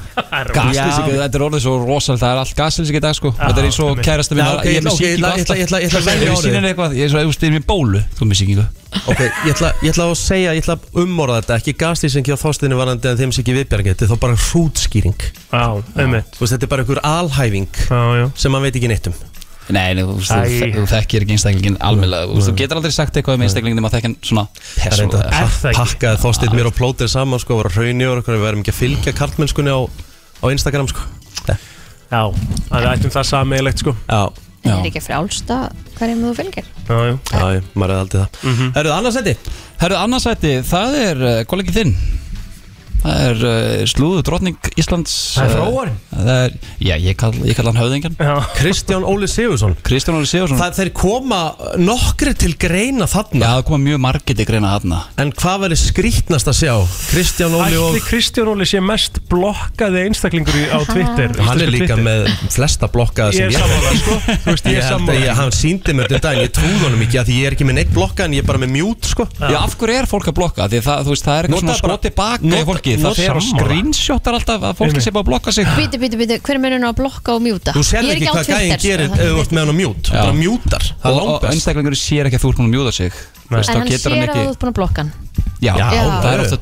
Gaslýsingu, þetta er orðið svo rosalega Það er allt gaslýsing í dag sko Þetta er eins og einmitt. kærasta mín Já, ok, Ég er með ok, ég síkingu ætla- ég ætla- ég ætla- ég ætla að alltaf velja Ég er orðið. sínin eitthvað, ég er svo eða með bólu Þú er með síkingu Ok, ég ætla, ég ætla að segja, ég ætla að umorða þetta Ekki gaslýsing hjá Þorsteinu varandi en þeim sé ekki viðbjargandi Þetta er þá bara hrútskýring Já, einmitt Þú veist, þetta er bara einhver alhæfing já. Sem hann veit ekki neitt um Nei, nei, þú veist, þú Æ. þek- þú þekkir ekki einstaklingin almennlega Þú veist, þú getur aldrei sagt eitthvað um einstaklingin Þegar maður þekkir hann svona Það er enda persónulega. að pakkaði Þorstein mér og plótið saman sko, var að hraunja og okkur, við verðum ekki að fylgja karlmennskunni á, á Instagram sko. Já, það ættum það sameigilegt sko Já, það er ekki frjálsta hverjum þú fylgir já, já. já maður er aldrei það mm -hmm. Herruð, annarsæti Herruð, annarsæti, það er uh, kollegið þinn Það er uh, slúðu drottning Íslands Það er eh, þróarinn. það er, Já, ég kall, ég kall hann höfðingjan Kristján Óli Sigursson Kristján Óli Sigursson Það þeir koma nokkri til greina þarna Já, það koma mjög margir til greina þarna En hvað verður skrítnast að sjá? Kristján Óli Ætli og Kristján Óli sé mest blokkaði einstaklingur í- á Twitter Hann er íslensku líka Twitter. með flesta blokkaða sem Ég er sammála, sko. Þú veist, Ég ég held er að sammála. ég, hann síndi mér þetta en ég trúði honum ekki að því ég er ekki með neitt blokka en ég er bara með mjút sko Já, af hverju er fólk að blokka? Því það, þú veist, það er eitthvað Nota svona bara- skoti baka í nota- fólki nota Það fer og sammála. screenshottar alltaf að fólki Einmitt. sé bara að blokka sig Bíti, bíti, bíti, hver er munurinn á að blokka og mjúta? Þú sér Ég er ekki á hvað Twitter, gæðin sko, gerir ef þannig þú ert með hann á mjút Já. Bara mjútar, Og, það er og langbest einstaklingur sér ekki að þú ert búin að mjúta sig Þú veist, En þá hann getur sér hann að þú ekki ert búin að blokka hann Já, Já, það það er er. ofta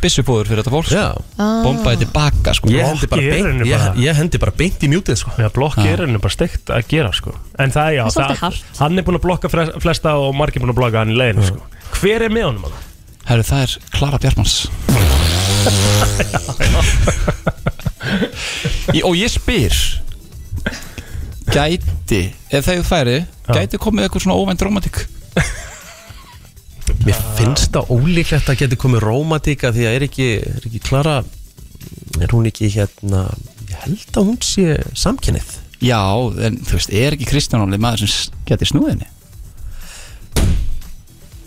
byssufóður fyrir þetta fólk Já. sko. Bombaði tilbaka, sko Ég hendi bara Blokki er beint, henni ég, bara. ég hendi bara beint í mjútið sko Já, blokki er henni bara steikt að gera sko En það er já, Það er svolítið hart. hann er búin að blokka fres- flesta og margir búin að blokka hann í leiðinu sko Hver er með honum hann? Herru, það er Klara Bjarmans Í- Og ég spyr gæti ef þegar færi, gæti komið eitthvað svona óvænt romantik Mér finnst það ólíklegt að geti komið rómatíka því að er ekki, er ekki klara er hún ekki hérna ég held að hún sé samkynnið Já, en þú veist, er ekki Kristján Óli maður sem s- gæti snúið henni?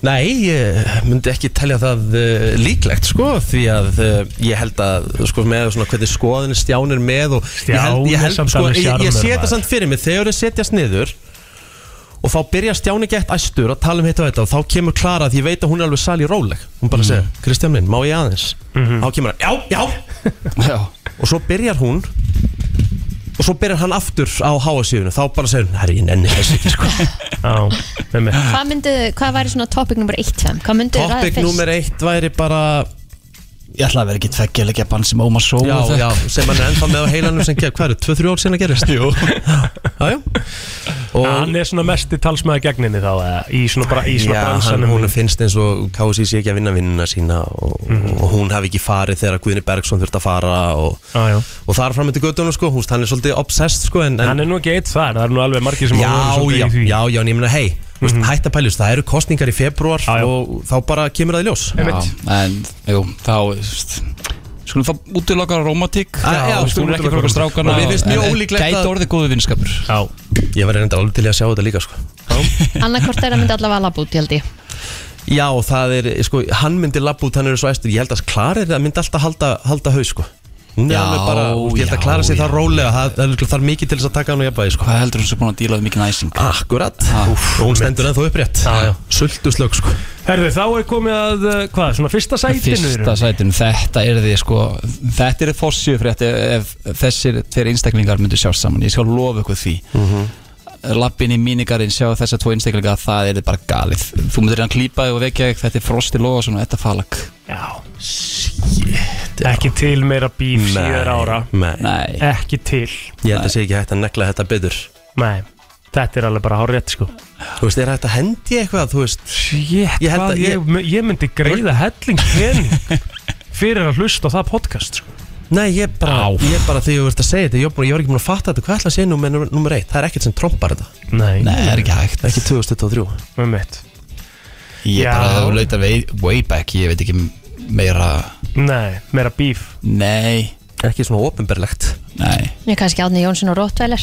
Nei, ég myndi ekki telja það uh, líklegt sko því að uh, ég held að sko með svona hvernig skoðin stjánir með og ég held, Stjáni ég, held, samt sko, alveg ég, ég sjarmör, sé þetta maður. samt fyrir mig þegar þau setjast niður og þá byrja stjáni gett æstur að tala um hitt og þetta og þá kemur Klara því ég veit að hún er alveg sali róleg hún Mm. bara segir, Kristján minn, má ég aðeins Mhm. þá kemur hann, já, já Já. og svo byrjar hún og svo byrjar hann aftur á háasíðunum þá bara segir hann, herri, ég nenni þessi sko. Já, með mig Hvað myndið, hvað væri svona topic nummer 1 fem? Hvað myndið ræða Topic fyrst? nummer eitt væri bara Ég ætla að vera ekki tveggja leikja bann sem Ómar Só Já, já, sem hann er ennþá með á heilanum sem gerð, hvað eru, 2-3 ár síðan að gerist? Jú Já, já og hann er svona mesti talsmaður gegninni þá eða, í svona, bara, í svona Já, hann, bransanum hún finnst eins og KSI sé ekki að vinna vinnuna sína og, og hún hafi ekki farið þegar Guðni Bergson þurft að fara og, Mhm. já, já. og þar fram eftir göttunum sko, húst, hann er svolítið obsessed sko en, en hann er nú ekki eitt þar, það er nú alveg margir sem já, hafa verið já, svolítið í því. Mhm. já, já, en ég meina, hei mm -hmm. hætt að pæljus, það eru kostningar í februar og þá bara kemur það í ljós [laughs] Já, en, jú, þá þú veist, skulum þá útilokkar romantík Já, Ah, já, við skulum skulum ekki útiloka fróka strákana og mér finnst en- mjög en ólíklegt gæti að- orðið góðu vinskapur Já, ég var reynda alveg til í að sjá þetta líka sko Annarkvort er að myndi allavega labút, ég held ég Já, og það er, sko, hann myndi labba út, hann er svo æstur, ég held að Klara er það myndi alltaf halda, halda haus, sko Hún er Já, alveg bara, úst, ég held að já, Klara sér já. það rólega, það, það, er- það er mikið til þess að taka hann og jafnvægi, sko Hvað heldur hún sem búin að díla við mikið næsing? Akkurat, Ah, og hún stendur ennþá upprétt Sultuslög, sko herðu þá er komið að uh, hvað, svona fyrsta sætinu Fyrsta sætinu, þetta er því sko Þetta er fórsjöf frétt ef, ef þessir þeir einstaklingar myndu sjá saman Ég skal lofa ykkur því mm -hmm. Lappin í mínigarinn sjá þessar tvo einstaklingar Það er bara galið Þú myndir hann klípa þig og vekja þig Þetta er frosti loga og þetta er falak já, ekki til meira bíf síðar ára nei, Nei, ekki til, ég held að sé ekki hægt að negla þetta betur nei þetta er alveg bara hár rétt sko Þú veist, er hægt að hendi eitthvað, þú veist Sjétt, Ég held hvað að- ég, ég- ég, myndi greiða helling pening fyrir að hlusta á það podcast sko. Nei, ég bara, ég bara þegar þú veist að segja þetta, ég, var búinn- ég var ekki búin að fatta þetta Hvað ætla að segja nummer, nummer eitt? Það er ekkert sem trompar þetta Nei, nei, það er ekki hægt Ekki 2023 með mitt Ég Já. bara hef leitað way, way back Ég veit ekki meira Nei, meira bíf Nei, Ekki svona opinberlegt nei Ég kannski Árni Jónsson og Rottweiler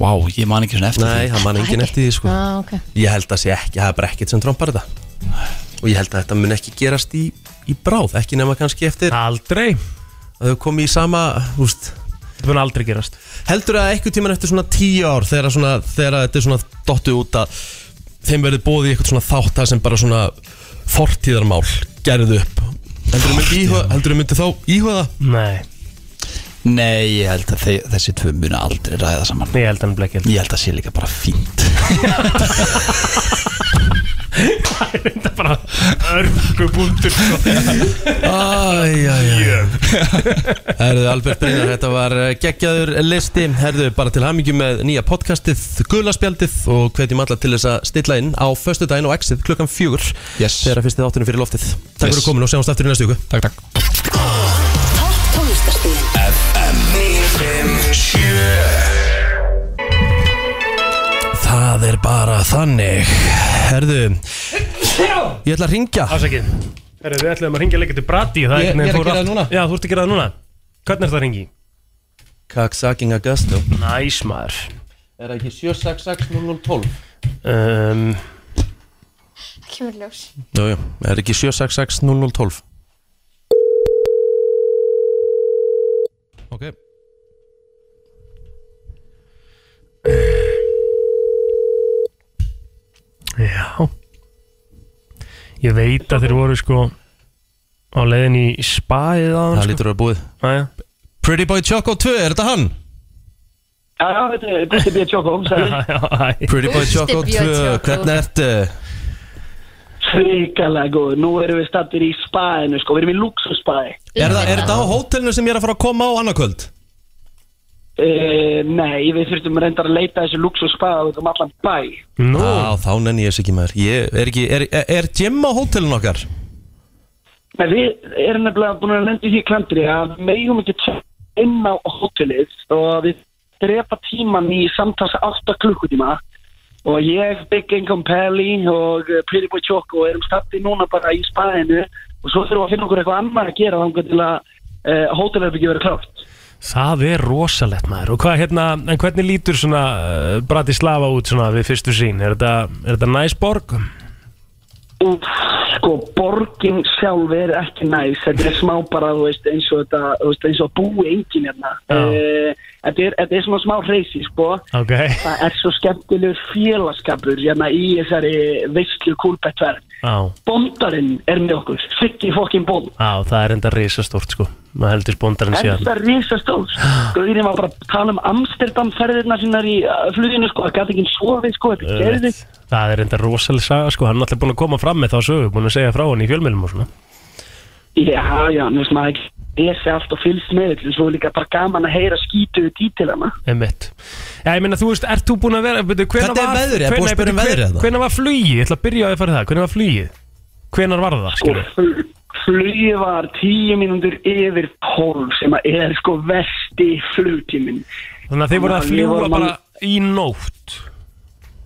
Vá, ég man ekki svona eftir Nei, það man enginn eftir því, sko ah, okay. Ég held að sé ekki, það er bara ekkert sem trompar þetta Og ég held að þetta mun ekki gerast í, í bráð Ekki nema kannski eftir Aldrei, að þau komi í sama úst, þetta mun aldrei gerast Heldur að eitthvað tíman eftir svona tíu ár Þegar, að svona, þegar að þetta er svona dottu út að Þeim verður bóðið í eitthvað svona þátt Það sem bara svona fortíðarmál Gerðu upp Heldur að myndi, íhuga, heldur að myndi þá íhuga það? Nei, því Nei, ég held að þe þessi tvö muna aldrei ræða saman ég held hann blekil Ég held að sé líka bara fínt [laughs] Þetta er bara sko. örgubundur Æjæjæ [laughs] Herðu Albert Brynjar, þetta var eh, geggjaður listi Herðu bara til hamingjum með nýja podcastið Gulaspjaldið og hvetjum alla til þess að stilla inn á föstudaginn og exit klukkan fjögur Yes. þegar að fyrsti þáttunum fyrir loftið Takk Yes. fyrir komin og sjáumst aftur í næstu viku Takk, takk Það er bara þannig Herðu Ég ætla að ringja Afsakið Herra, við ætlum að ringja leikja til Brati það Ég- einhvern veginn ég er að fór gera allt- það núna. Já, þú ert að gera það núna Hvernig er það að ringi? Kaksaking Augusto Næs maður Er það ekki 766 0012? um, Kemur ljós. Jú, jú, er ekki 766 0012? Ok Já Ég veit að þeir voru sko á leiðin í spaðið á hann Það sko lítur að vera búið Jæja. Pretty Boy Choco 2, er þetta hann? Já, já, þetta er Gusti B. Choco, [laughs] sælir. Já, já, já. Pretty Boy Gusti Choco Björn 2, Choco. hvernig ertu? Svikalega góð, nú erum við stattir í spaðinu, sko, við erum í luxuspaði. Er það- er þetta á hótelinu sem ég er að fara að koma á annarkvöld? Uh, nei, við þurftum reyndar að leita þessu luxuspaði út um allan bæ. Nú, Á, þá nenni ég þess ekki maður Ég er ekki, er, er- er Jim á hótelinu okkar? Nei, við erum nefnilega búin að lenda í því klandri að við megum ekki tjá inn á hótelið og við drepa tíman í samtals 8 klukkutíma og ég, Big Income Pally og eh, Pretty Boy Choco erum stattið núna bara í spaðinu og svo þurfum við að finna okkur eitthvað annað að gera þangar til að uh, hótelherbyggi verið klárt. Það er rosalegt maður og hvað hérna, en hvernig lítur svona uh, Bratislava út svona við fyrstu sín? Er þetta, er þetta næs borg? Úf, sko, borgin sjálf er ekki næs, þetta er smá bara, þú veist, eins og þetta, þú veist, eins og búi engin hérna. Eh, Þetta er, þetta er svona smá reysi, sko. Ok. Það er svo skemmtilegur félagskapur hérna í þessari veistlu kúlbettverð. Á, Bondarinn er með okkur, Siggi fokkin bond. á, það er enda risastórt sko, maður heldur bondarinn En síðan. þetta er risastóð. Gauðin var bara að tala um Amsterdam ferðirna sínar í uh, fluginu, sko, það gæti ekki svofið, sko, þetta gerði. Öðvöld. Það er enda rosalega saga sko, hann er alltaf búin að koma fram með þá sögu, búin að segja frá hann í fjölmjölum og svona. Já, já, nú veist maður ekki lesi allt og fylgst með þetta, svo er líka bara gaman að heyra skítuðu dítilana. Einmitt. Já, ég meina, þú veist, ert þú búin að vera, betur, hvenær Hvernig er var... veðrið? Er hvenær- búið að spyrja bíddu, um veðrið hven- þarna? Hvenær var flugið? Ég ætla að byrja á að fara það, hvenær var flugið? Hvenær var það, skilur? Sko, Flugið var tíu mínútur yfir tólf sem að er sko vesti flugtíminn. Þannig að þið voru að fljúa bara í nótt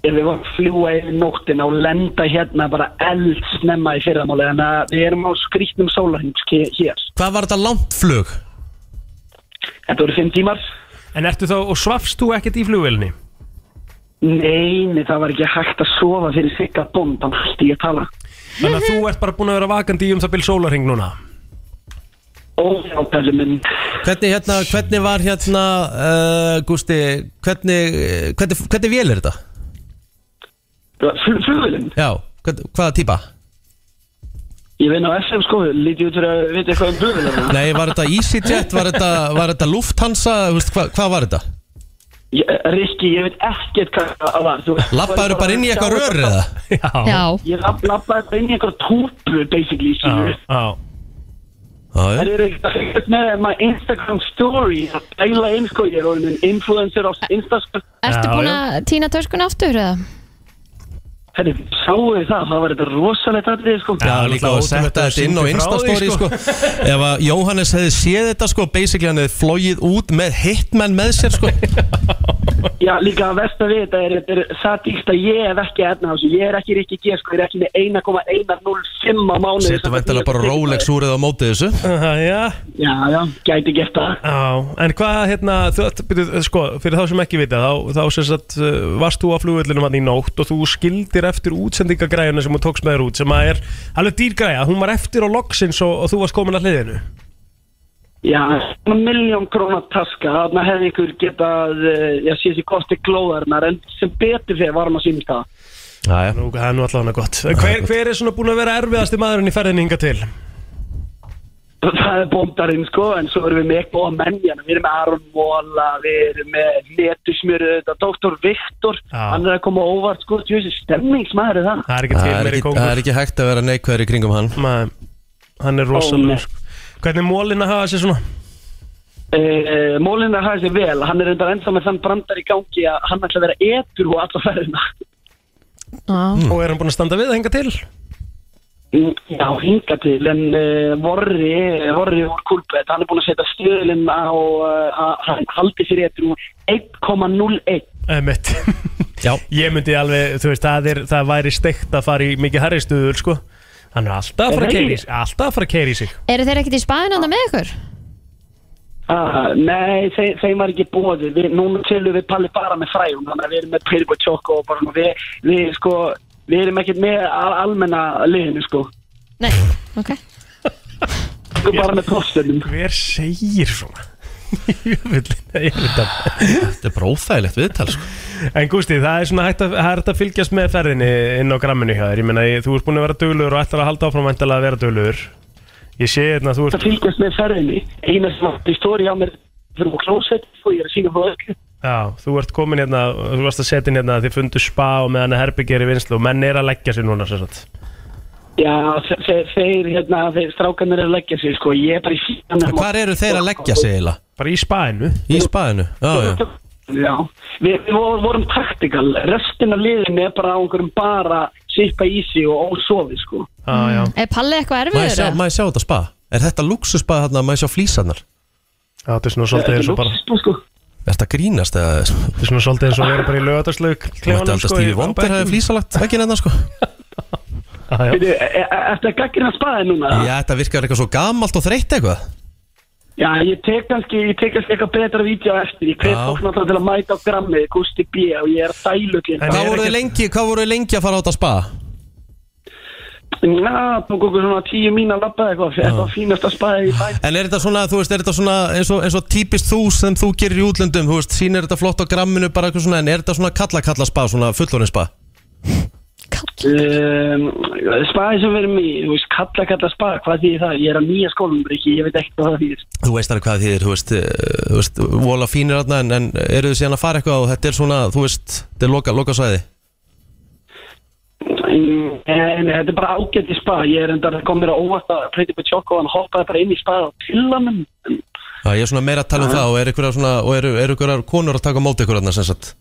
Við vorum að fljúa yfir nóttina og lenda hérna bara eld snemma í fyrramáli þannig að við erum á skrýtnum sólarhings hér. Hvað var þetta langt flug? Þetta voru fimm tímar. En ertu þá, og svafst þú ekkert í flugvelni? Nei, nei, það var ekki hægt að sofa fyrir sigga bónd, hann hætti ég að tala. Þannig að þú ert bara búin að vera vakandi í um það byrjum sólarhing núna [laughs] Óhjálpæli minn Hvernig, hérna, hvernig var hérna uh, Gústi, hvernig eh, hvernig, hvernig vél er þetta? Flugvélinn? Já, hvern, hvaða típa? Ég vinn á SM sko, lítið út fyrir að vita eitthvað um flugvélina. Nei, var þetta EasyJet, var þetta, var þetta Lufthansa, þú veist, hva, hvað var þetta? Ég- eh, Rikki, ég veit ekkert hvað það var þú veist. Lappaður bara inn í eitthvað rör eða? Já Ég lapp- lappaði bara inn í eitthvað túpu basically, skilur Já Það eru ekkert með að maður Instagram story að dæla inn sko, ég er orðin en influencer á Instagram Ertu búin að týna töskun aftur eða? Herri, sáu þið það, það var þetta rosalegt atrið sko Já, líka að setja þetta inn á Instastory sko. Ef að Jóhannes hefði séð þetta sko, basically hann hefði flogið út með hitmenn með sér sko. Já, líka að versta við þetta er, þetta er það dýrt að ég hef ekki efna á þessu, ég er ekki Rikki G sko, ég er ekki með 1,105 á mánuði Setur vantilega bara Rolex úr eða á mótið þessu Já, Já, já, gæti gert það en hvað, hérna, þú, byrju, sko, fyrir þá sem ekki vita þá, þá sem sagt, uh, varst þú á flugvöllunum hann í nótt og þú skildir eftir útsendingagræjuna sem þú tókst með þér út sem að er alveg dýrgræja, hún var eftir á loksins og, og þú varst komin að hliðinu Já, svona miljón krónar taska, þarna hefði ykkur getað, eh, já, sé þessi kosti glóðarinnar, en sem betur fyrir varum að sínist það. Já, Nú, það er nú allavega gott hver, hver er svona búin að vera erfiðasti maðurinn í ferðinni hinga til? Það er bóndarinn, sko, en svo erum við með eitthvað góða menn, hérna, við erum með Aron Móla, við erum með Netusmjöru, þetta, Dr. Viktor, hann er að koma á óvart, sko, þessi stemmingsmaður er það. Það er Það er ekki- það er ekki hægt að vera neikvæður í kringum hann Maður, Hann er Ó, nei. rosalegur sko. Hvernig mólin að hafa sér svona? Uh, Mólinn er að hafa sér vel, hann er enda ennþá með þann brandar í gangi að hann ætla að vera etur og alla ferðina. Mm. Og er hann búin að standa við að hinga til? Mm, Já, hinga til, en uh, Vorri, Vorri úr Kulbett, hann er búin að setja stöðlinn á uh, að hann haldi sér eftir úr 1,01. Emmett Já [laughs] Ég myndi alveg, þú veist, það, er, það væri steikt að fara í mikið herri stuður, sko Hann er alltaf að fara að keiri sig Alltaf að fara að keiri sig Eru þeir ekkert í spaðin ánda með ykkur? Ah, nei, þe þeim var ekki bóðið, við, núna tilum við Palli bara með fræjum, þannig að við erum með Pirbo Tjóko og bara, svona, við, við sko, við erum ekkert með al almenna liðinu, sko. Nei, ok. Sko bara með postunum. Hver segir svona? [laughs] Jöfullinn, ég veit það Þetta er bara óþægilegt viðtal, sko En Gústi, það er svona hægt að, það er hægt að fylgjast með ferðinni inn á gramminu hjá þér Ég meina, ég- þú ert búin að vera duglugur og ætlar að halda áfram væntanlega að vera duglugur Ég sé hérna að þú Það ert fylgjast með ferðinni, eina sem átti stóri á mér fyrir úr klósett og ég er að sína frá öllu. Já, þú ert komin hérna, þú varst að setja inn hérna að þið fundu spa og meðan að herbyggi er í vinslu og menn er að leggja sér núna, sem sagt Já, þe- þe- þeir, hérna, þeir strákanir er að leggja sig, sko, ég er bara í síðan Hvar eru þeir að leggja sig eiginlega? Bara í spaðinu Í spaðinu, já, já Já, við, við vo- vorum taktikal, restin af liðinu er bara á einhverjum bara sippa í sig og ósofi, sko. ah, já. Er Palli Má eitthvað ég erfiður? sjá, eða? má ég sjá þetta spa? Er þetta luxusspað hérna, má ég sjá flísarnar? Já, þetta er svona svolítið Þetta er eins og bara- luxusspað, sko Þetta grínast eða Þetta er svona svolítið eins og vera bara í sko, lögataslaug Mætti alltaf Stífi Wonder hefði flísalagt vegginn hérna sko Býtu, eftir e, að gaggina spaði núna Já, þetta virkar eitthvað svo gamalt og þreytt eitthvað Já, ég tek kannski, ég tek kannski eitthvað betra vídeo eftir Ég kveit fólk náttúrulega til að mæta á grammið Gusti B og ég er að dælu til Hvað voruð þið lengi, hvað voruð þið lengi að fara át að spa? Já, tók okkur svona tíu mín að labba eitthvað Þetta var fínast að spaði í bæn En er þetta svona, þú veist, er þetta svona eins og, eins og típist þú sem þú gerir í útlöndum Þú veist, sín er þetta flott á gramminu bara eitthvað svona En er þetta svona kalla-kalla spa, svona fullorinn spa? um, Spaði sem verið mig, þú veist, kalla kalla spaði Hvað þýðir það? Ég er á nýja skólum, Riki, ég veit ekkert hvað það þýðir Þú veist alveg hvað þýðir, þú veist, eh, þú veist Vola fínir þarna, en, en eru þið síðan að fara eitthvað Og þetta er svona, þú veist, þetta er loka, loka svæði Mm, En þetta er bara ágætt í spa Ég er enda að kom mér á óvart að Pretty Pachoco Hann hoppaði bara inn í spa á tillanum Já, ég er svona meira að tala um það og eru einhverjar svona, og eru, eru einhverjar konur að taka á móti ykkur þarna sem sagt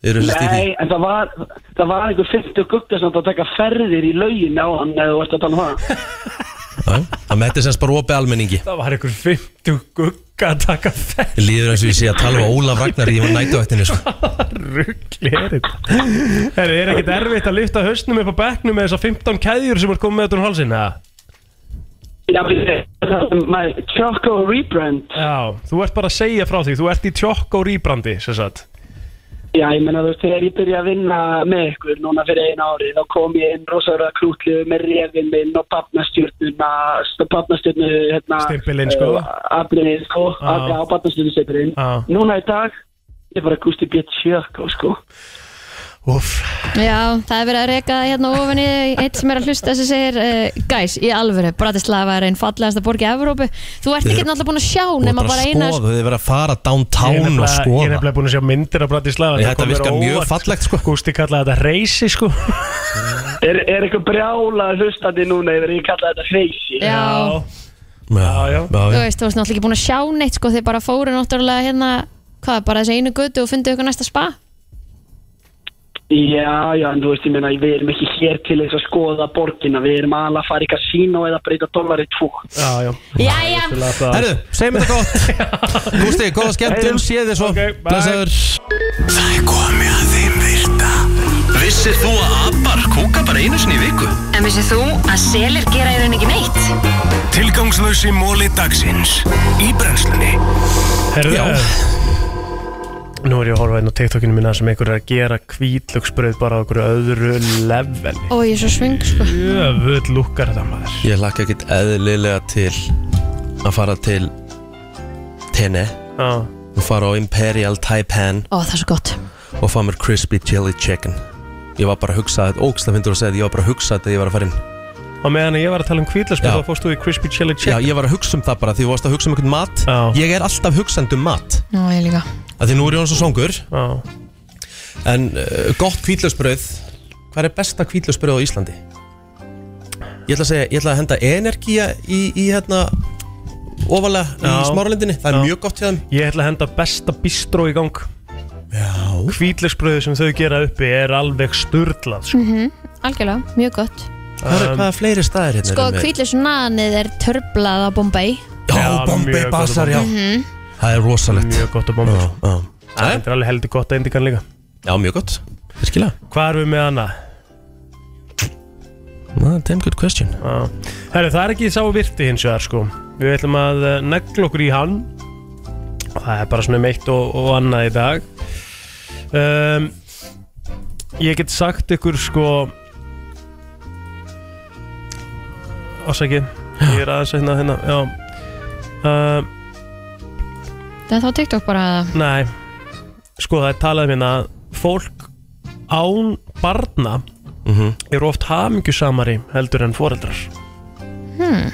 Eru þessi stífi? Nei, en það var Það var einhver 50 gugga sem það taka ferðir í laugin á hann Eða þú ert að tala um það Það með þetta er semst bara opið almenningi Það var einhver 50 gugga að taka ferð [laughs] Ég líður eins og ég sé að tala um Ólaf Ragnar í nætuvættinu sko. Glerit Það er ekkert erfitt að lifta hausnum upp á bekknum með þessar 15 keðjur sem er komið með þetta um halsin Já, við maður Choco rebrand Já, þú ert bara að segja frá því Þú ert í Choco rebrandi, sem sagt Já, ég menna þú veist, þegar ég byrja að vinna með ykkur núna fyrir einu ári þá kom ég inn rosalega krútlið með refin minn og barnastjörnuna barnastjörnu, hérna Stimpilinn, sko. Ah. Aflinni, sko, Já. af- já, barnastjörnustimpilinn Já. Núna í dag, ég bara gústi bjött sjökk sko Úff Já, það er verið að reka það hérna ofan í eitt sem er að hlusta sem segir uh, Guys, í alvöru, Bratislava er einn fallegasta borg í Evrópu Þú ert ekki náttúrulega búin að sjá Þú ert nema bara eina sko. skoða, þið verið að fara Ég er downtown nefnilega- og Ég er skoða nefnilega búin að sjá myndir af Bratislava Ég, þetta virkar mjög fallegt sko Gústi kallaði þetta reysi sko Er, er eitthvað brjála hlustandi núna yfir ég kalla þetta hreysi? Já. Já, já Þú veist, þú ert náttúrulega ekki búin að sjá neitt sko Þið bara fóru náttúrulega hérna Hvað, bara þessi einu götu og fundið ykkur næsta spa Já, já, en þú veist, ég meina, við erum ekki hér til þess að skoða borgina, við erum alveg að fara í kasínó eða breyta dollari tvo. Já, já. Jæja. Herru, segjum þetta [laughs] gott Gústi, góða skemmtun, sé þið svo okay, Blessaður Það er komið að þeim virta Vissir þú að abar kúka bara einu sinni í viku? En vissið þú að selir gera í rauninni ekki neitt? Tilgangslösi móli dagsins Í brennslunni Herðu eh, Nú er ég að horfa einn á TikTokinu mína sem einhver er að gera kvítlöksbröð bara á einhverju öðru level Ó, ég er svo sving sko Jöfull lukkar þetta maður Ég lakka ekkit eðlilega til að fara til Tene ah. og fara á Imperial Taipan Ó, það er svo gott og fá mér crispy jelly chicken Ég var bara að hugsa þetta, ógst að finnur að segja þetta Ég var bara að hugsa þetta, ég var að fara inn Og meðan ég var að tala um kvítlöksbröð þá fórst þú í crispy chili Já, chicken ég var að hugsa um það bara því þú varst að hugsa um einhvern mat Já. Ég er alltaf hugsandi um mat Nú, ég líka að Því nú er ég hans og songur Já. En uh, gott kvítlöfsbröð Hvað er besta kvítlöfsbröð á Íslandi? Ég ætla að segja, ég ætla að henda energía í, í hérna Ofalega í smáralindinni Það er mjög gott hjá þeim Ég ætla að henda besta bistró í gang Já Kvítlöksbröðu sem þau gera uppi er alveg sturglað sko. mm Algjörlega, mjög gott Hvað er- hvaða fleiri staðir hérna Sko, eru með- kvítlis nanið er törblað á Bombay Já, Bombay mjög gott Basar, og já Mhm. Það er rosalegt Mjög gott og bombay Já, Það er alveg heldur gott að indikan líka já mjög gott Virkilega Hvað erum við með annað? Nah, Damn good question Já. Herri, það er ekki sá virti hins vegar sko Við ætlum að eh, negla okkur í hann Það er bara svona meitt og, og annað í dag um, Ég get sagt ykkur sko Ásaki Ég er aðeins hérna hérna Já um, Það er þá TikTok bara Nei, sko það er talað um hérna að Fólk án barna Mhm. eru oft hamingjusamari heldur en foreldrar hmm.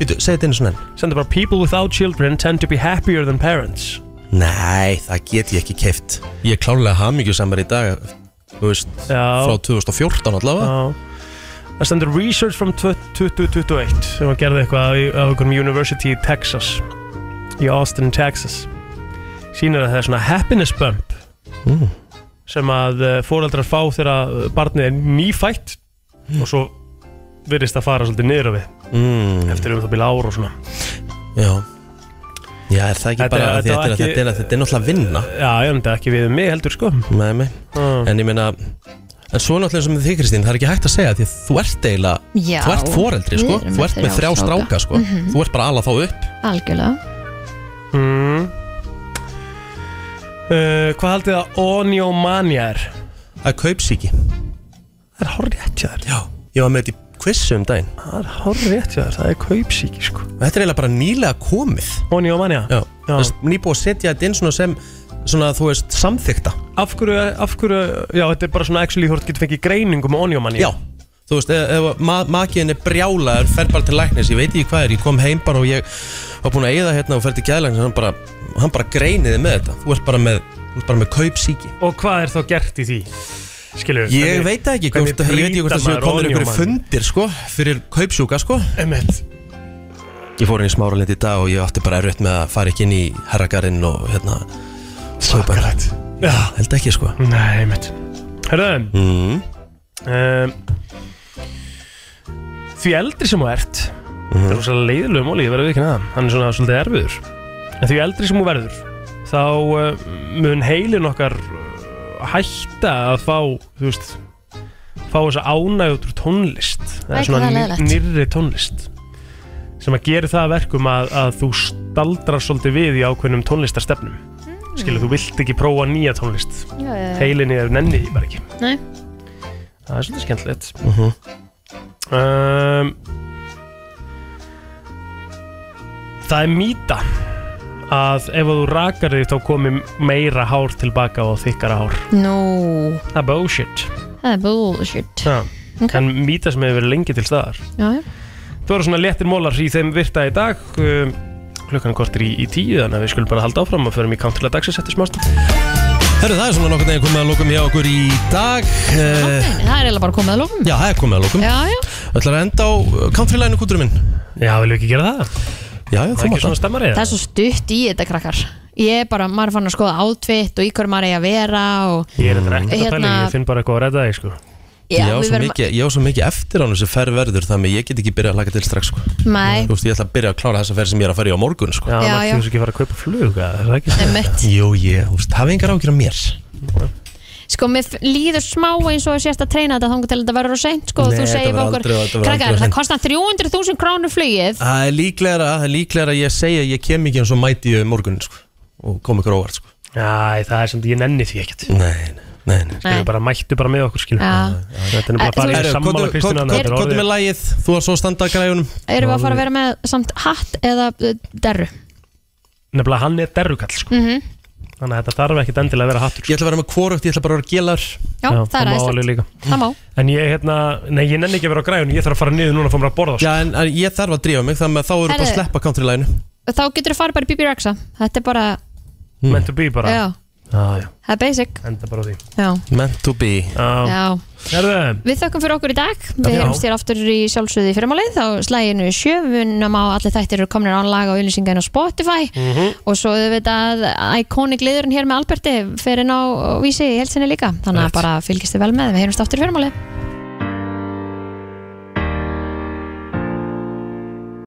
Býtu, segðu þetta einu svona enn Sendur bara People without children tend to be happier than parents Nei, það get ég ekki keift Ég er klárlega hamingjusamar í dag Þú veist, Já. frá 2014 allavega Já. Það stendur research from 2021 sem að gerði eitthvað á- á einhverjum University í Texas í Austin, Texas sýnir að það er svona happiness bump Mm. sem að fóreldrar fá þegar eh, barnið er nýfætt og svo virðist það fara svolítið niður á við mm. eftir um það byrja ára og svona Já Já, er það ekki Þetta- bara af því þetta að var þetta, ekki- er- þetta, er- þetta er náttúrulega vinna Já, ég myndi ekki við mig heldur sko Ah, Nei, nei En ég meina En svo náttúrulega sem þið Kristín, það er ekki hægt að segja því að þú ert eiginlega, Já. þú ert foreldri sko, Við erum þú ert með þrjá stráka sko, Mhm. þú ert bara að ala þá upp. Algjörlega mm. uh, Hvað haldið að onjómania er? Það er kaupsíki. Það er hárrétt hjá þér Já, ég var með þetta í quizzu um daginn. Það er hárrétt hjá þér, það er kaupsíki sko Þetta er eiginlega bara nýlega komið. Onjómania? Já, já. nýbúið að setja þetta inn svona sem, svona þú veist, samþykta. Af hverju, af hverju, já þetta er bara svona actually þú ert getur fengið greiningu með onjómania Já, þú veist, ef, ef ma makiðin er brjálaður, fer bara til læknis, ég veit ekki hvað er, ég kom heim bara og ég var búin að eyða hérna og fer til gæðlæknis, hann bara, hann bara greiniði með þetta, þú ert bara með, þú ert bara með kaupsíki. Og hvað er þá gert í því? Skilur Ég veit það ekki, hvort, ég veit ekki hvort það séu komin einhverju fundir, sko, fyrir kaupsjúka, sko. Emmett. Ég fór inn í smáralind í dag og ég átti bara erfitt með að fara ekki inn í herragarinn og hérna, svakalegt. Já, held ekki, sko. Nei, einmitt Hörðu mm. um, Því eldri sem þú ert Það er rosalega leiðilegu móli, ég verður ekki neða Hann er svona svolítið erfiður En því eldri sem þú verður Þá uh, mun heilin okkar uh, Hætta að fá Þú veist Fá þessa ánægjútur tónlist Æ, hvað Það er það er svona leiðilegt. nýrri tónlist Sem að gera það að verkum að, að þú staldrar svolítið við í ákveðnum tónlistarstefnum Skilur, þú vilt ekki prófa nýja tónlist Mm. Já, já, já. Heilinni er nenni því bara ekki Nei Það er svolítið skemmtilegt Uh -huh. um, Það er mýta að ef þú rakar þig þá komi meira hár tilbaka og þykkara hár Nú, Það er bullshit það er bullshit Já, Ok. en mýta sem hefur verið lengi til staðar Já, já Það voru svona léttir mólar í þeim virta í dag um, Klukkan kortir í, í tíu þannig að við skulum bara halda áfram og förum í kantilega dagsins eftir smást Herru, það er svona nokkur neginn komið að lókum hjá okkur í dag. Uh, Það er eiginlega bara komið að lókum já, það er komið að lókum. Já, já Ætlar að enda á uh, countrylænu kúturum minn? Já, viljum við ekki gera það? Já, já, þú ekki mátt svona stemmari, eða? Það er svo stutt í þetta krakkar Ég er bara, maður er fann að skoða átvitt og í hverju maður eigi að vera og Ég er þetta ekki að tala, Hérna- ég finn bara eitthvað að redda þig sko Ég á við svo verðum- mikið, ég á svo mikið eftir á þessu ferð verður þannig að ég get ekki byrjað að laga til strax sko. Nei, Þú veist, ég ætla að byrja að klára þessa ferð sem ég er að fara í á morgun sko. Já, Já, mætti já. þú svo ekki fara að kaupa flug Það er ekki Einmitt. Jú, ég, þú veist, hafi engar ágjur á mér sko, mér f- líður smá eins og sérst að treyna þetta þangur til þetta verður og seint, sko, og Nei, þú þetta verður segir við okkur aldrei- þetta verður aldrei Krakkar, of það seint." kostar 300.000 krónur flugið Það er líklega, það er líklega að ég segja að ég kem ekki eins og mæti ég morgun sko, og kom ykkur á óvart sko. Æ, það er sem ég nenni því ekkert Nei, nei, nei Skilur bara mættu bara með okkur skilur Já. Þetta er bara Eh, þú bara veist- í sammála Kristina Kottu með lægið, þú var svo að standa að græjunum Erum við að fara að vera með samt hatt eða uh, derru? Nefnilega hann er derrukall sko Mm Þannig að þetta þarf ekkert endilega að vera hattur sko. Ég ætla að vera með kvorugt, ég ætla bara að vera gélar Já, það er má alveg aðeinslegt líka Það má En ég, hérna, nei, ég nenni ekki að vera á græjunum Ég þarf að fara niður núna og fá mér að borða sko. Já, en, en ég þarf að drífa mig, þannig að þá eru bara að Herðu. sleppa countrylæginu Þá getur þú farið bara í BB Rexa Þetta er bara, Meant to be bara já, Já, já, það er basic enda bara á því Já, Meant to be Já, já herðu Við þökkum fyrir okkur í dag Við Já. heyrumst þér aftur í sjálfsögði fyrirmálið á slæginu sjöfunum á allir þættir eru komnir án laga og auðlýsingar á Spotify og svo auðvitað iconic liðurinn hér með Alberti fyrir inn á vísi í helsini líka þannig að bara fylgist þið vel með Við heyrumst aftur í fyrirmálið